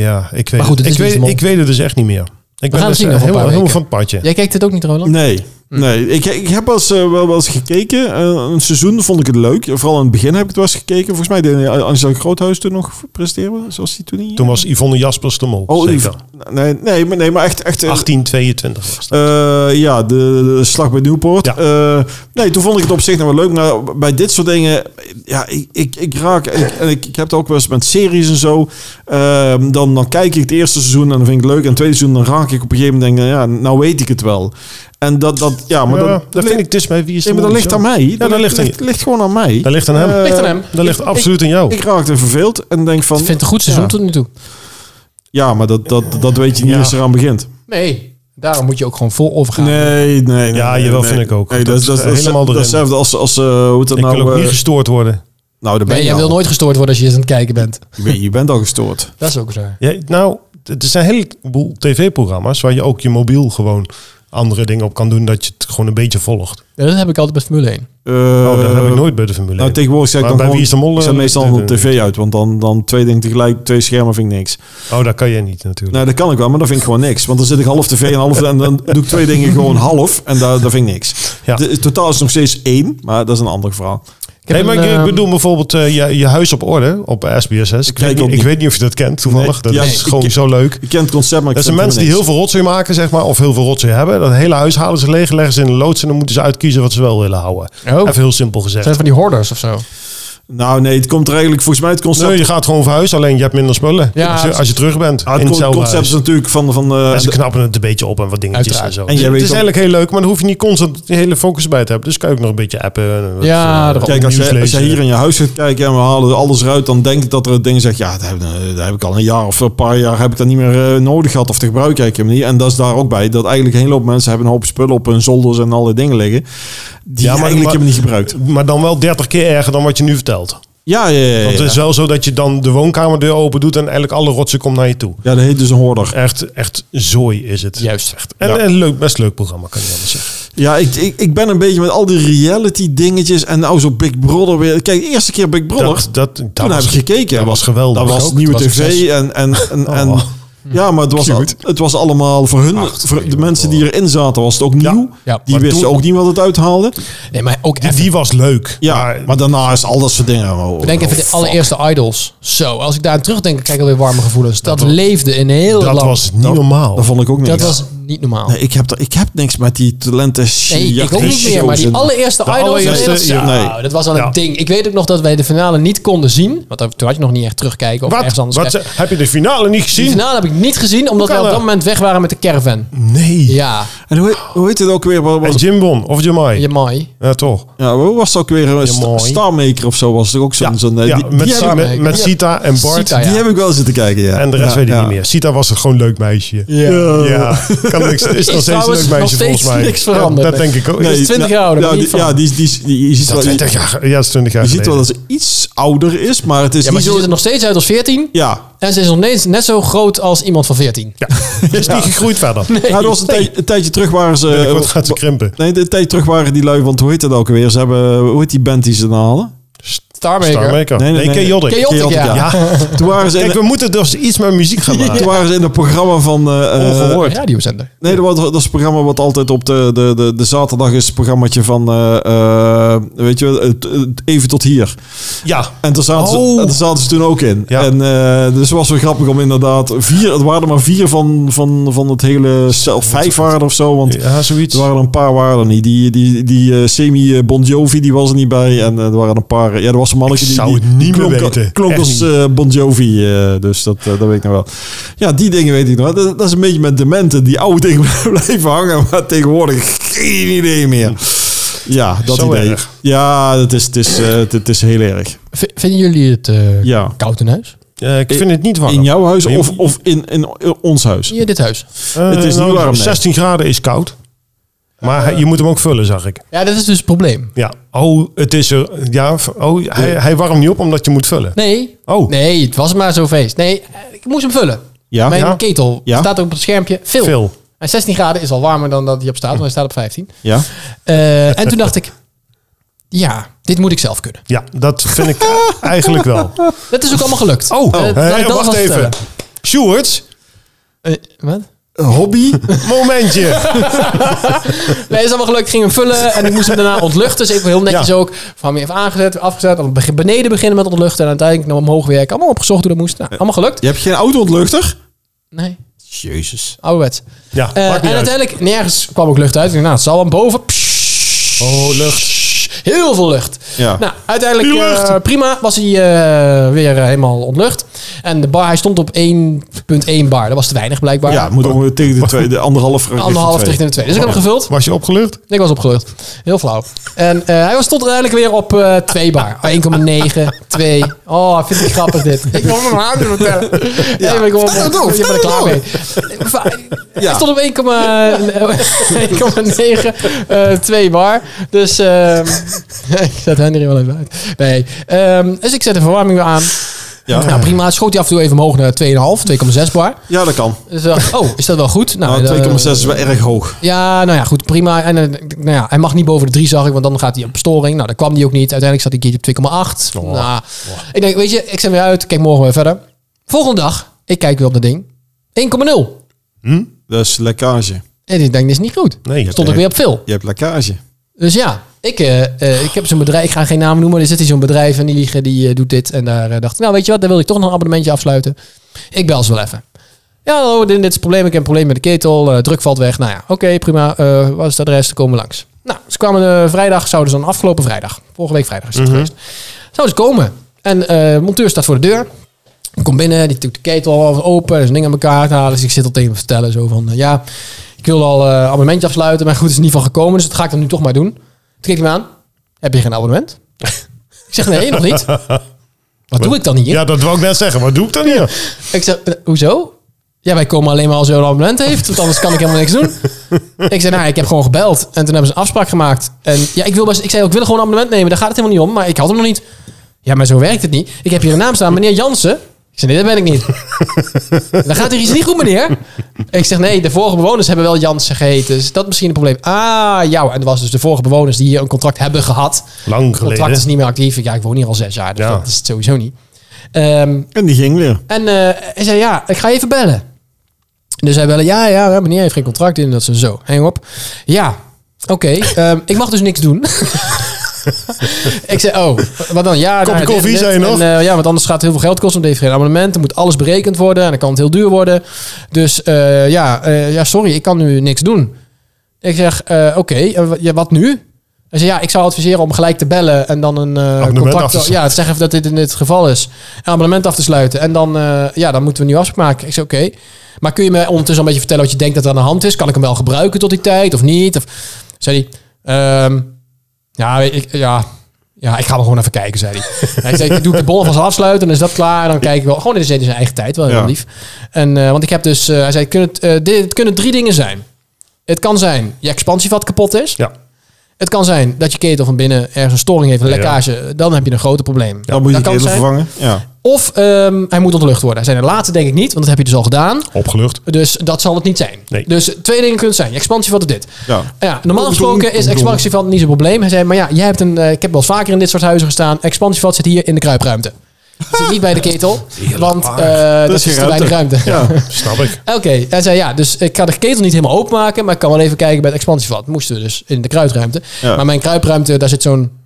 [SPEAKER 3] Ja, ik weet,
[SPEAKER 1] Maar goed, het is niet
[SPEAKER 3] het. ik,
[SPEAKER 1] de
[SPEAKER 3] weet,
[SPEAKER 1] mol.
[SPEAKER 3] ik weet het dus echt niet meer. Ik ben
[SPEAKER 1] gaan het zien
[SPEAKER 3] dus eh,
[SPEAKER 1] over een
[SPEAKER 3] helemaal,
[SPEAKER 1] paar
[SPEAKER 3] helemaal
[SPEAKER 1] weken.
[SPEAKER 3] van het padje.
[SPEAKER 1] Jij kijkt het ook niet, Roland?
[SPEAKER 2] Nee. Nee, ik, ik heb wel eens, eh, wel, wel eens gekeken. Eh, een seizoen vond ik het leuk. Vooral aan het begin heb ik het wel eens gekeken. Volgens mij deed eh, Angela Groothuis toen nog presteren. Zoals die toen niet.
[SPEAKER 3] Toen was Yvonne Jaspers de mol.
[SPEAKER 2] Oh,
[SPEAKER 3] zeker.
[SPEAKER 2] die- nee, nee, maar, nee, maar echt... echt eh,
[SPEAKER 3] 1822 was dat.
[SPEAKER 2] eh, ja, de, de slag bij Newport.
[SPEAKER 3] Ja.
[SPEAKER 2] Eh, nee, toen vond ik het op zich nog wel leuk. Maar bij dit soort dingen... Ja, ik, ik, ik raak... Ik, en ik, ik heb het ook wel eens met series en zo. Ehm, dan, dan kijk ik het eerste seizoen en dan vind ik het leuk. En het tweede seizoen dan raak ik op een gegeven moment... Denk, ik, ja, nou weet ik het wel. En dat... dat ja, maar
[SPEAKER 3] Ja,
[SPEAKER 2] dat,
[SPEAKER 3] dat vind ik dus bij Wie is
[SPEAKER 2] Nee,
[SPEAKER 3] de
[SPEAKER 2] maar dat
[SPEAKER 3] Mol
[SPEAKER 2] ligt
[SPEAKER 3] zo.
[SPEAKER 2] aan mij.
[SPEAKER 3] Ja, dat ligt aan je.
[SPEAKER 2] ligt, ligt gewoon aan mij.
[SPEAKER 3] Dat ligt aan hem.
[SPEAKER 2] Eh,
[SPEAKER 1] Ligt aan hem.
[SPEAKER 3] dat ligt
[SPEAKER 2] ik-
[SPEAKER 3] absoluut aan jou.
[SPEAKER 2] Ik raakte verveeld en denk van...
[SPEAKER 1] Ik vind het een goed seizoen
[SPEAKER 2] Ja,
[SPEAKER 1] tot nu toe.
[SPEAKER 2] ja maar dat, dat, dat weet je niet
[SPEAKER 3] Ja.
[SPEAKER 2] als je eraan begint.
[SPEAKER 1] Nee, daarom moet je ook gewoon vol overgaan.
[SPEAKER 2] Nee, nee, nee.
[SPEAKER 3] Ja,
[SPEAKER 2] nee,
[SPEAKER 3] jawel,
[SPEAKER 2] nee.
[SPEAKER 3] vind ik ook.
[SPEAKER 2] Nee, dat,
[SPEAKER 3] Dat
[SPEAKER 2] dat,
[SPEAKER 3] is
[SPEAKER 2] dat,
[SPEAKER 3] helemaal
[SPEAKER 2] dat,
[SPEAKER 3] erin.
[SPEAKER 2] Hetzelfde als, als eh, hoe het dat
[SPEAKER 3] ik wil
[SPEAKER 2] nou...
[SPEAKER 3] ook
[SPEAKER 2] eh,
[SPEAKER 3] niet gestoord worden.
[SPEAKER 2] nou, daar ben
[SPEAKER 1] Nee,
[SPEAKER 2] je
[SPEAKER 1] jij wil
[SPEAKER 2] al.
[SPEAKER 1] nooit gestoord worden als je eens aan het kijken bent.
[SPEAKER 2] Je bent- Je bent al gestoord.
[SPEAKER 1] Dat is ook waar.
[SPEAKER 3] Ja, nou, er zijn een heleboel tv-programma's waar je ook je mobiel gewoon andere dingen op kan doen. Dat je het gewoon een beetje volgt.
[SPEAKER 1] Ja, dat heb ik altijd bij Formule 1.
[SPEAKER 2] Eh,
[SPEAKER 3] Oh, dat heb ik nooit bij de Formule
[SPEAKER 2] Nou,
[SPEAKER 3] 1.
[SPEAKER 2] tegenwoordig zet ik
[SPEAKER 3] Maar
[SPEAKER 2] dan
[SPEAKER 3] bij
[SPEAKER 2] gewoon...
[SPEAKER 3] Wie is de Mol,
[SPEAKER 2] ik zet
[SPEAKER 3] eh,
[SPEAKER 2] meestal
[SPEAKER 3] nee,
[SPEAKER 2] de
[SPEAKER 3] nee,
[SPEAKER 2] tv uit, want dan, dan twee dingen tegelijk, twee schermen vind ik niks.
[SPEAKER 3] oh, dat kan jij niet natuurlijk.
[SPEAKER 2] Nee, Nou, dat kan ik wel, maar dat vind ik gewoon niks. Want dan zit ik half tv en half... En dan doe ik twee dingen gewoon half en daar dat vind ik niks.
[SPEAKER 3] Ja.
[SPEAKER 2] De, totaal is het nog steeds één, maar dat is een ander verhaal.
[SPEAKER 1] heb
[SPEAKER 3] nee, maar
[SPEAKER 1] een,
[SPEAKER 3] ik- ik
[SPEAKER 1] ehm,
[SPEAKER 3] bedoel bijvoorbeeld eh, je, je huis op orde op SBSS. Ik,
[SPEAKER 2] kijk
[SPEAKER 3] weet,
[SPEAKER 2] ook
[SPEAKER 3] niet- ik
[SPEAKER 2] niet.
[SPEAKER 3] weet niet of je dat kent
[SPEAKER 2] Nee,
[SPEAKER 3] toevallig. dat
[SPEAKER 2] ja,
[SPEAKER 3] is
[SPEAKER 2] ik-
[SPEAKER 3] gewoon
[SPEAKER 2] ik-
[SPEAKER 3] zo leuk.
[SPEAKER 2] Ik ken het concept, maar ik
[SPEAKER 3] Dat zijn
[SPEAKER 2] vind het
[SPEAKER 3] mensen die heel
[SPEAKER 2] helemaal
[SPEAKER 3] veel rotzooi maken, zeg maar, of heel veel rotzooi hebben. Dat hele huis halen ze leeg, leggen ze in de loods en dan moeten ze uitkiezen wat ze wel willen houden.
[SPEAKER 1] Oh.
[SPEAKER 3] Even heel simpel gezegd.
[SPEAKER 1] Zijn het van die hoorders of zo?
[SPEAKER 2] Nou nee, het komt er eigenlijk volgens mij het concept...
[SPEAKER 3] Nee, je gaat gewoon verhuizen, alleen je hebt minder spullen.
[SPEAKER 1] Ja,
[SPEAKER 3] als, je, als je terug bent.
[SPEAKER 2] Ah,
[SPEAKER 3] in
[SPEAKER 2] het con-
[SPEAKER 3] hetzelfde
[SPEAKER 2] concept is
[SPEAKER 3] huis.
[SPEAKER 2] natuurlijk van... van eh,
[SPEAKER 3] En ze knappen het een beetje op en wat dingetjes
[SPEAKER 1] Uiteraard.
[SPEAKER 3] en zo.
[SPEAKER 2] En jij
[SPEAKER 3] het
[SPEAKER 2] weet
[SPEAKER 3] is
[SPEAKER 2] ook-
[SPEAKER 3] eigenlijk heel leuk, maar dan hoef je niet constant de hele focus bij te hebben. Dus kan je ook nog een beetje appen. en wat,
[SPEAKER 1] Ja,
[SPEAKER 3] eh,
[SPEAKER 1] daarom.
[SPEAKER 2] Kijk, als
[SPEAKER 3] nieuws
[SPEAKER 2] jij, als jij
[SPEAKER 3] lezen.
[SPEAKER 2] hier in je huis gaat kijken en we halen alles eruit, dan denk ik dat er dingen zegt, ja, dat heb, dat heb ik al een jaar of een paar jaar heb ik dat niet meer eh, nodig gehad of te gebruiken heb ik hem niet. En dat is daar ook bij, dat eigenlijk een hele hoop mensen hebben een hoop spullen op hun zolders en alle dingen liggen, die
[SPEAKER 3] Ja, maar-
[SPEAKER 2] eigenlijk
[SPEAKER 3] maar-
[SPEAKER 2] hebben niet gebruikt.
[SPEAKER 3] Maar dan wel 30 keer erger dan wat je nu vertelt.
[SPEAKER 2] Ja, ja, ja. ja,
[SPEAKER 3] Want
[SPEAKER 2] ja.
[SPEAKER 3] het is wel zo dat je dan de woonkamerdeur open doet en eigenlijk alle rotsen komt naar je toe.
[SPEAKER 2] Ja, dat heet dus een hoorder.
[SPEAKER 3] Echt, echt zooi is het.
[SPEAKER 1] Juist.
[SPEAKER 3] Echt. En
[SPEAKER 2] Ja.
[SPEAKER 3] een leuk, best leuk programma, kan je anders zeggen.
[SPEAKER 2] Ja, ik, ik, ik ben een beetje met al die reality dingetjes en nou zo Big Brother weer. Kijk, de eerste keer Big Brother.
[SPEAKER 3] Dat, dat, dat
[SPEAKER 2] Toen
[SPEAKER 3] was-
[SPEAKER 2] heb ik gekeken.
[SPEAKER 3] Dat was geweldig.
[SPEAKER 2] Dat was
[SPEAKER 3] Ook.
[SPEAKER 2] nieuwe
[SPEAKER 3] Het was
[SPEAKER 2] tv
[SPEAKER 3] succes.
[SPEAKER 2] en... en, en, en
[SPEAKER 3] Oh.
[SPEAKER 2] Ja, maar het was, al-
[SPEAKER 3] Cute.
[SPEAKER 2] het was allemaal voor hun,
[SPEAKER 3] Ach,
[SPEAKER 2] voor de
[SPEAKER 3] joh,
[SPEAKER 2] mensen die erin zaten, was het ook
[SPEAKER 3] Ja.
[SPEAKER 2] nieuw.
[SPEAKER 1] Ja,
[SPEAKER 2] die
[SPEAKER 1] maar
[SPEAKER 2] wisten
[SPEAKER 1] toen-
[SPEAKER 2] ook niet wat het uithaalde.
[SPEAKER 1] Nee, maar ook
[SPEAKER 3] Die,
[SPEAKER 1] even.
[SPEAKER 3] die was leuk.
[SPEAKER 2] Ja,
[SPEAKER 3] Maar-
[SPEAKER 2] maar, daarna is al dat soort dingen. Oh,
[SPEAKER 1] Denk even
[SPEAKER 2] oh,
[SPEAKER 1] de
[SPEAKER 2] fuck.
[SPEAKER 1] allereerste idols. Zo, als ik daar aan terugdenk, krijg ik alweer warme gevoelens. Dat, leefde in heel
[SPEAKER 3] dat
[SPEAKER 1] lang.
[SPEAKER 3] was niet normaal.
[SPEAKER 2] Dat vond ik ook niet.
[SPEAKER 1] dat was niet normaal.
[SPEAKER 2] Nee, ik, heb, daar- ik heb niks met die talenten.
[SPEAKER 1] Nee, ik ook niet meer. Maar die allereerste
[SPEAKER 3] De
[SPEAKER 1] idols,
[SPEAKER 3] allereerste,
[SPEAKER 1] dat,
[SPEAKER 3] ja.
[SPEAKER 2] Nee.
[SPEAKER 1] dat was al
[SPEAKER 3] Ja.
[SPEAKER 1] een ding. Ik weet ook nog dat wij de finale niet konden zien. Want daar- toen had je nog niet echt terugkijken of
[SPEAKER 3] wat?
[SPEAKER 1] ergens anders
[SPEAKER 3] wat
[SPEAKER 1] kijken.
[SPEAKER 3] ze- heb je de finale niet
[SPEAKER 1] Die
[SPEAKER 3] gezien?
[SPEAKER 1] finale heb ik niet gezien, omdat
[SPEAKER 3] kan
[SPEAKER 1] wij op dat
[SPEAKER 3] dat?
[SPEAKER 1] moment weg waren met de caravan.
[SPEAKER 3] Nee.
[SPEAKER 1] Ja,
[SPEAKER 2] En hoe, heet- hoe heet het ook weer? Wat,
[SPEAKER 3] En
[SPEAKER 2] was,
[SPEAKER 3] Jim Bon of Jamai.
[SPEAKER 1] je mooi.
[SPEAKER 3] Ja, toch.
[SPEAKER 2] ja, hoe was het ook weer? Een sta-
[SPEAKER 3] mooi.
[SPEAKER 2] Starmaker of zo was het ook zo'n... zo'n, eh,
[SPEAKER 3] ja,
[SPEAKER 2] die,
[SPEAKER 3] met,
[SPEAKER 2] die, heb,
[SPEAKER 3] Sita-
[SPEAKER 2] ik-
[SPEAKER 1] ik-
[SPEAKER 3] met, met
[SPEAKER 1] ja.
[SPEAKER 3] Sita en Bart.
[SPEAKER 1] Sita,
[SPEAKER 2] die
[SPEAKER 1] ja.
[SPEAKER 2] heb ik wel eens zitten kijken, ja.
[SPEAKER 3] En de rest
[SPEAKER 2] Ja,
[SPEAKER 3] weet ik
[SPEAKER 2] ja.
[SPEAKER 3] niet meer. Sita was een gewoon leuk meisje.
[SPEAKER 1] Ja.
[SPEAKER 3] Ja, kan niks. Is nog steeds een
[SPEAKER 1] trouwens
[SPEAKER 3] leuk meisje
[SPEAKER 1] nog steeds
[SPEAKER 3] volgens mij.
[SPEAKER 1] niks veranderd.
[SPEAKER 3] Dat denk ik ook.
[SPEAKER 1] Nee, is 20 jaar ouder,
[SPEAKER 2] Ja,
[SPEAKER 1] maar
[SPEAKER 2] die,
[SPEAKER 1] niet van.
[SPEAKER 2] ja, die, die, die- je ziet, wel, je,
[SPEAKER 3] 20 jaar. Ja, dat is 20 jaar.
[SPEAKER 2] je ziet wel
[SPEAKER 3] geleden.
[SPEAKER 2] dat ze iets ouder is, maar het is
[SPEAKER 1] Ja, maar
[SPEAKER 2] niet
[SPEAKER 1] ze
[SPEAKER 2] zo...
[SPEAKER 1] ziet er nog steeds uit als 14.
[SPEAKER 2] Ja,
[SPEAKER 1] En ze is nog steeds net zo groot als iemand van 14.
[SPEAKER 3] Ze is niet gegroeid verder.
[SPEAKER 2] nou, dat was een, tij- een tijdje terug waren ze... eh,
[SPEAKER 3] Ik word gaat ze krimpen.
[SPEAKER 2] Nee, een tijdje terug waren die lui, want hoe heet dat ook weer? Ze hebben, hoe heet die band die ze dan halen?
[SPEAKER 1] Starmaker.
[SPEAKER 3] Starmaker.
[SPEAKER 2] Nee, nee, nee.
[SPEAKER 3] Chaotic.
[SPEAKER 1] Chaotic,
[SPEAKER 2] Chaotic,
[SPEAKER 1] ja.
[SPEAKER 2] ja. Toen waren ze in,
[SPEAKER 3] Kijk, we moeten dus iets met muziek gaan maken.
[SPEAKER 2] toen waren ze in het programma van... eh, eh,
[SPEAKER 1] Ongehoord. Radiozender.
[SPEAKER 2] Nee, dat, was- dat is het programma wat altijd op de, de, de, de zaterdag is. Het programmaatje van, eh, eh, weet je, wel, het- het even tot hier.
[SPEAKER 3] Ja.
[SPEAKER 2] En daar zaten, ze,
[SPEAKER 3] Oh.
[SPEAKER 2] daar zaten ze toen ook in.
[SPEAKER 3] Ja.
[SPEAKER 2] En eh, dus het was wel grappig om inderdaad vier, het waren er maar vier van, van, van het hele stel, vijf waren er of zo. Want
[SPEAKER 3] Ja, zoiets.
[SPEAKER 2] er waren er een paar waren er niet. Die, die, die eh, semi eh, Bon Jovi die was er niet bij. En eh, er waren een paar. eh, Ja, er was een mannetje
[SPEAKER 3] Ik
[SPEAKER 2] die,
[SPEAKER 3] zou
[SPEAKER 2] die
[SPEAKER 3] het niet
[SPEAKER 2] klonk,
[SPEAKER 3] meer weten.
[SPEAKER 2] klonk
[SPEAKER 3] Echt
[SPEAKER 2] als
[SPEAKER 3] niet.
[SPEAKER 2] eh, Bon Jovi. eh, dus dat, eh, dat weet ik nog wel. Ja, die dingen weet ik nog. wel. Dat, dat is een beetje met dementen. Die oude dingen blijven hangen. Maar tegenwoordig geen idee meer. Ja, dat
[SPEAKER 3] Zo
[SPEAKER 2] idee.
[SPEAKER 3] erg.
[SPEAKER 2] Ja, het is, het, is, eh, het, het is heel erg.
[SPEAKER 1] V- vinden jullie het eh,
[SPEAKER 2] Ja.
[SPEAKER 1] koud in huis?
[SPEAKER 3] Eh, ik vind het niet warm.
[SPEAKER 2] In jouw huis
[SPEAKER 3] Maar je-
[SPEAKER 2] of, of in, in, in ons huis?
[SPEAKER 1] Hier, dit huis.
[SPEAKER 3] Eh,
[SPEAKER 2] het is niet
[SPEAKER 3] nou,
[SPEAKER 2] warm, nee. Eh.
[SPEAKER 3] 16 graden is koud. Maar je moet hem ook vullen, zag ik.
[SPEAKER 1] Ja, dat is dus het probleem.
[SPEAKER 3] Ja. Oh, het is er. Ja, oh, hij, hij warmt niet op omdat je moet vullen.
[SPEAKER 1] Nee.
[SPEAKER 3] Oh.
[SPEAKER 1] Nee, het was maar zo'n feest. Nee, eh, ik moest hem vullen.
[SPEAKER 2] Ja?
[SPEAKER 1] Mijn
[SPEAKER 2] Ja?
[SPEAKER 1] ketel
[SPEAKER 2] Ja?
[SPEAKER 1] staat ook op het schermpje. Veel.
[SPEAKER 3] Veel.
[SPEAKER 1] En 16 graden is al warmer dan dat hij op staat, want hij staat op 15.
[SPEAKER 2] Ja?
[SPEAKER 1] Eh, en toen dacht ik, ja, dit moet ik zelf kunnen.
[SPEAKER 3] Ja, dat vind ik eh, eigenlijk wel.
[SPEAKER 1] Dat is ook allemaal gelukt.
[SPEAKER 3] Oh,
[SPEAKER 1] Eh, laat
[SPEAKER 3] hey,
[SPEAKER 1] ik dat
[SPEAKER 3] wacht
[SPEAKER 1] vast
[SPEAKER 3] even.
[SPEAKER 1] vertellen.
[SPEAKER 3] Sjoerd,
[SPEAKER 1] Eh, wat?
[SPEAKER 2] Hobby?
[SPEAKER 3] momentje.
[SPEAKER 1] Nee, is allemaal gelukt. Ik ging hem vullen en ik moest hem daarna ontluchten. Dus ik wil heel netjes
[SPEAKER 3] Ja.
[SPEAKER 1] ook van me even aangezet, afgezet. Dan beg- beneden beginnen met ontluchten en uiteindelijk naar omhoog werken. Allemaal opgezocht hoe dat moest. Nou, allemaal gelukt.
[SPEAKER 2] Je hebt geen auto-ontluchter?
[SPEAKER 1] Nee,
[SPEAKER 2] Jezus.
[SPEAKER 1] ouderwets.
[SPEAKER 3] Ja,
[SPEAKER 1] Eh,
[SPEAKER 3] maakt
[SPEAKER 1] en
[SPEAKER 3] niet uit.
[SPEAKER 1] uiteindelijk, nergens kwam ook lucht uit. Ik dacht, nou, het zal wel boven. Pssst.
[SPEAKER 3] Oh, lucht.
[SPEAKER 1] Heel veel lucht.
[SPEAKER 2] Ja.
[SPEAKER 1] Nou, uiteindelijk
[SPEAKER 3] Die lucht.
[SPEAKER 1] eh, prima. Was hij eh, weer eh, helemaal ontlucht. En de bar, hij stond op 1.1 bar. Dat was te weinig blijkbaar.
[SPEAKER 2] Ja, moet ook tegen de, twee, de anderhalf
[SPEAKER 1] Anderhalf
[SPEAKER 2] richting
[SPEAKER 1] tegen de twee. Dus ik heb hem gevuld.
[SPEAKER 3] Was je opgelucht?
[SPEAKER 1] Ik was opgelucht. Heel flauw. En eh, hij was stond uiteindelijk weer op eh 2 bar. 1,9, 2. Oh, ik vind het grappig dit. Ik wil hem aan vertellen. Ja, nee, maar ik wil
[SPEAKER 2] vertel het
[SPEAKER 1] hem
[SPEAKER 2] door,
[SPEAKER 1] ik ben er
[SPEAKER 2] vertel
[SPEAKER 1] klaar mee.
[SPEAKER 2] het
[SPEAKER 1] Hij stond op 1,9, eh 2 bar. Dus ehm, ik zet Henry wel even uit. Nee. ehm, dus ik zet de verwarming weer aan.
[SPEAKER 2] Ja.
[SPEAKER 1] Nou, prima. Schoot hij af en toe even omhoog naar 2,5, 2,6 bar.
[SPEAKER 2] Ja, dat kan.
[SPEAKER 1] Dus ik dacht, oh, is dat wel goed?
[SPEAKER 2] Nou,
[SPEAKER 1] eh,
[SPEAKER 2] 2,6 is wel erg hoog.
[SPEAKER 1] ja, nou ja, goed, prima. En eh, ik- nou ja, hij mag niet boven de 3, zag ik, want dan gaat hij op storing. Nou, daar kwam hij ook niet. Uiteindelijk zat hij een keertje op
[SPEAKER 3] Oh,
[SPEAKER 1] 2,8. Nou, ik denk, weet je, ik zet weer uit, kijk morgen weer verder. Volgende dag, ik kijk weer op dat ding, 1,0.
[SPEAKER 2] Dat is lekkage.
[SPEAKER 1] En ik denk, dit is niet goed.
[SPEAKER 3] Nee.
[SPEAKER 1] Stond ik weer op veel.
[SPEAKER 2] Je hebt lekkage.
[SPEAKER 1] Dus ja, ik, eh, eh, ik heb zo'n bedrijf, ik ga geen naam noemen, maar er zit hier zo'n bedrijf en die liegen, die eh, doet dit. En daar eh, dacht ik, nou weet je wat, daar wil ik toch nog een abonnementje afsluiten. Ik bel ze wel even. Ja, hallo, dit, dit is het probleem, ik heb een probleem met de ketel, eh, druk valt weg. Nou ja, oké, prima, Eh wat is het adres, dan komen we langs. Nou, ze kwamen eh, vrijdag, zouden ze dan afgelopen vrijdag, vorige week vrijdag is het geweest. Zou ze komen. En eh, de monteur staat voor de deur. Ik kom binnen, die doet de ketel al open, er is een ding aan elkaar te halen. Dus ik zit al tegen hem te vertellen zo van, eh, ja, ik wil al eh abonnementje afsluiten, maar goed, het is er niet van gekomen, dus dat ga ik dan nu toch maar doen. Toen keek hij me aan, heb je geen abonnement? ik zeg, nee, nog niet. Wat doe ik dan hier?
[SPEAKER 3] Ja, dat wou ik net zeggen. Wat doe ik dan hier?
[SPEAKER 1] Ik zeg, eh, hoezo? Ja, wij komen alleen maar als je een abonnement heeft, want anders kan ik helemaal niks doen. ik zei, nou, ik heb gewoon gebeld. En toen hebben ze een afspraak gemaakt. En ja, ik, wil best, ik zei, ook, ik wil gewoon een abonnement nemen, daar gaat het helemaal niet om. Maar ik had hem nog niet. Ja, maar zo werkt het niet. Ik heb hier een naam staan, meneer Jansen. Ik zei, nee, dat ben ik niet. dan gaat er iets niet goed, meneer. Ik zeg, nee, de vorige bewoners hebben wel Jansen geheten. Is dat misschien een probleem? Ah, ja. En dat was dus de vorige bewoners die hier een contract hebben gehad.
[SPEAKER 3] Lang
[SPEAKER 1] Het contract is
[SPEAKER 3] geleden.
[SPEAKER 1] niet meer actief. Ja, ik woon hier al zes jaar, dus
[SPEAKER 3] Ja.
[SPEAKER 1] dat is het sowieso niet. Ehm
[SPEAKER 2] En die ging weer.
[SPEAKER 1] en eh, hij zei, ja, ik ga even bellen. Dus hij bellen, ja, ja, ja, meneer heeft geen contract in. Dat ze zo, hang op. Ja, oké, ehm, ik mag dus niks doen. ik zei, oh, wat dan? Ja,
[SPEAKER 3] Kopje
[SPEAKER 1] dit en
[SPEAKER 3] koffie,
[SPEAKER 1] dit.
[SPEAKER 3] zei je nog?
[SPEAKER 1] En, eh, ja, want anders gaat het heel veel geld kosten. Want hij heeft geen abonnement. Dan moet alles berekend worden. En dan kan het heel duur worden. Dus eh, ja, eh, ja, sorry, ik kan nu niks doen. Ik zeg, eh, oké, en wa- ja, wat nu? Hij zei, ja, ik zou adviseren om gelijk te bellen en dan een eh,
[SPEAKER 3] Abonnement af
[SPEAKER 1] contract...
[SPEAKER 3] te
[SPEAKER 1] Te ja,
[SPEAKER 3] sluiten.
[SPEAKER 1] te zeggen dat dit in dit geval is. Een abonnement af te sluiten. En dan, eh, ja, dan moeten we nu afspraak maken. Ik zei, oké. Maar kun je me ondertussen al een beetje vertellen wat je denkt dat er aan de hand is? Kan ik hem wel gebruiken tot die tijd of niet? Of, zei hij, ehm, ja, ik, ja, ja, ik ga hem gewoon even kijken, zei hij. hij zei, ik doe de bol vast afsluiten, dan is dat klaar. En dan kijk ik wel. Gewoon in zijn- in zijn eigen tijd, wel heel
[SPEAKER 2] Ja.
[SPEAKER 1] lief. En, eh, want ik heb dus, eh, hij zei, kunnen het, eh, dit, het kunnen drie dingen zijn. Het kan zijn, je expansievat kapot is.
[SPEAKER 3] Ja.
[SPEAKER 1] Het kan zijn dat je ketel van binnen ergens een storing heeft, een
[SPEAKER 3] Ja.
[SPEAKER 1] lekkage. Dan heb je een groot probleem.
[SPEAKER 2] Dan moet je
[SPEAKER 1] Dat kan
[SPEAKER 2] die ketel
[SPEAKER 1] zijn.
[SPEAKER 2] vervangen. Ja.
[SPEAKER 1] Of ehm, hij moet ontlucht worden. Hij zei, de laatste denk ik niet, want dat heb je dus al gedaan.
[SPEAKER 3] Opgelucht.
[SPEAKER 1] Dus dat zal het niet zijn.
[SPEAKER 3] Nee.
[SPEAKER 1] Dus twee dingen kunnen het zijn. Je Expansievat of dit.
[SPEAKER 2] Ja.
[SPEAKER 1] Ja, normaal gesproken is expansievat niet zo'n probleem. Hij zei, maar ja, jij hebt een, eh, ik heb wel eens vaker in dit soort huizen gestaan. Expansievat zit hier in de kruipruimte. Het zit niet bij de ketel, want eh, dat,
[SPEAKER 2] is
[SPEAKER 1] is
[SPEAKER 2] geen
[SPEAKER 1] te weinig ruimte.
[SPEAKER 2] Ja.
[SPEAKER 3] Snap ik.
[SPEAKER 1] Oké, hij zei ja, dus ik ga de ketel niet helemaal openmaken, maar ik kan wel even kijken bij het expansievat. Moesten we dus in de kruidruimte.
[SPEAKER 2] Ja.
[SPEAKER 1] Maar mijn kruipruimte, daar zit zo'n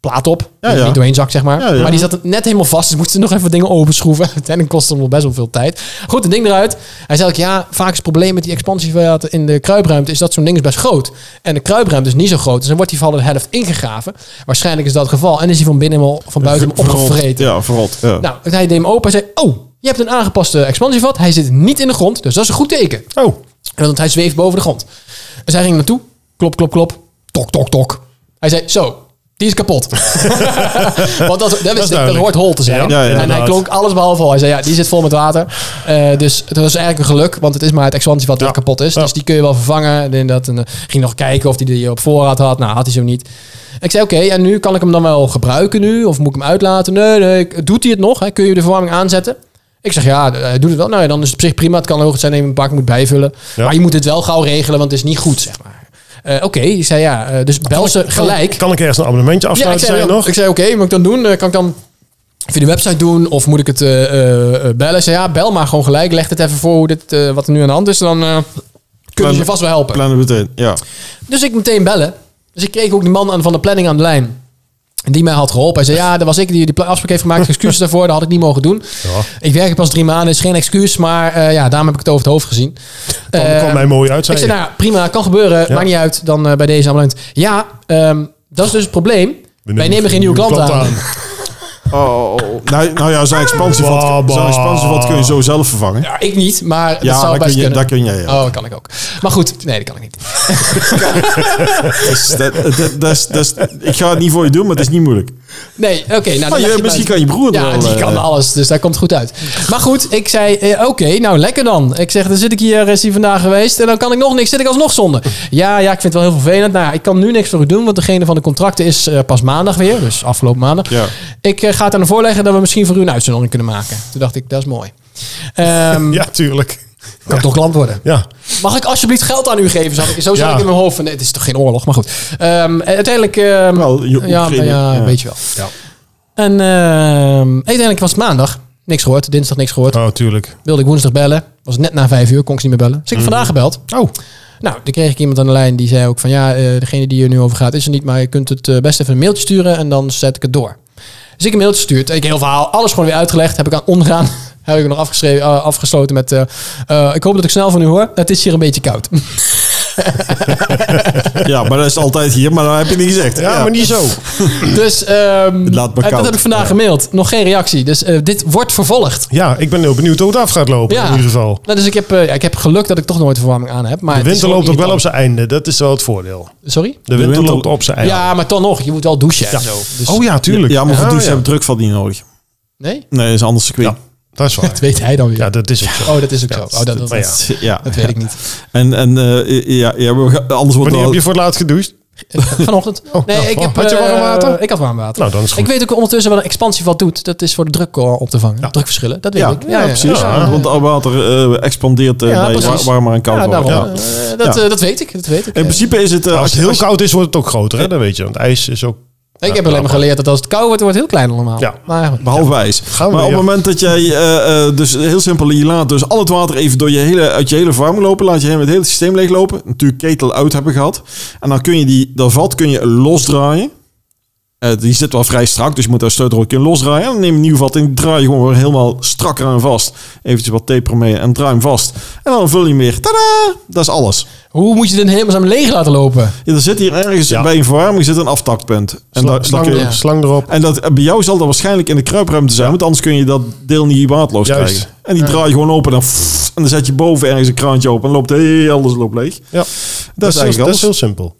[SPEAKER 1] plaat op,
[SPEAKER 2] Ja,
[SPEAKER 1] die er
[SPEAKER 2] ja.
[SPEAKER 1] niet doorheen zakt, zeg maar.
[SPEAKER 2] Ja, ja.
[SPEAKER 1] Maar die zat net helemaal vast, dus moesten nog even wat dingen openschroeven. Uiteindelijk kostte het nog best wel veel tijd. Goed, het ding eruit. Hij zei ook, ja, vaak is het probleem met die expansievaten in de kruipruimte is dat zo'n ding is best groot. En de kruipruimte is niet zo groot, dus dan wordt die van de helft ingegraven. Waarschijnlijk is dat het geval. En is die van binnen helemaal, van buiten helemaal opgevreten.
[SPEAKER 2] Ja, verrot. Ja.
[SPEAKER 1] Nou, hij deed hem open en zei: Oh, je hebt een aangepaste expansievat. Hij zit niet in de grond, dus dat is een goed teken.
[SPEAKER 3] Oh,
[SPEAKER 1] Want hij zweeft boven de grond. Dus hij ging naartoe. Klop, klop, klop. Tok, tok, tok. Hij zei: Zo. Die is kapot. Want dat, dat, is- dat
[SPEAKER 3] duidelijk.
[SPEAKER 1] hoort hol te zijn.
[SPEAKER 2] Ja, ja,
[SPEAKER 1] en hij
[SPEAKER 3] inderdaad.
[SPEAKER 1] klonk alles behalve hol. Hij zei, ja, die zit vol met water. Eh, dus dat was eigenlijk een geluk. Want het is maar het expansievat dat
[SPEAKER 3] Ja.
[SPEAKER 1] kapot is.
[SPEAKER 3] Ja.
[SPEAKER 1] Dus die kun je wel vervangen. En inderdaad, en, eh, ging nog kijken of hij die op voorraad had. Nou, had hij zo niet. Ik zei, oké, en nu kan ik hem dan wel gebruiken nu? Of moet ik hem uitlaten? Nee, nee, ik- doet hij het nog? Hè? Kun je de verwarming aanzetten? Ik zeg, ja, hij doet het wel. Nou ja, dan is het op zich prima. Het kan hoog zijn dat je een bak moet bijvullen.
[SPEAKER 3] Ja.
[SPEAKER 1] Maar je moet het wel gauw regelen, want het is niet goed, zeg maar. Eh, oké, ik zei, ja, eh, dus bel ze gelijk.
[SPEAKER 3] kan ik ergens een abonnementje
[SPEAKER 1] Ja, ik
[SPEAKER 3] afsluiten?
[SPEAKER 1] zei,
[SPEAKER 3] zei je
[SPEAKER 1] wel-
[SPEAKER 3] nog?
[SPEAKER 1] ik zei oké, moet ik dan doen? Eh, Kan ik dan via de website doen of moet ik het eh, eh, eh, bellen? Ik zei ja, bel maar gewoon gelijk. Leg het even voor hoe dit, eh, wat er nu aan de hand is. Dan eh kunnen ze je vast wel helpen.
[SPEAKER 2] Plannen meteen. Ja.
[SPEAKER 1] Dus ik meteen bellen. Dus ik kreeg ook die man aan, van de planning aan de lijn. Die mij had geholpen. Hij zei, ja, dat was ik die die pla- afspraak heeft gemaakt. Excuses daarvoor, dat had ik niet mogen doen. Ik werk er pas drie maanden, is geen excuus. Maar eh, ja, daarom heb ik het over het hoofd gezien.
[SPEAKER 3] Kwam-
[SPEAKER 1] Eh,
[SPEAKER 3] kwam mij mooi uit, zei
[SPEAKER 1] ik zei,
[SPEAKER 3] je.
[SPEAKER 1] nou ja, prima, kan gebeuren. Maakt niet uit, dan eh, bij deze abonnement. Ja, ehm, dat is dus het probleem. Wij nemen geen nieuwe klanten aan.
[SPEAKER 2] Oh. Nou, nou ja, zo'n expansievat,
[SPEAKER 3] Baba.
[SPEAKER 2] zo'n expansievat kun je zo zelf vervangen.
[SPEAKER 1] Ja, ik niet, maar
[SPEAKER 2] Ja,
[SPEAKER 1] dat zou
[SPEAKER 2] dat
[SPEAKER 1] best
[SPEAKER 2] kun je-
[SPEAKER 1] kunnen.
[SPEAKER 2] dat kun jij, ja.
[SPEAKER 1] Oh, dat kan ik ook. Maar goed, nee, dat kan ik niet.
[SPEAKER 2] Dat is- dat- dat- dat is- dat is- Ik ga het niet voor je doen, maar het is niet moeilijk.
[SPEAKER 1] Nee, oké. nou,
[SPEAKER 2] Maar
[SPEAKER 1] die
[SPEAKER 2] Oh, je-
[SPEAKER 1] leg buiten.
[SPEAKER 2] misschien kan je broer er
[SPEAKER 1] Ja,
[SPEAKER 2] wel,
[SPEAKER 1] die
[SPEAKER 2] eh,
[SPEAKER 1] kan alles, dus daar komt het goed uit. Maar goed, ik zei, eh, oké, nou lekker dan. Ik zeg, dan zit ik hier, is hij vandaag geweest en dan kan ik nog niks, zit ik alsnog zonder. Ja, ja, ik vind het wel heel vervelend. Nou ja, ik kan nu niks voor u doen, want degene van de contracten is eh, pas maandag weer, dus afgelopen maandag.
[SPEAKER 2] Ja.
[SPEAKER 1] Ik eh, ga het aan de voorleggen dat we misschien voor u een uitzondering kunnen maken. Toen dacht ik, dat is mooi. Ehm,
[SPEAKER 3] Ja, tuurlijk.
[SPEAKER 1] Kan toch klant worden?
[SPEAKER 3] Ja,
[SPEAKER 1] Mag ik alsjeblieft geld aan u geven? Zag ik, zo zat
[SPEAKER 3] Ja.
[SPEAKER 1] ik in mijn hoofd. Van, nee, het is toch geen oorlog, maar goed. Ehm, en uiteindelijk... ehm,
[SPEAKER 2] Wel, je-
[SPEAKER 1] ja,
[SPEAKER 2] Oekraïne,
[SPEAKER 1] ja,
[SPEAKER 2] ja.
[SPEAKER 1] weet je wel.
[SPEAKER 3] Ja.
[SPEAKER 1] En ehm, uiteindelijk was het maandag. Niks gehoord. Dinsdag niks gehoord.
[SPEAKER 3] oh, tuurlijk.
[SPEAKER 1] Wilde ik woensdag bellen. Was net na vijf uur. Kon ik ze niet meer bellen. Dus ik heb vandaag gebeld.
[SPEAKER 3] Oh,
[SPEAKER 1] Nou, toen kreeg ik iemand aan de lijn die zei ook van... Ja, eh, degene die hier nu over gaat is er niet. Maar je kunt het eh, best even een mailtje sturen. En dan zet ik het door. Dus ik een mailtje stuurt. Ik heel verhaal, alles gewoon weer uitgelegd. Heb ik aan onderaan. Heb ik nog afgeschreven, eh, afgesloten met... eh, eh, ik hoop dat ik snel van u hoor. Het is hier een beetje koud.
[SPEAKER 2] Ja, maar dat is altijd hier, maar dat heb je niet gezegd.
[SPEAKER 3] Ja, maar niet zo.
[SPEAKER 1] Dus ehm
[SPEAKER 2] laat me
[SPEAKER 1] en dat
[SPEAKER 2] koud.
[SPEAKER 1] heb ik vandaag gemaild. Nog geen reactie. Dus eh, dit wordt vervolgd.
[SPEAKER 3] Ja, ik ben heel benieuwd hoe het af gaat lopen
[SPEAKER 1] Ja.
[SPEAKER 3] in ieder geval.
[SPEAKER 1] Nou, dus ik heb, eh, ja, ik heb geluk dat ik toch nooit verwarming aan heb. Maar
[SPEAKER 3] De
[SPEAKER 1] het is
[SPEAKER 3] winter
[SPEAKER 1] gewoon
[SPEAKER 3] loopt ook wel op
[SPEAKER 1] irritant.
[SPEAKER 3] zijn einde. Dat is wel het voordeel.
[SPEAKER 1] Sorry?
[SPEAKER 3] De winter
[SPEAKER 2] winter-
[SPEAKER 3] loopt op zijn
[SPEAKER 1] Ja,
[SPEAKER 3] einde.
[SPEAKER 1] maar dan nog. Je moet wel douchen en zo. Dus,
[SPEAKER 3] Oh ja, tuurlijk.
[SPEAKER 2] Ja, maar voor
[SPEAKER 3] Ah,
[SPEAKER 2] douchen
[SPEAKER 3] ja.
[SPEAKER 2] hebben druk valt niet nodig.
[SPEAKER 1] Nee?
[SPEAKER 2] Nee, dat is een ander circuit.
[SPEAKER 3] Dat is waar.
[SPEAKER 1] Dat weet hij dan weer.
[SPEAKER 3] Ja, dat is ook zo.
[SPEAKER 1] oh, dat is ook zo. Oh, dat, dat,
[SPEAKER 3] maar ja.
[SPEAKER 1] dat-
[SPEAKER 2] Ja.
[SPEAKER 1] dat weet ik niet.
[SPEAKER 2] En, en eh, ja, ja, we gaan- anders wordt
[SPEAKER 3] Wanneer
[SPEAKER 2] wel-
[SPEAKER 3] heb je voor het laatst gedoucht?
[SPEAKER 1] Vanochtend. Nee, ik heb,
[SPEAKER 3] Had je
[SPEAKER 1] eh,
[SPEAKER 3] warm water?
[SPEAKER 1] Ik had warm water.
[SPEAKER 3] Nou, dan is het
[SPEAKER 1] ik
[SPEAKER 3] goed.
[SPEAKER 1] weet ook ondertussen wat een expansie wat doet. Dat is voor de druk eh, op te vangen. Drukverschillen, dat weet
[SPEAKER 2] Ja,
[SPEAKER 1] ik.
[SPEAKER 2] ja, precies.
[SPEAKER 3] ja.
[SPEAKER 2] Want al water eh, expandeert eh
[SPEAKER 1] Ja,
[SPEAKER 2] bij
[SPEAKER 1] precies.
[SPEAKER 2] wa- warmer en koud
[SPEAKER 1] Ja,
[SPEAKER 2] wordt.
[SPEAKER 1] daarom.
[SPEAKER 2] Ja.
[SPEAKER 1] Eh, dat,
[SPEAKER 2] Ja.
[SPEAKER 1] eh, dat weet ik. Dat weet ik.
[SPEAKER 2] In
[SPEAKER 1] Eh,
[SPEAKER 2] principe is het... eh,
[SPEAKER 3] Als het
[SPEAKER 2] je-
[SPEAKER 3] heel koud Nou, is, wordt het ook groter. Hè? Dat weet je. Want ijs is ook...
[SPEAKER 1] ik heb alleen maar geleerd dat als het koud wordt, wordt het heel klein allemaal.
[SPEAKER 3] Ja.
[SPEAKER 1] Maar goed.
[SPEAKER 2] Behalve ijs.
[SPEAKER 3] Gaan we
[SPEAKER 2] maar op
[SPEAKER 3] weer.
[SPEAKER 2] het moment dat jij, eh, eh, dus heel simpel, je laat dus al het water even door je hele, uit je hele verwarming lopen. Laat je helemaal het hele systeem leeglopen. Natuurlijk ketel uit hebben gehad. En dan kun je die, dat vat kun je losdraaien. Eh, die zit wel vrij strak, dus je moet daar sleutel ook in losdraaien. En dan neem je een nieuw vat en draai je gewoon weer helemaal strak aan vast. Eventjes wat tape mee en draai hem vast. En dan vul je hem weer. Tadaa! Dat is alles.
[SPEAKER 1] Hoe moet je dit helemaal samen leeg laten lopen?
[SPEAKER 2] Ja, er zit hier ergens
[SPEAKER 3] Ja.
[SPEAKER 2] bij een verwarming zit een aftakpunt. En,
[SPEAKER 3] Sla-
[SPEAKER 2] daar- daar
[SPEAKER 3] slang,
[SPEAKER 2] kun je-
[SPEAKER 1] ja.
[SPEAKER 3] slang erop.
[SPEAKER 2] en dat, bij jou zal dat waarschijnlijk in de kruipruimte zijn, want anders kun je dat deel niet waardloos
[SPEAKER 3] Juist.
[SPEAKER 2] krijgen. En die draai je gewoon open en dan, ff, en dan zet je boven ergens een kraantje open en loopt heel alles loopt leeg.
[SPEAKER 3] Ja. Dat, is,
[SPEAKER 2] eigenlijk
[SPEAKER 3] heel, dat
[SPEAKER 2] alles.
[SPEAKER 3] is heel simpel.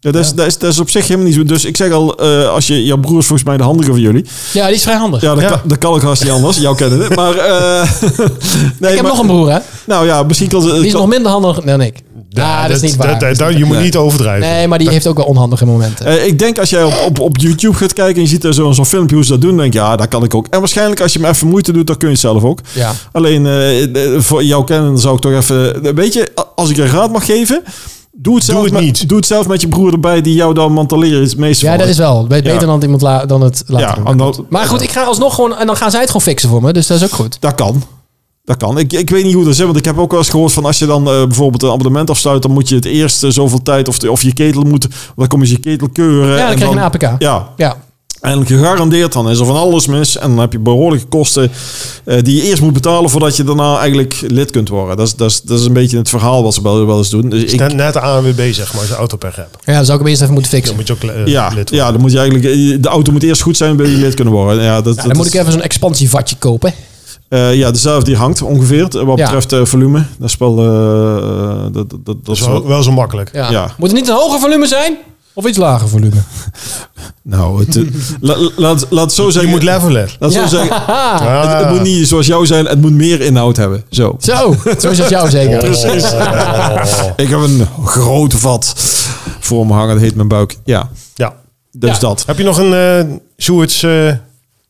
[SPEAKER 2] Ja, dat, is, dat, is, dat is op zich helemaal niet zo. Dus ik zeg al, eh, als je, jouw broer is volgens mij de handige van jullie.
[SPEAKER 1] Ja, die is vrij handig.
[SPEAKER 2] Ja, dat,
[SPEAKER 3] Ja.
[SPEAKER 2] Kan, dat kan ook haast niet anders. Jou kennen het. Maar, eh, nee,
[SPEAKER 1] ik heb nog een broer, hè?
[SPEAKER 2] Nou ja, misschien kan ze...
[SPEAKER 1] Die is nog minder handig dan ik. Ja, dat, is niet waar.
[SPEAKER 3] dat- dat- je moet
[SPEAKER 2] Nee.
[SPEAKER 3] niet overdrijven.
[SPEAKER 1] nee, maar die heeft ook wel onhandige momenten.
[SPEAKER 2] Eh, ik denk als jij op, op, op YouTube gaat kijken en je ziet er zo'n zo'n filmpje hoe ze dat doen, denk je, ja, dat kan ik ook. En waarschijnlijk als je hem even moeite doet, dan kun je het zelf ook.
[SPEAKER 1] Ja.
[SPEAKER 2] Alleen eh, eh, voor jouw kennen zou ik toch even, weet je, a- als ik een raad mag geven, doe het zelf,
[SPEAKER 3] het
[SPEAKER 2] met,
[SPEAKER 3] niet.
[SPEAKER 2] Doe het zelf met je broer erbij die jou dan mantaleren is het meest
[SPEAKER 1] Ja,
[SPEAKER 2] van.
[SPEAKER 1] dat is wel. Beter
[SPEAKER 2] Ja.
[SPEAKER 1] dan, iemand la- dan het laten
[SPEAKER 2] Ja,
[SPEAKER 1] doen.
[SPEAKER 2] en dan-
[SPEAKER 1] Maar goed, ik ga alsnog gewoon... En dan gaan zij het gewoon fixen voor me. Dus dat is ook goed.
[SPEAKER 2] Dat kan. Dat kan. Ik, ik weet niet hoe dat zit, want ik heb ook wel eens gehoord van als je dan eh, bijvoorbeeld een abonnement afsluit, dan moet je het eerst eh, zoveel tijd of, de- of je ketel moet, dan kom je je ketel keuren.
[SPEAKER 1] Ja, dan
[SPEAKER 2] en
[SPEAKER 1] krijg je een APK.
[SPEAKER 2] Ja,
[SPEAKER 1] Ja.
[SPEAKER 2] En gegarandeerd, dan is er van alles mis. En dan heb je behoorlijke kosten eh, die je eerst moet betalen voordat je daarna eigenlijk lid kunt worden. Dat is, dat is, dat is een beetje het verhaal wat ze wel, wel eens doen. Dus ik,
[SPEAKER 3] Net, net de ANWB, zeg maar, als je autopech hebt.
[SPEAKER 1] Ja, dan zou ik hem eerst even moeten
[SPEAKER 3] Dan
[SPEAKER 1] fixen.
[SPEAKER 3] moet je ook eh,
[SPEAKER 2] ja,
[SPEAKER 3] lid worden.
[SPEAKER 2] ja, dan moet je eigenlijk. eh, De auto moet eerst goed zijn, wil je lid kunnen worden. Ja, dat,
[SPEAKER 1] Ja, dan
[SPEAKER 2] dat
[SPEAKER 1] moet
[SPEAKER 2] is-
[SPEAKER 1] ik even zo'n expansievatje kopen.
[SPEAKER 2] eh, ja, dezelfde die hangt ongeveer. eh, Wat
[SPEAKER 1] Ja.
[SPEAKER 2] betreft eh, volume. Dat is wel. eh, dat, dat, dat,
[SPEAKER 3] Dat
[SPEAKER 2] is
[SPEAKER 3] is wel,
[SPEAKER 2] wel
[SPEAKER 3] wel zo makkelijk.
[SPEAKER 1] Ja.
[SPEAKER 2] Ja.
[SPEAKER 1] Moet het niet een hoger volume zijn? Of iets lager volume?
[SPEAKER 2] nou, het, eh, la- la- laat, laat het zo
[SPEAKER 3] Je
[SPEAKER 2] zeggen.
[SPEAKER 3] moet levelen.
[SPEAKER 2] laat het
[SPEAKER 1] Ja.
[SPEAKER 2] zo zeggen.
[SPEAKER 3] Ah.
[SPEAKER 2] Het, het moet niet zoals jou zijn, het moet meer inhoud hebben. Zo.
[SPEAKER 1] Zo, zo is dat jou zeker.
[SPEAKER 2] Precies.
[SPEAKER 3] Oh.
[SPEAKER 2] Ik heb een groot vat voor me hangen. Dat heet mijn buik. Ja,
[SPEAKER 3] Ja.
[SPEAKER 2] dus
[SPEAKER 1] Ja.
[SPEAKER 2] dat.
[SPEAKER 3] Heb je nog een eh Sjoerds, eh,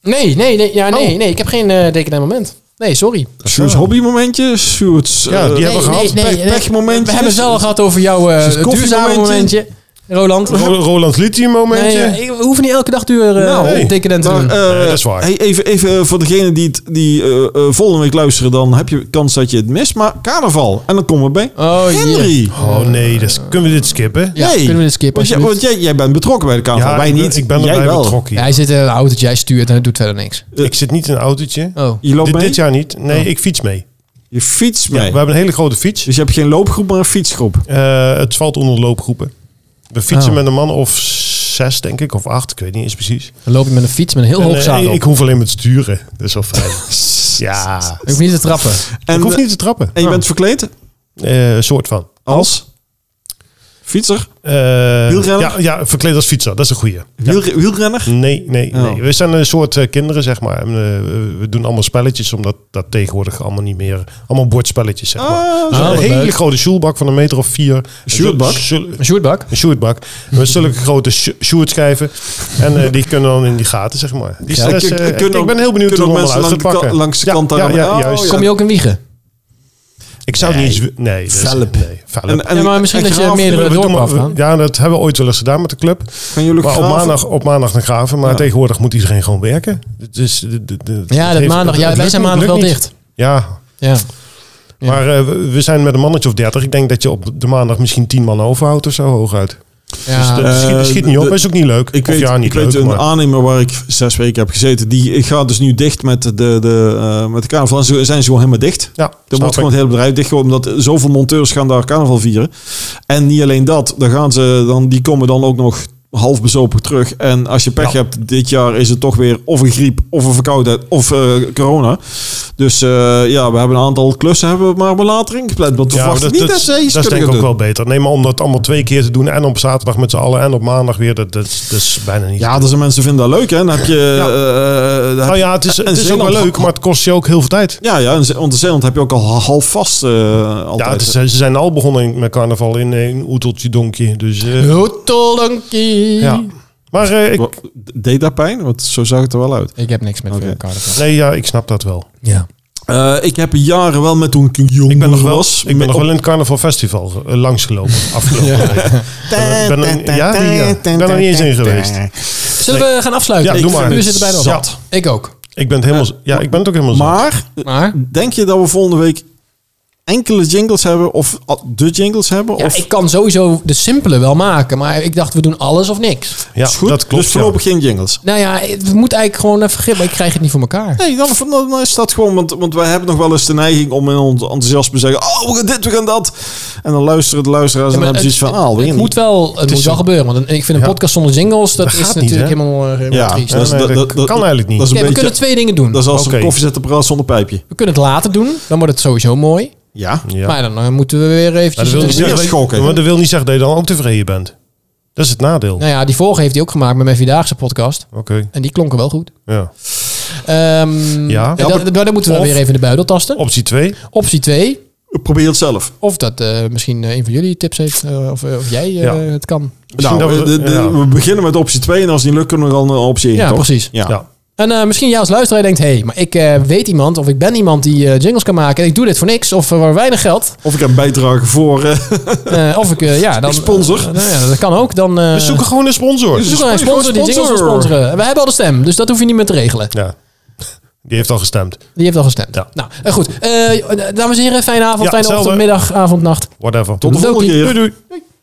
[SPEAKER 1] Nee, nee, nee, ja,
[SPEAKER 2] Oh.
[SPEAKER 1] nee, nee. Ik heb geen eh decadent moment. Nee, sorry.
[SPEAKER 2] Sjoerds hobbymomentje. Sjoerds...
[SPEAKER 3] Ja, die
[SPEAKER 2] eh,
[SPEAKER 3] hebben we gehad.
[SPEAKER 2] Pech- pechmomentjes.
[SPEAKER 1] We hebben het al gehad over jouw eh,
[SPEAKER 2] Is het
[SPEAKER 1] duurzame
[SPEAKER 2] koffiemomentje?
[SPEAKER 1] momentje. Roland.
[SPEAKER 3] Ro- Roland Lithium momentje?
[SPEAKER 1] Nee, eh, we hoeven niet elke dag duur eh
[SPEAKER 2] Nou,
[SPEAKER 3] nee.
[SPEAKER 1] decadent te
[SPEAKER 2] maar,
[SPEAKER 1] doen.
[SPEAKER 2] eh,
[SPEAKER 3] Nee, dat is waar.
[SPEAKER 2] hey, even, even eh, voor degene die, het- die eh, eh, volgende week luisteren, dan heb je kans dat je het mist. Maar carnaval. En dan komen we bij
[SPEAKER 1] Oh, jee.
[SPEAKER 2] Henry.
[SPEAKER 3] Oh nee, dus kunnen we dit skippen?
[SPEAKER 1] Ja,
[SPEAKER 2] Nee.
[SPEAKER 1] kunnen we dit skippen?
[SPEAKER 2] Want jij, want
[SPEAKER 1] alsjeblieft?
[SPEAKER 2] jij, jij bent betrokken bij de carnaval.
[SPEAKER 3] Ja,
[SPEAKER 2] Wij
[SPEAKER 3] ik ben-
[SPEAKER 2] niet.
[SPEAKER 3] Ik ben
[SPEAKER 2] jij
[SPEAKER 3] erbij
[SPEAKER 2] wel.
[SPEAKER 3] betrokken.
[SPEAKER 1] Ja, hij zit in een auto dat jij stuurt en het doet verder niks.
[SPEAKER 3] Ik zit niet in een autootje.
[SPEAKER 1] Oh.
[SPEAKER 2] Je loopt
[SPEAKER 3] Dit,
[SPEAKER 2] mee?
[SPEAKER 3] dit jaar niet. Nee, ik fiets mee.
[SPEAKER 2] Je fietst
[SPEAKER 3] Ja,
[SPEAKER 2] mee.
[SPEAKER 3] We hebben een hele grote fiets.
[SPEAKER 2] Dus je hebt geen loopgroep, maar een fietsgroep.
[SPEAKER 3] Eh, het valt onder loopgroepen. We fietsen
[SPEAKER 1] Oh.
[SPEAKER 3] met een man of zes, denk ik. Of acht, ik weet niet eens precies.
[SPEAKER 1] Dan loop je met een fiets met een heel
[SPEAKER 3] En,
[SPEAKER 1] hoog
[SPEAKER 3] eh,
[SPEAKER 1] zadel.
[SPEAKER 3] ik
[SPEAKER 1] Ik
[SPEAKER 3] hoef alleen maar te sturen. Dat is wel fijn. ja.
[SPEAKER 1] hoef niet te trappen.
[SPEAKER 2] En, eh,
[SPEAKER 3] ik hoef niet te trappen.
[SPEAKER 2] en je bent verkleed
[SPEAKER 3] Eh, soort van.
[SPEAKER 2] als... Fietser?
[SPEAKER 3] Eh,
[SPEAKER 2] Wielrenner?
[SPEAKER 3] ja, ja, verkleed als fietser. Dat is een goeie.
[SPEAKER 2] Wielre- wielrenner?
[SPEAKER 3] Nee, nee,
[SPEAKER 2] Oh.
[SPEAKER 3] nee. We zijn een soort eh, kinderen, zeg maar. En, eh, we doen allemaal spelletjes, omdat dat tegenwoordig allemaal niet meer... Allemaal bordspelletjes, zeg maar.
[SPEAKER 2] Ah,
[SPEAKER 3] Dus
[SPEAKER 1] Ah,
[SPEAKER 3] een
[SPEAKER 1] wat
[SPEAKER 3] hele
[SPEAKER 1] leuk.
[SPEAKER 3] grote sjoelbak van een meter of vier.
[SPEAKER 2] sjoelbak?
[SPEAKER 3] Zul-
[SPEAKER 1] Een shootbak.
[SPEAKER 3] Een sjoerdbak. Met zulke grote sjo- sjoerdschijven. En eh, die kunnen dan in die gaten, zeg maar. Die
[SPEAKER 2] Ja,
[SPEAKER 3] dat is,
[SPEAKER 2] kun-
[SPEAKER 3] eh, ik,
[SPEAKER 2] kunnen
[SPEAKER 3] ik
[SPEAKER 2] ook-
[SPEAKER 3] ben heel benieuwd hoe
[SPEAKER 2] kunnen
[SPEAKER 3] het
[SPEAKER 2] ook
[SPEAKER 3] allemaal
[SPEAKER 2] mensen
[SPEAKER 3] uit gaat
[SPEAKER 2] langs de
[SPEAKER 3] pakken.
[SPEAKER 2] ka- langs de
[SPEAKER 3] Ja,
[SPEAKER 2] kant
[SPEAKER 3] ja,
[SPEAKER 2] daaraan-
[SPEAKER 3] ja,
[SPEAKER 2] Oh,
[SPEAKER 3] juist.
[SPEAKER 2] ja.
[SPEAKER 1] Kom je ook in wiegen?
[SPEAKER 3] Ik zou het niet eens... Nee. dat is-
[SPEAKER 2] Velp.
[SPEAKER 3] Nee, velp.
[SPEAKER 2] En- en-
[SPEAKER 1] Ja, maar misschien
[SPEAKER 2] en
[SPEAKER 1] dat je
[SPEAKER 2] graaf-
[SPEAKER 1] meerdere-
[SPEAKER 3] We- we
[SPEAKER 1] dorpen
[SPEAKER 3] doen-
[SPEAKER 1] afgaan.
[SPEAKER 3] we- ja, dat hebben we ooit wel eens gedaan met de club.
[SPEAKER 2] Gaan jullie ook
[SPEAKER 3] Maar op
[SPEAKER 2] graven?
[SPEAKER 3] maandag, op maandag naar graven. Maar
[SPEAKER 2] Ja.
[SPEAKER 3] tegenwoordig moet iedereen gewoon werken. Dus, de- de- de- het
[SPEAKER 1] Ja, dat
[SPEAKER 3] heeft-
[SPEAKER 1] maandag.
[SPEAKER 3] het-
[SPEAKER 1] Ja, wij
[SPEAKER 3] het lukt
[SPEAKER 1] zijn
[SPEAKER 3] niet,
[SPEAKER 1] maandag
[SPEAKER 3] lukt
[SPEAKER 1] wel
[SPEAKER 3] niet.
[SPEAKER 1] dicht.
[SPEAKER 3] Ja,
[SPEAKER 1] Ja. Ja.
[SPEAKER 3] maar eh, we- we zijn met een mannetje of dertig. Ik denk dat je op de maandag misschien tien man overhoudt of zo hooguit. Dus
[SPEAKER 1] Ja.
[SPEAKER 3] dat schiet, schiet niet op,
[SPEAKER 2] eh, de-
[SPEAKER 3] is ook niet leuk.
[SPEAKER 2] Ik
[SPEAKER 3] of
[SPEAKER 2] weet,
[SPEAKER 3] ja, niet
[SPEAKER 2] ik
[SPEAKER 3] leuk,
[SPEAKER 2] weet een
[SPEAKER 3] maar...
[SPEAKER 2] aannemer waar ik zes weken heb gezeten. Die gaat dus nu dicht met de, de, eh, met de carnaval. En zo zijn ze gewoon helemaal dicht.
[SPEAKER 3] Ja,
[SPEAKER 2] Dan
[SPEAKER 3] snap
[SPEAKER 2] wordt gewoon
[SPEAKER 3] ik.
[SPEAKER 2] het hele bedrijf dicht, omdat zoveel monteurs gaan daar carnaval vieren. En niet alleen dat, dan gaan ze, dan, die komen dan ook nog half bezopen terug. En als je pech
[SPEAKER 3] Ja.
[SPEAKER 2] hebt, dit jaar is het toch weer of een griep, of een verkoudheid, of eh, corona. Dus eh, ja, we hebben een aantal klussen hebben we maar op een later ingepland. Want we
[SPEAKER 3] Ja, maar
[SPEAKER 2] verwachten
[SPEAKER 3] dat,
[SPEAKER 2] niet
[SPEAKER 3] dat,
[SPEAKER 2] dat ze iets
[SPEAKER 3] dat is
[SPEAKER 2] kunnen
[SPEAKER 3] denk ik
[SPEAKER 2] gaan
[SPEAKER 3] ook
[SPEAKER 2] doen.
[SPEAKER 3] wel beter. Nee, maar om dat allemaal twee keer te doen en op zaterdag met z'n allen en op maandag weer, dat, dat, is- dat is bijna niet.
[SPEAKER 2] Ja, er zijn mensen vinden dat leuk, hè? Dan heb je...
[SPEAKER 3] Ja.
[SPEAKER 2] eh, eh, dan heb
[SPEAKER 3] nou ja, het is,
[SPEAKER 2] en
[SPEAKER 3] het is ook wel
[SPEAKER 2] Zeeland-
[SPEAKER 3] leuk, maar het kost je ook heel veel tijd.
[SPEAKER 2] Ja, ja, in Ze- want in Zeeland heb je ook al half vast eh altijd.
[SPEAKER 3] Ja, het is, ze zijn al begonnen in- met carnaval in, eh, in Oeteltje Donkje. Dus, eh,
[SPEAKER 1] Hoetelonkie.
[SPEAKER 3] ja. Maar eh, ik,
[SPEAKER 2] Wa- Deed dat pijn? Want zo zag het er wel uit.
[SPEAKER 1] Ik heb niks met
[SPEAKER 2] Oké.
[SPEAKER 1] okay. carnaval.
[SPEAKER 3] nee, ja, ik snap dat wel.
[SPEAKER 1] Ja.
[SPEAKER 2] Eh, ik heb jaren wel met toen ik jong
[SPEAKER 3] Ik ben nog wel,
[SPEAKER 2] was.
[SPEAKER 3] ik ben
[SPEAKER 2] met-
[SPEAKER 3] nog wel in het Carnaval Festival eh, langsgelopen afgelopen week. Ik ben er- ja, die, ja. Ik ben er niet eens in geweest.
[SPEAKER 1] Zullen we gaan afsluiten?
[SPEAKER 3] Ja, doe
[SPEAKER 1] Ik-
[SPEAKER 3] maar.
[SPEAKER 1] We zitten bijna op.
[SPEAKER 3] Zat.
[SPEAKER 1] Ik ook.
[SPEAKER 3] Ik ben het helemaal, z- ja, ik ben het ook helemaal zo.
[SPEAKER 2] Maar
[SPEAKER 1] Maar
[SPEAKER 2] denk je dat we volgende week enkele jingles hebben of al- de jingles hebben?
[SPEAKER 1] ja,
[SPEAKER 2] of
[SPEAKER 1] ik kan sowieso de simpele wel maken. Maar ik dacht, we doen alles of niks.
[SPEAKER 3] ja,
[SPEAKER 2] Is goed?
[SPEAKER 3] dat klopt.
[SPEAKER 2] Dus
[SPEAKER 3] ja.
[SPEAKER 2] voorlopig geen jingles.
[SPEAKER 1] Nou ja, het moet eigenlijk gewoon even grip. Maar ik krijg het niet voor elkaar.
[SPEAKER 2] Nee, dan, dan is dat gewoon, want, want wij hebben nog wel eens de neiging om in ons enthousiasme te zeggen, oh, we gaan dit, we gaan dat. En dan luisteren de luisteraars en
[SPEAKER 1] Ja,
[SPEAKER 2] dan
[SPEAKER 1] maar
[SPEAKER 2] hebben ze iets van, ah,
[SPEAKER 1] het,
[SPEAKER 2] alweer
[SPEAKER 1] het
[SPEAKER 2] niet.
[SPEAKER 1] moet wel, het moet
[SPEAKER 3] is
[SPEAKER 1] wel
[SPEAKER 3] zo.
[SPEAKER 1] gebeuren. Want een- ik vind een
[SPEAKER 3] Ja.
[SPEAKER 1] podcast zonder jingles, dat,
[SPEAKER 3] Dat
[SPEAKER 1] is
[SPEAKER 3] gaat niet,
[SPEAKER 1] natuurlijk
[SPEAKER 3] hè?
[SPEAKER 1] helemaal, eh, helemaal
[SPEAKER 2] Ja,
[SPEAKER 1] triest.
[SPEAKER 2] dat, is-
[SPEAKER 3] Nee,
[SPEAKER 2] dat,
[SPEAKER 3] dat
[SPEAKER 2] dat, dat-
[SPEAKER 3] kan eigenlijk niet.
[SPEAKER 2] Dat is een
[SPEAKER 1] Oké, we
[SPEAKER 2] beetje,
[SPEAKER 1] kunnen twee dingen doen.
[SPEAKER 2] dat is als
[SPEAKER 3] Oké.
[SPEAKER 2] een koffiezetapparaat zonder pijpje.
[SPEAKER 1] We kunnen het later doen, dan wordt het sowieso mooi.
[SPEAKER 2] Ja.
[SPEAKER 3] Ja.
[SPEAKER 1] Maar dan eh, moeten we weer
[SPEAKER 3] Maar
[SPEAKER 1] eventjes...
[SPEAKER 3] dat wil
[SPEAKER 2] het
[SPEAKER 3] niet
[SPEAKER 2] is weer
[SPEAKER 3] zeggen, dat-
[SPEAKER 2] schokken.
[SPEAKER 3] maar dat wil niet zeggen dat je dan ook tevreden bent. Dat is het nadeel.
[SPEAKER 1] nou ja, die vorige heeft hij ook gemaakt met mijn Vierdaagse podcast.
[SPEAKER 3] Oké,
[SPEAKER 1] En die klonken wel goed.
[SPEAKER 3] ja.
[SPEAKER 1] Ehm
[SPEAKER 3] Ja.
[SPEAKER 1] ja.
[SPEAKER 3] Ja,
[SPEAKER 1] dat, dat- dat moeten we
[SPEAKER 3] of-
[SPEAKER 1] weer even in de buidel tasten.
[SPEAKER 3] Optie 2.
[SPEAKER 1] Optie 2.
[SPEAKER 2] Probeer het zelf.
[SPEAKER 1] Of dat eh, misschien eh, een van jullie tips heeft. eh, of, eh, of jij eh,
[SPEAKER 3] Ja.
[SPEAKER 1] het kan.
[SPEAKER 2] Nou,
[SPEAKER 3] Misschien dat we-
[SPEAKER 2] de- de-
[SPEAKER 3] ja.
[SPEAKER 2] we beginnen met optie 2 en als die lukt kunnen we dan naar optie 1,
[SPEAKER 1] Ja,
[SPEAKER 2] toch?
[SPEAKER 1] precies.
[SPEAKER 2] Ja.
[SPEAKER 3] Ja.
[SPEAKER 1] En eh, misschien jij als luisteraar denkt... hé, hey, maar ik eh, weet iemand of ik ben iemand die eh, jingles kan maken... en ik doe dit voor niks of eh, voor weinig geld.
[SPEAKER 2] Of ik heb bijdrage voor... eh,
[SPEAKER 1] Eh, of ik... eh, ja, dan,
[SPEAKER 2] Ik sponsor.
[SPEAKER 1] eh, nou ja, dat kan ook. Dan, eh,
[SPEAKER 3] We zoeken gewoon een sponsor.
[SPEAKER 1] we zoeken een sponsor die jingles wil sponsoren. En We hebben al de stem, dus dat hoef je niet meer te regelen.
[SPEAKER 3] Ja. Die heeft al gestemd.
[SPEAKER 1] Die heeft al gestemd.
[SPEAKER 3] Ja.
[SPEAKER 1] Nou, eh, goed. Eh, dames en heren, fijne avond,
[SPEAKER 3] Ja,
[SPEAKER 1] fijne
[SPEAKER 3] hetzelfde.
[SPEAKER 1] ochtend, middag, avond, nacht.
[SPEAKER 3] Whatever.
[SPEAKER 2] Tot de volgende
[SPEAKER 1] Doei,
[SPEAKER 2] keer.
[SPEAKER 3] Doei doei.